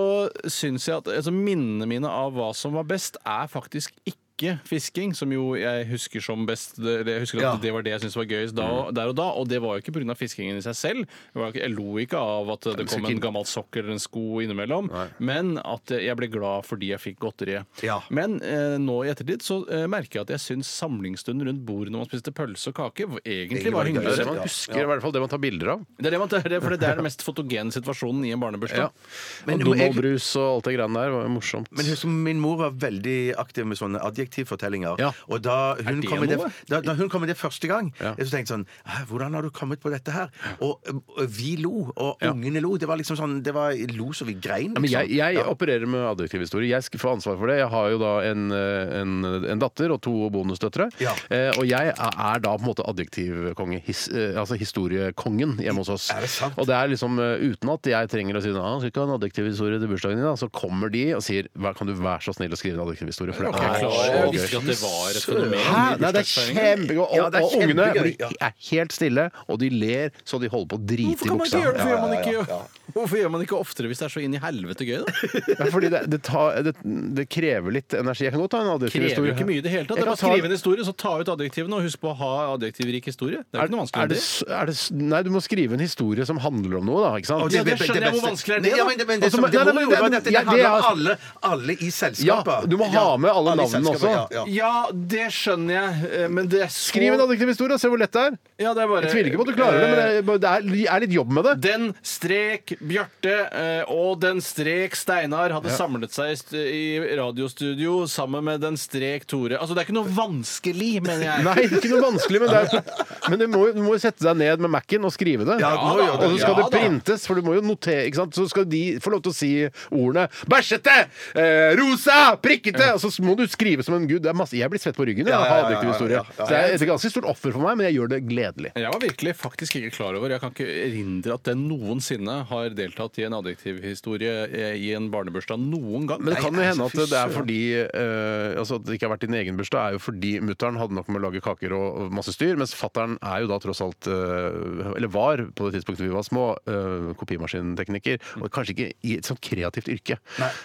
S2: syns jeg at altså, minnene mine av hva som var best, er faktisk ikke ikke fisking, som jo jeg husker som best det- Jeg husker at
S3: Ja.
S2: det var det jeg syntes var gøyest da, der og da, og det var jo ikke pga. fiskingen i seg selv. Det var jo ikke, jeg lo ikke av at det kom en gammel sokk eller en sko innimellom, men at jeg ble glad fordi jeg fikk godteriet.
S3: Ja.
S2: Men eh, nå i ettertid så eh, merker jeg at jeg syns samlingsstunden rundt bordet når man spiste pølse og kake, v- egentlig var
S1: Det
S2: hyggelig.
S1: er det man husker, i hvert fall det man tar bilder av.
S2: Det er det man det er det, for det er den mest fotogene situasjonen i en barnebursdag.
S1: Ja.
S3: Men
S1: Og
S3: jo, jeg-
S1: Donald-brus og alt det greiene der var jo morsomt.
S3: Men husk, min mor var veldig aktiv med sånne adjektivfortellinger.
S1: Ja.
S3: Og da hun,
S2: det
S3: kom med det,
S2: noe?
S3: da, da hun kom med det første gang,
S1: Ja.
S3: jeg så tenkte jeg sånn «Hæ, Hvordan har du kommet på dette her? Og, ø, vi lo, og ungene lo. Det var liksom sånn Det var lo så vi grein.
S1: Ja, men
S3: liksom.
S1: jeg, jeg
S3: Ja.
S1: opererer med adjektivhistorie. Jeg skal få ansvar for det. Jeg har jo da en, eh, en, en datter og to bonusdøtre.
S3: Ja.
S1: Eh, og jeg er- er da på en måte adjektivkonge. His, eh, altså historiekongen hjemme hos oss.
S3: Er det sant?
S1: Og det er liksom eh, uten at jeg trenger å si «Ah, skal ikke ha en adjektivhistorie til bursdagen din, da. Så kommer de og sier «Hva, Kan du være så snill å skrive en adjektivhistorie? For det
S2: Jeg,
S1: er
S2: klarer,
S1: så
S2: jeg
S1: gøy.
S2: visste ikke at det var et fenomen.
S1: Hæ?
S2: i
S1: Nei, det er
S2: bursdagsfeiringen.
S1: kjempegøy! Og,
S3: Ja, det er
S1: og ungene
S3: kjempegøy,
S1: blir-
S3: ja.
S1: er helt stille, og de ler så de holder på å drite i
S2: Hvorfor kan man
S1: buksa.
S2: ikke gjøre det? Hvorfor
S1: Ja,
S2: gjør man
S1: ja, ja.
S2: ikke, Hvorfor gjør man ikke oftere hvis det er så inn i helvete gøy, da?
S1: Ja, fordi det, det, tar, det, det krever litt energi. Jeg kan godt ta en adjektiv
S2: Krever jo
S1: historie.
S2: ikke mye i det hele tatt.
S1: Jeg
S2: Det er
S1: kan
S2: bare å
S1: ta-
S2: skrive en historie, så ta ut adjektivene, og husk på å ha adjektivrik historie. Det er jo ikke noe vanskelig.
S1: er det, s- er det, s- nei, du må skrive en historie som handler om noe, da. ikke sant?
S3: Og
S2: Ja, det skjønner jeg. Hvor
S3: beste-
S2: vanskelig er det,
S3: Nei, Ja,
S2: da?
S3: men det, men det,
S1: Altså,
S3: som,
S1: men-
S3: det,
S1: nei, nei,
S3: gode
S1: men det-
S3: var at det,
S1: ja, det
S3: handler om
S1: er-
S3: alle, alle i selskapet.
S1: Ja, du må ha med alle
S3: i
S1: navnene
S3: selskapet,
S1: også.
S3: Ja, ja.
S2: Ja, det skjønner jeg, eh, men det er så
S1: Skriv en adjektiv historie og se hvor lett det er.
S2: Ja, det er bare
S1: Jeg tviler ikke på at du klarer det, men det er, det er, det er litt jobb med det.
S2: Den strek Bjarte eh, og den strek Steinar hadde samlet seg i st- i radiostudio sammen med den strek Tore. Altså, det er ikke noe vanskelig, mener jeg.
S1: Nei, ikke noe vanskelig, men, det er, men du, må, jo- du må jo sette deg ned med Mac-en og skrive det.
S3: Ja, du må gjøre det.
S1: og så skal
S2: Ja,
S1: det
S2: da.
S1: printes, for du må jo notere. ikke sant? Så skal de få lov til å si ordene 'bæsjete', eh, 'rosa', 'prikkete', og så må du skrive som en gud. Det er masse, jeg blir svett på ryggen jeg,
S3: Ja,
S1: av
S3: ja, ja, ja,
S1: adjektiv
S3: ja,
S1: historie.
S3: ja, ja.
S1: Så det er et ganske stort offer for meg, men jeg gjør det gledelig.
S2: Jeg var virkelig faktisk ikke klar over Jeg kan ikke erindre at jeg noensinne har deltatt i en adjektivhistorie eh, i en barnebursdag noen gang.
S1: Men det kan jo hende at
S3: fy
S1: det er
S3: søren.
S1: fordi eh, altså at det ikke har vært din egen bursdag, er jo fordi mutter'n hadde nok med å lage kaker og, og masse styr, mens fatter'n er jo da tross alt eh, Eller var, på det tidspunktet vi var små, eh, kopimaskintekniker. Og kanskje ikke i et sånt kreativt yrke.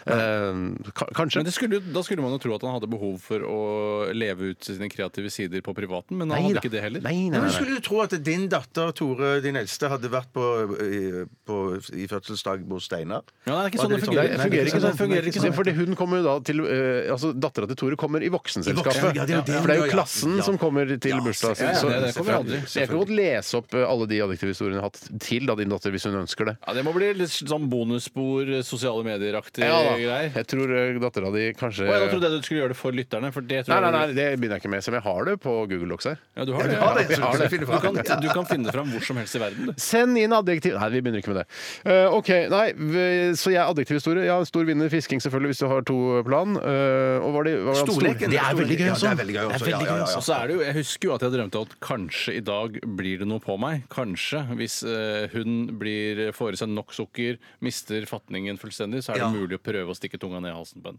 S1: Eh, ka- kanskje.
S2: Men det skulle, jo- da skulle man jo tro at han hadde behov for å leve ut sine kreative sider på privaten, men han
S1: Nei
S2: hadde
S1: da.
S2: ikke det heller.
S1: Nei, nei,
S3: Men
S1: nei,
S3: du
S1: nei.
S3: skulle jo tro at din datter Tore, din eldste, hadde vært på, i- på, i fødselsdag hos Steinar.
S2: Ja, nei, det er ikke sånn
S3: Var
S2: det
S3: litt
S2: fungerer.
S1: Det
S3: Nei,
S1: fungerer ikke
S3: sånn.
S1: sånn. Det fungerer ikke sånn. Fordi hun kommer jo da til eh, altså Dattera til Tore kommer i
S3: I voksen-
S1: voksenselskapet.
S3: ja, det er jo det hun
S1: For det er jo
S3: gjør, ja.
S1: klassen
S3: Ja.
S1: som kommer til
S3: Ja,
S1: bursdag.
S2: ja, ja,
S1: Så-
S2: det- det kommer aldri.
S1: Så jeg kan godt lese opp eh, alle de adjektivhistoriene jeg har hatt til da din datter, hvis hun ønsker det.
S2: Ja, det må bli litt sånn bonusspor, sosiale medier-aktig
S1: Ja, da.
S2: greier.
S1: Jeg tror eh, dattera di kanskje
S2: Og jeg trodde jeg du skulle gjøre det for lytterne. For det
S1: Nei,
S2: tror jeg
S1: nei, nei, det begynner jeg ikke med. Selv om jeg har det på Google Docs her.
S2: Ja, du har det.
S3: Ja, det,
S1: vi
S3: så,
S1: har
S3: så,
S1: det.
S3: finner
S2: Du, kan,
S3: vi fram.
S2: du kan finne det fram hvor som helst i verden. Du.
S1: Send inn adjektiv Nei, vi begynner ikke med det. Eh, OK, nei, v- så jeg adjektivhistorie. Ja, en stor vinner i fisking, selvfølgelig, hvis du har to plan. Eh, og var det, var det han-
S3: Storleken.
S1: Det er veldig gøy,
S3: Ja,
S1: altså.
S3: det er veldig gøy også. Ja, ja, ja, ja.
S2: Og så er det jo, jeg husker jo at jeg drømte at kanskje i dag blir det noe på meg. Kanskje. Hvis eh, hun blir, får i seg nok sukker, mister fatningen fullstendig, så er det
S3: Ja.
S2: mulig å prøve å stikke tunga ned i halsen på henne.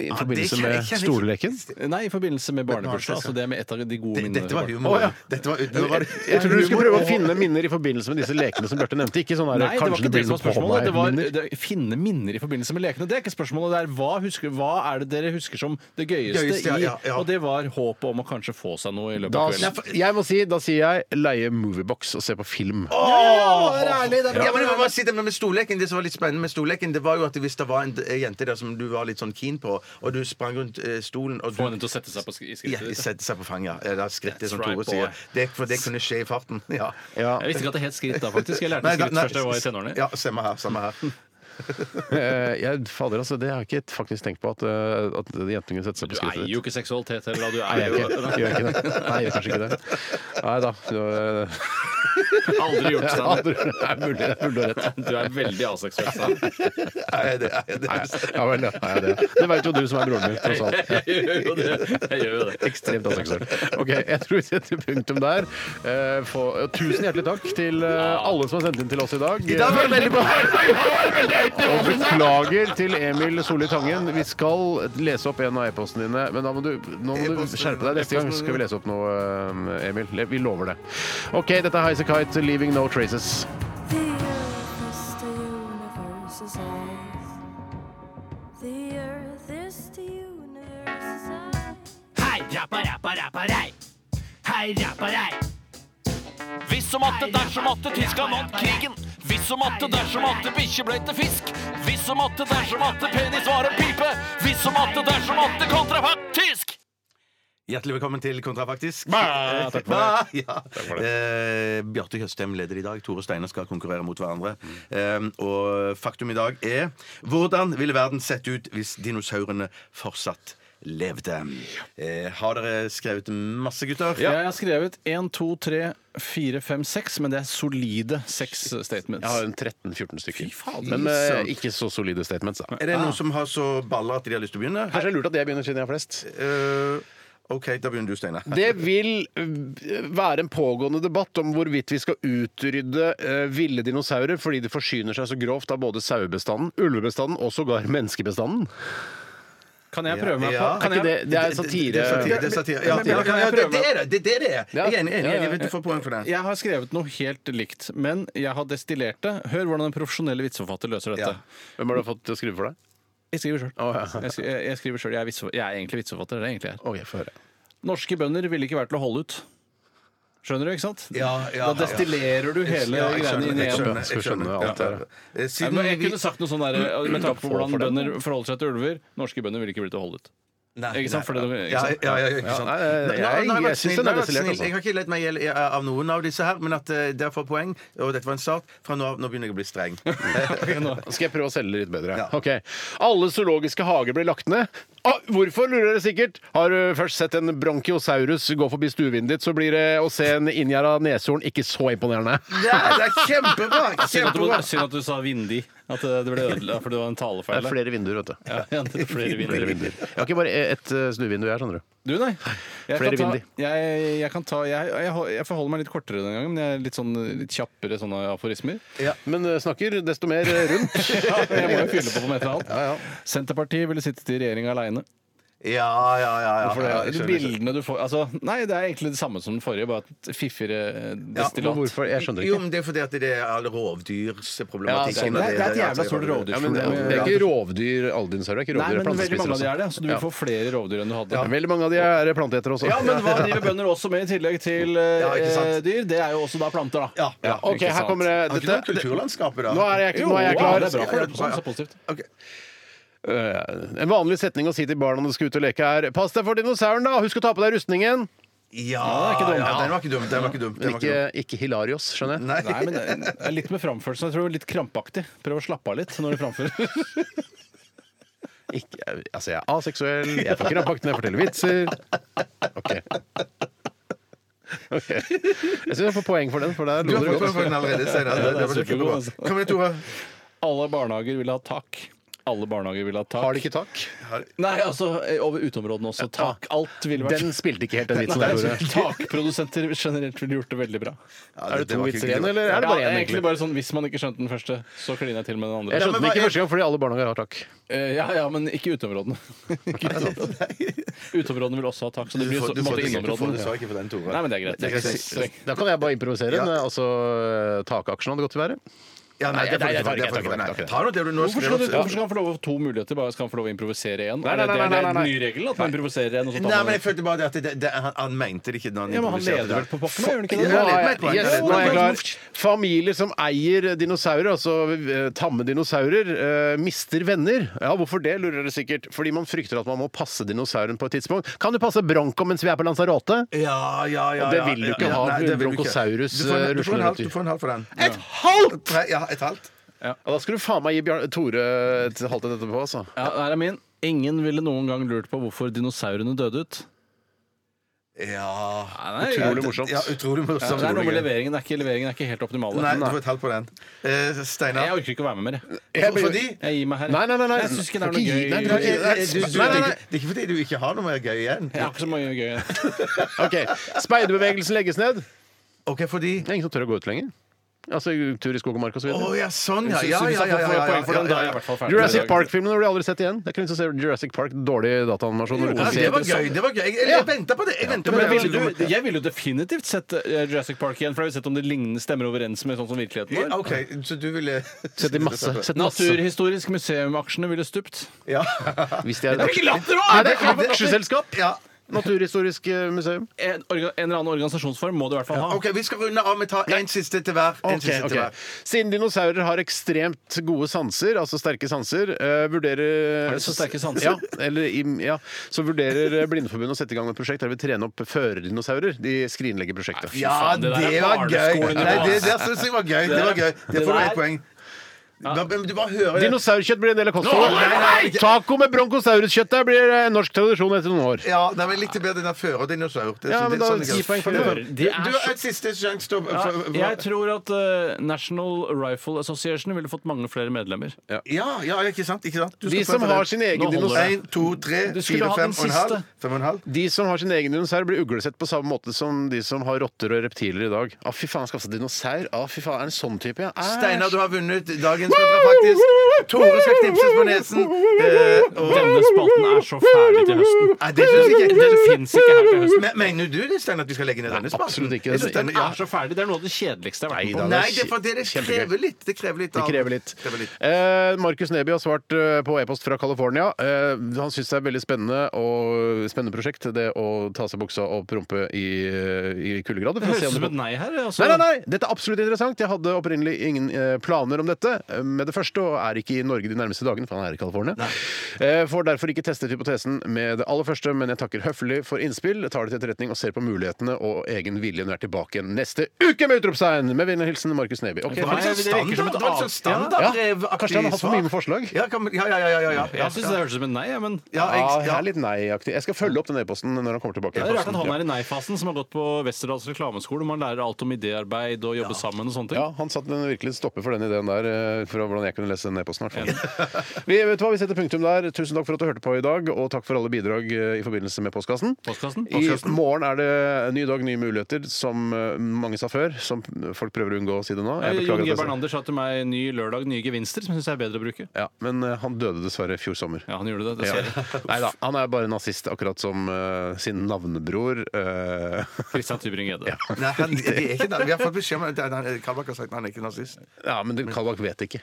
S1: I
S3: Ja,
S1: forbindelse
S3: det kjenner-
S1: med
S3: jeg kjenner-
S1: stolleken.
S2: Nei, i forbindelse med barnebursdag.
S3: barnebursdag,
S2: Altså det er med et av de gode
S3: Det-
S2: minnene.
S3: Dette var
S2: fra barn-
S3: humor.
S1: Å, ja.
S3: Dette var, nå var
S1: Jeg,
S3: det-
S1: jeg tror du skulle prøve å
S2: Og-
S1: finne minner i forbindelse med disse lekene som Bjarte nevnte. Ikke sånn her,
S2: Nei, det var
S1: kanskje
S2: ikke det
S1: blir
S2: som var
S1: noe på
S2: spørsmålet.
S1: meg,
S2: Det var
S1: minner.
S2: det, finne minner i forbindelse med lekene. Det er ikke spørsmålet. Det er hva, husker, hva er det dere husker som det gøyeste
S3: Gøyeste, ja,
S2: i
S3: ja, ja.
S2: Og det var håpet om å kanskje få seg noe i løpet
S1: da,
S2: av kvelden.
S1: jeg må si, da sier jeg leie moviebox og se på film.
S3: Ja, men jeg må bare si det med- med stolleken Det som var litt spennende med stolleken, Det var jo at hvis det var en eh, jente der som du var litt sånn keen på, og du sprang rundt eh, stolen og
S2: Få henne
S3: du
S2: til å sette seg på sk- i
S3: ja,
S2: skrittet ditt.
S3: Sette seg på fanget. ja. Eller skrittet, som
S2: That's right,
S3: Tore
S2: boy.
S3: sier. Det, for det kunne skje i farten. Ja.
S1: Ja.
S2: Jeg visste ikke at det het skritt da, faktisk. Jeg lærte
S3: Nei, da-
S2: skritt
S3: nei,
S2: først da jeg var i tenårene.
S3: Ja, samme her. Samme her.
S1: Eh, jeg, fader, altså, det har jeg ikke faktisk tenkt på, at, eh, at jentene kunne sette seg
S2: Du
S1: på
S2: eier
S1: skrittet ditt.
S2: jo ikke seksualitet heller, da. Du
S1: Nei, jeg
S2: eier
S1: gjør
S2: jo
S1: ikke det. Gjør jeg ikke det. Nei, jeg gjør kanskje ikke det. Nei da. nå, eh,
S2: Aldri gjort
S1: jeg
S2: sånn.
S1: aldri- Det er mulig, det er mulig å rette.
S2: Du er veldig aseksuell. Stan.
S3: Nei, det, nei, det.
S1: Ja vel, ja, jeg er det. Det veit jo du som er broren min, tross alt.
S2: Jeg gjør jo det. Jeg gjør jo det.
S1: Ekstremt aseksuell. OK, jeg tror vi setter punktum der. Eh, få- og tusen hjertelig takk til eh, alle som har sendt inn til oss i dag. I dag var det veldig bra! Og beklager til Emil Solli Tangen. Vi skal lese opp en av e-postene dine, men da må du, nå må du skjerpe deg. Neste gang skal vi lese opp noe, eh, Emil. Le- Vi lover det. OK, dette er Highasakite, 'Leaving No Traces'.
S6: The earth is the universe's eyes. The earth is the universe's eyes.
S8: ræva der.
S9: Hvis som atte, dersom atte, tyska vant krigen. Hvis som atte, dersom atte, bikkje ble til fisk. Hvis som atte, dersom atte, penis var en pipe. Hvis som atte, dersom atte, kontrafaktisk!
S3: Hjertelig velkommen til Kontrafaktisk.
S2: Bah, takk for
S3: det. Ja. Eh, Bjarte Tjøstheim leder i dag. Tore og Steinar skal konkurrere mot hverandre. Eh, og faktum i dag er Hvordan ville verden sett ut hvis dinosaurene fortsatt levde? Eh, har dere skrevet masse, gutter?
S2: Jeg har skrevet 1, 2, 3, 4, 5, 6, men det er solide seks statements.
S1: Jeg har en 13-14 stykker.
S3: faen,
S1: Men eh,
S3: sant.
S1: ikke så solide statements, da.
S3: Er det noen som har så baller at de har lyst til å begynne?
S1: Kanskje det er lurt at jeg begynner siden jeg har flest.
S3: Eh, OK, da begynner du, Steinar.
S1: Det vil øh, være en pågående debatt om hvorvidt vi skal utrydde øh, ville dinosaurer fordi de forsyner seg så grovt av både sauebestanden, ulvebestanden og sågar menneskebestanden.
S2: Kan jeg prøve meg på?
S3: Ja.
S1: Er
S2: Kan
S1: ikke
S2: jeg,
S1: det, det er
S3: Det
S1: satire.
S3: er satire. Det er satire. Ja,
S2: Men-
S3: ja,
S2: men-
S3: ja, ja, det, det er det! det, er det.
S1: Ja.
S3: Jeg er enig. enig,
S2: Ja, ja.
S3: Jeg vet du får poeng for det.
S2: jeg har skrevet noe helt likt, men jeg har destillert det. Hør hvordan en profesjonell vitseforfatter løser dette.
S3: Ja.
S1: Hvem har du fått til å skrive for deg?
S2: Jeg skriver sjøl.
S1: Å, ja.
S2: Jeg, skri- jeg, jeg, skriver selv. jeg, er vitsefor- jeg er egentlig vitseforfatter. Det er egentlig jeg. er.
S1: Å, jeg får høre.
S2: Norske bønder ville ikke vært til å holde ut. Skjønner du, ikke sant?
S3: Ja, ja,
S2: da destillerer du hele
S3: Ja, jeg
S2: greiene
S3: skjønner,
S2: inn i
S3: jeg
S2: en
S3: skjønner,
S1: Skal
S3: jeg skjønner.
S1: skjønne alt
S3: Ja,
S1: det
S3: ja. Eh,
S2: Nei,
S3: Siden
S2: men jeg
S3: vi
S2: kunne sagt noe sånn der, med tanke på hvordan bønder forholder seg til ulver. Norske bønder ville ikke blitt holdet.
S3: Nei,
S2: Ikke sant? For det, ikke
S3: Ja,
S2: sant?
S3: ja, ja, ikke
S1: Ja,
S3: sant.
S1: nei, nei,
S3: Nei,
S1: jeg-
S3: nei, vær
S1: jeg synes
S3: snill,
S1: den er
S3: nei, vær
S1: destillert,
S3: snill.
S1: altså.
S3: Jeg har ikke lett meg ihjel eh, av noen av disse her, men at eh, der får poeng. Og dette var en start. Fra nå av nå begynner jeg å bli streng.
S1: Skal jeg prøve å selge det litt bedre?
S3: Ja.
S1: Ok. Alle zoologiske hager blir lagt ned. Ah, hvorfor, lurer dere sikkert? Har du først sett en bronchiosaurus gå forbi stuevinduet ditt, så blir det å se en inngjerda neshorn ikke så imponerende.
S3: Ja, det er kjempebra!
S2: Synd at,
S3: kjempebra.
S2: du, synd at du sa vindig. At det ble ødelagt fordi det var en
S1: Det
S2: talefeil.
S1: er
S2: der.
S1: flere vinduer, vet du.
S2: Ja, ja, det er flere
S1: Flere
S2: vindier.
S1: vinduer. Jeg har ikke bare ett eh, snuvindu her, skjønner du.
S2: Du, nei.
S1: Flere
S2: Jeg kan ta,
S1: vindier.
S2: jeg, jeg kan ta jeg, jeg, hol- jeg forholder meg litt kortere den gangen, men jeg er litt, sånn, litt kjappere sånne aforismer.
S1: Men eh, snakker desto mer eh, rundt.
S2: Ja, jeg må jo fylle på med et eller annet. Senterpartiet ville sittet i regjering aleine.
S3: Ja, ja, ja. ja,
S2: For det,
S3: ja jeg skjønner, jeg skjønner.
S2: bildene du får altså, Nei, det er egentlig det samme som den forrige, bare et fiffigere eh,
S1: Men
S2: destillat.
S1: hvorfor? Jeg skjønner
S3: Jo,
S1: ikke.
S3: men Det er fordi at det er all
S2: Ja, det,
S3: rovdyrsproblematikken.
S2: er, det er et jævla
S1: Ja,
S2: stort
S1: men det,
S2: rovdyrproblem.
S3: eh,
S1: er- det er ikke rovdyr, alle dinosaurer er ikke
S2: Nei,
S1: rovdyr.
S2: men veldig mange av de
S1: også.
S2: er det. Så du vil
S1: Ja.
S2: få flere rovdyr enn du hadde.
S1: Ja, Veldig mange av de er planteetere også.
S2: Ja, men hva driver bønder også med i tillegg til eh,
S3: Ja, ikke sant.
S2: dyr? Det er jo også da planter, da.
S1: Ja, ok,
S2: ikke
S1: her
S2: sant.
S1: kommer
S3: Har
S1: det
S3: ikke du
S1: dette.
S3: kulturlandskapet, da?
S1: Nå er jeg,
S2: Jo,
S1: nå er jeg
S2: ja,
S1: klar.
S2: det er bra for det.
S3: Ja, ja.
S2: Så positivt.
S3: Ok.
S1: Eh, En vanlig setning å si til barna når de skal ut og leke, er 'pass deg for dinosauren', da! Husk å ta på deg rustningen!
S3: Ja,
S2: er ikke dum.
S3: ja, den var ikke dum. Den var ikke dum. Den
S1: Men
S3: var ikke dum.
S1: ikke, ikke Hilarios, skjønner jeg.
S3: Nei.
S2: Nei, men det er litt med framførelsen. Jeg tror det er litt krampaktig. Prøv å slappe av litt når du framfører.
S1: Ikke, altså, jeg er aseksuell, jeg får krampakt når jeg forteller vitser. OK. Ok. Jeg syns jeg får poeng for den, for der
S3: Du
S1: lo
S3: har
S1: dere
S3: fått poeng
S1: godt.
S3: for den allerede, Steinar. Det- det var du
S2: supergod,
S3: kjempebra.
S2: altså.
S3: Kom igjen, Tore.
S2: Alle barnehager vil ha tak. Alle barnehager vil ha tak.
S1: Har de ikke tak?
S2: Nei, altså eh, over uteområdene også. Tak. Alt ville vært
S1: Den spilte ikke helt den vitsen
S2: Nei, altså,
S1: der, Tore.
S2: Takprodusenter generelt ville gjort det veldig bra.
S3: Ja,
S1: Er det
S3: var
S1: to
S3: ikke
S1: vitser igjen,
S3: hyggelig.
S1: eller er det
S2: Ja,
S1: bare én?
S2: egentlig
S1: egentlig?
S2: bare sånn, Hvis man ikke skjønte den første, så kliner jeg til med den andre.
S1: Jeg skjønte den
S3: Ja, men
S1: ikke
S3: hva-
S1: første gang, fordi alle barnehager har tak.
S2: Eh, Ja, ja, men ikke uteområdene. uteområdene vil også ha tak, så det
S3: Du
S2: blir
S3: får-
S2: så,
S3: du
S2: på en
S3: får
S2: måte
S3: det ikke- du får det
S2: innområdene.
S3: så ikke for den, Tore.
S2: Nei, men det er greit.
S3: Det er greit.
S2: Streng.
S1: Da kan jeg bare improvisere en.
S3: Ja.
S1: Altså, takaksjen hadde gått i været.
S3: Ja, nei, det
S1: Nei, jeg
S3: får
S1: tar ikke, jeg tar
S3: du ikke.
S1: ikke, jeg
S3: Nei,
S1: tar ikke.
S3: Ta nå det du nå
S2: Hvorfor skal,
S3: skrev
S2: du,
S3: opp.
S2: hvorfor skal han få lov å få to muligheter? Bare skal han få lov å improvisere én?
S1: Nei, nei, nei,
S2: Er det-
S1: nei,
S2: er det
S1: nei,
S2: en
S1: nei.
S2: ny regel at man improviserer en, og så tar
S3: Nei,
S2: man
S3: men jeg følte bare det at det, det, han, han mente det ikke da han
S2: Ja, men han
S3: introduserte
S2: leder vel
S3: det.
S2: på pokkene, gjør han ikke
S3: Ja,
S2: det?
S1: Nå er,
S3: litt mer poeng.
S1: yes,
S3: Ja, litt
S1: nå er
S3: mer
S1: jeg
S3: poeng.
S1: klar. Familier som eier dinosaurer, altså eh, tamme dinosaurer, eh, mister venner. Ja, Hvorfor det, lurer dere sikkert. Fordi man frykter at man må passe dinosauren på et tidspunkt. Kan du passe Bronco mens vi er på Lanzarote?
S3: Ja, ja, ja.
S1: Og det
S3: ja,
S1: vil du
S3: ja,
S1: ikke
S3: ja.
S1: ha,
S3: Nei, det vil du ikke.
S1: Bronchosaurus,
S3: Du får en- du får en
S1: ruslende
S3: halv-
S1: dyr.
S3: Du får en halvt for den.
S1: Et halvt!
S3: Tre- Ja, et halvt.
S1: Ja, da skal du faen meg gi Bjar Tore et halvt et etterpå, altså.
S2: Ja, her er min. Ingen ville noen gang lurt på hvorfor dinosaurene døde ut.
S3: Ja
S2: Nei,
S1: Utrolig morsomt.
S3: Ja, utrolig morsomt.
S2: Ja, det er noe med
S3: Utrolig gøy.
S2: leveringen. Det er ikke, leveringen er ikke helt optimal.
S3: Nei, du får et halvt på den. Eh, Steinar.
S2: Jeg orker ikke å være med mer. jeg.
S1: Jeg blir-
S3: Fordi
S2: Jeg gir meg her.
S1: Nei, nei, nei, nei.
S2: Jeg syns ikke det
S1: Du
S2: er noe
S1: kan ikke gi-
S2: gøy.
S1: nei, du
S3: Nei,
S1: kan
S2: Jeg
S1: ikke-
S3: du- du-
S1: Nei, nei, nei.
S3: Det er ikke fordi du ikke har noe mer gøy igjen.
S2: har ikke så mye gøy igjen.
S1: Ok, Speiderbevegelsen legges ned. Det
S3: OK, fordi
S1: er ingen som tør å gå ut lenger. Altså tur i skog og mark osv.
S3: Å
S1: videre
S3: ja, sånn, ja. Ja,
S2: Så hvis
S3: ja,
S2: jeg
S3: ja,
S2: får- får
S3: ja, ja,
S2: poeng for
S3: ja,
S2: den, da er jeg i
S3: ja.
S2: hvert fall ferdig.
S1: Jurassic Park-filmen blir aldri sett igjen. Det er ikke noen som ser Jurassic Park, dårlig dataanimasjon. når du
S3: Ja,
S1: kan se
S3: det var
S1: det.
S3: gøy. det var gøy Jeg, jeg venta på det! Jeg ventet på
S2: Men
S3: det.
S2: ville du, jeg ville jo definitivt sett eh, Jurassic Park igjen, for da har vi sett om det lignende stemmer overens med sånn som virkeligheten var.
S3: OK, så du ville
S1: Sett i masse. Sett masse.
S2: Naturhistorisk museum-aksjene ville stupt.
S3: Ja.
S1: Hvis de er
S3: latter,
S1: Er det aksjeselskap?
S3: Ja.
S1: Naturhistorisk eh, museum.
S2: En, orga, en eller annen organisasjonsform må du i hvert fall ha.
S3: OK, vi skal runde av. Vi tar én siste til hver. En
S1: Ok,
S3: siste til
S1: ok.
S3: hver.
S1: Siden dinosaurer har ekstremt gode sanser, altså sterke sanser, eh, vurderer
S2: Har de så sterke sanser?
S1: Ja, eller, i- ja, så vurderer Blindeforbundet å sette i gang et prosjekt der vi trener opp førerdinosaurer. De skrinlegger prosjektet.
S3: Ja,
S2: faen,
S3: det,
S2: det der er
S3: var gøy!
S2: barneskolenivå,
S3: Nei, det
S2: ass.
S3: det synes jeg var gøy. Det var gøy. Det får du et poeng. Da- men Du bare hører det.
S1: Dinosaurkjøtt blir en del av
S3: Nå, nei, nei,
S1: kostholdet.
S3: ikke-
S1: Taco med bronkosauruskjøtt der blir eh, norsk tradisjon etter noen år.
S3: Ja, nei, men litt bedre enn den førerdinosaur. Det er
S1: Ja,
S3: sånn-
S1: men
S3: det er
S1: da-
S3: sånn det
S1: gi
S3: går.
S1: poeng for
S3: Ja.
S2: det. Det er
S3: Du har
S2: så-
S3: et siste sjanse til å
S2: Ja,
S3: for- for-
S2: jeg tror at eh, National Rifle Association ville fått mange flere medlemmer.
S3: Ja, ja, ikke sant? Ikke sant? Du
S1: De
S3: skal
S1: som
S3: prøve det.
S1: har sin egen
S2: Nå holder
S1: dinosaur.
S2: det.
S3: En, to, tre,
S2: Du skulle
S3: fire,
S2: hatt
S3: fem
S2: den
S3: og en halv.
S2: siste.
S3: Fem og en halv.
S1: De som har sin egen dinosaur, blir uglesett på samme måte som de som har rotter og reptiler i dag. Å, fy faen, skaffe seg dinosaur. Å, fy faen, er det en sånn type? Ja. Æsj.
S3: Steinar, du har vunnet dagens kontra, faktisk. Tore skal knipses på nesen. eh, og
S2: Denne spalten er så ferdig til høsten.
S3: Nei, det syns jeg ikke.
S2: Den fins ikke her til høsten.
S3: Men- Mener du det, Steinar, at vi skal legge ned denne spalten?
S1: absolutt ikke.
S3: Jeg synes
S2: Den
S3: denne- ja.
S2: er så ferdig. Det er noe av det kjedeligste jeg har vært med på.
S3: Nei, det er fordi det
S1: Kjempegøy.
S3: krever litt. Det krever litt.
S1: Det
S3: av-
S1: krever litt.
S3: krever litt.
S1: Eh, Markus Neby har svart eh, på e-post fra California. Eh, han syns det er veldig spennende, og, spennende prosjekt, det å ta seg buksa og prompe i, eh, i kuldegrader. for å
S2: Det
S1: se
S2: høres
S1: om
S2: ut som
S3: sånn.
S1: det-
S2: et nei her. Altså.
S1: Nei, nei, nei! Dette er absolutt interessant. Jeg hadde opprinnelig ingen eh, planer om dette eh, med det første, og er ikke i Norge de nærmeste dagene, for han er i California. Eh, Får derfor ikke testet hypotesen med det aller første, men jeg takker høflig for innspill, tar det til etterretning og ser på mulighetene og egen vilje når jeg er tilbake igjen neste uke med utropstegn! Med vennlig hilsen Markus Neby. Ok,
S3: Det var litt sånn
S2: virker som et
S3: standard- det var litt sånn
S1: ja.
S3: standardbrevaktig
S1: Kanskje han har hatt for
S3: svar.
S1: mye med forslag?
S3: Ja, kan- ja, ja, ja, ja, ja, ja.
S2: Jeg syns det høres ut som et nei, ja, men
S1: Ja,
S3: Ja, jeg,
S1: jeg
S3: ja.
S1: er litt nei-aktig. Jeg skal følge opp den e-posten når han kommer tilbake.
S2: det er rart at han er i nei-fasen, som har gått på Westerdals reklameskole. Man lærer alt om idéarbeid og jobbe sammen og sånne ting.
S1: Ja, han satte en virkelig stopper for den ideen der, eh, fra hvordan jeg kunne lese den e-posten. i hvert fall. Vi, vet du hva, vi setter punktum der. Tusen takk for at du hørte på i dag, og takk for alle bidrag eh, i forbindelse med postkassen.
S2: Postkassen? Altså,
S1: I morgen er det en ny dag, nye muligheter, som eh, mange sa før, som folk prøver å unngå å si det nå. Jeg
S2: Eh, Jon
S1: beklager
S2: G.
S1: at jeg sa-
S2: Bernander sa til meg 'ny lørdag, nye gevinster', som jeg syns er bedre å bruke.
S1: Ja, men eh, han døde dessverre i fjor sommer.
S2: Ja, han gjorde det.
S1: Ja.
S2: Dessverre.
S1: Nei da, han er bare nazist, akkurat som eh, sin navnebror. eh,
S2: Christian Tybring-Gjedde.
S3: Nei, han, de er ikke, vi har fått beskjed om at han- Kabak har sagt at han er ikke nazist.
S1: ja, men det- Kalbakk vet ikke.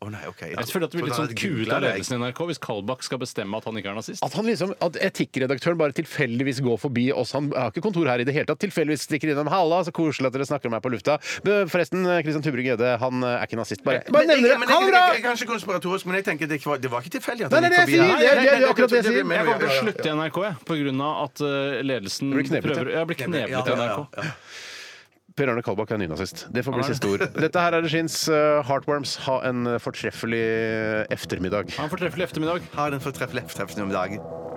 S3: Å nei, ok.
S2: Jeg føler at det blir litt sånn kule av ledelsen i NRK hvis Kalbakk skal bestemme at han ikke er nazist.
S1: At, han liksom, at etikkredaktøren bare tilfeldigvis går forbi oss. Han har ikke kontor her i det hele tatt. Tilfeldigvis stikker innom Halla, så koselig at dere snakker om meg på lufta. Bø, Forresten, eh, Christian Tybring-Gjedde, han eh, er ikke nazist. Bare, bare
S3: Men jeg,
S1: nevner
S3: men
S1: det! Ha det
S3: jeg, jeg,
S1: bra!
S3: jeg, er kanskje konspiratorisk, men jeg tenker det ikke var, det var ikke tilfeldig. at
S1: Nei,
S3: han
S1: det er det jeg
S3: gikk forbi.
S1: sier! Det er-
S3: Nei,
S1: det
S3: nei,
S1: er
S3: nei,
S1: akkurat det jeg
S3: det
S1: sier.
S3: mener
S2: Jeg kommer til å
S3: Ja, ja, ja.
S2: slutte i NRK jeg, på grunn av at eh, ledelsen
S1: Blir kneblet,
S2: prøver Jeg blir kneblet i
S3: Ja, ja, ja.
S2: NRK.
S1: Per Arne Kalbakk er nynazist. Det får
S2: Han
S1: bli
S2: er det.
S1: siste ord. Dette her er Regins uh, Heartworms. Ha en fortreffelig eh, eftermiddag.
S2: Ha en fortreffelig ettermiddag.
S3: Ha den fortreffelig eftermiddag.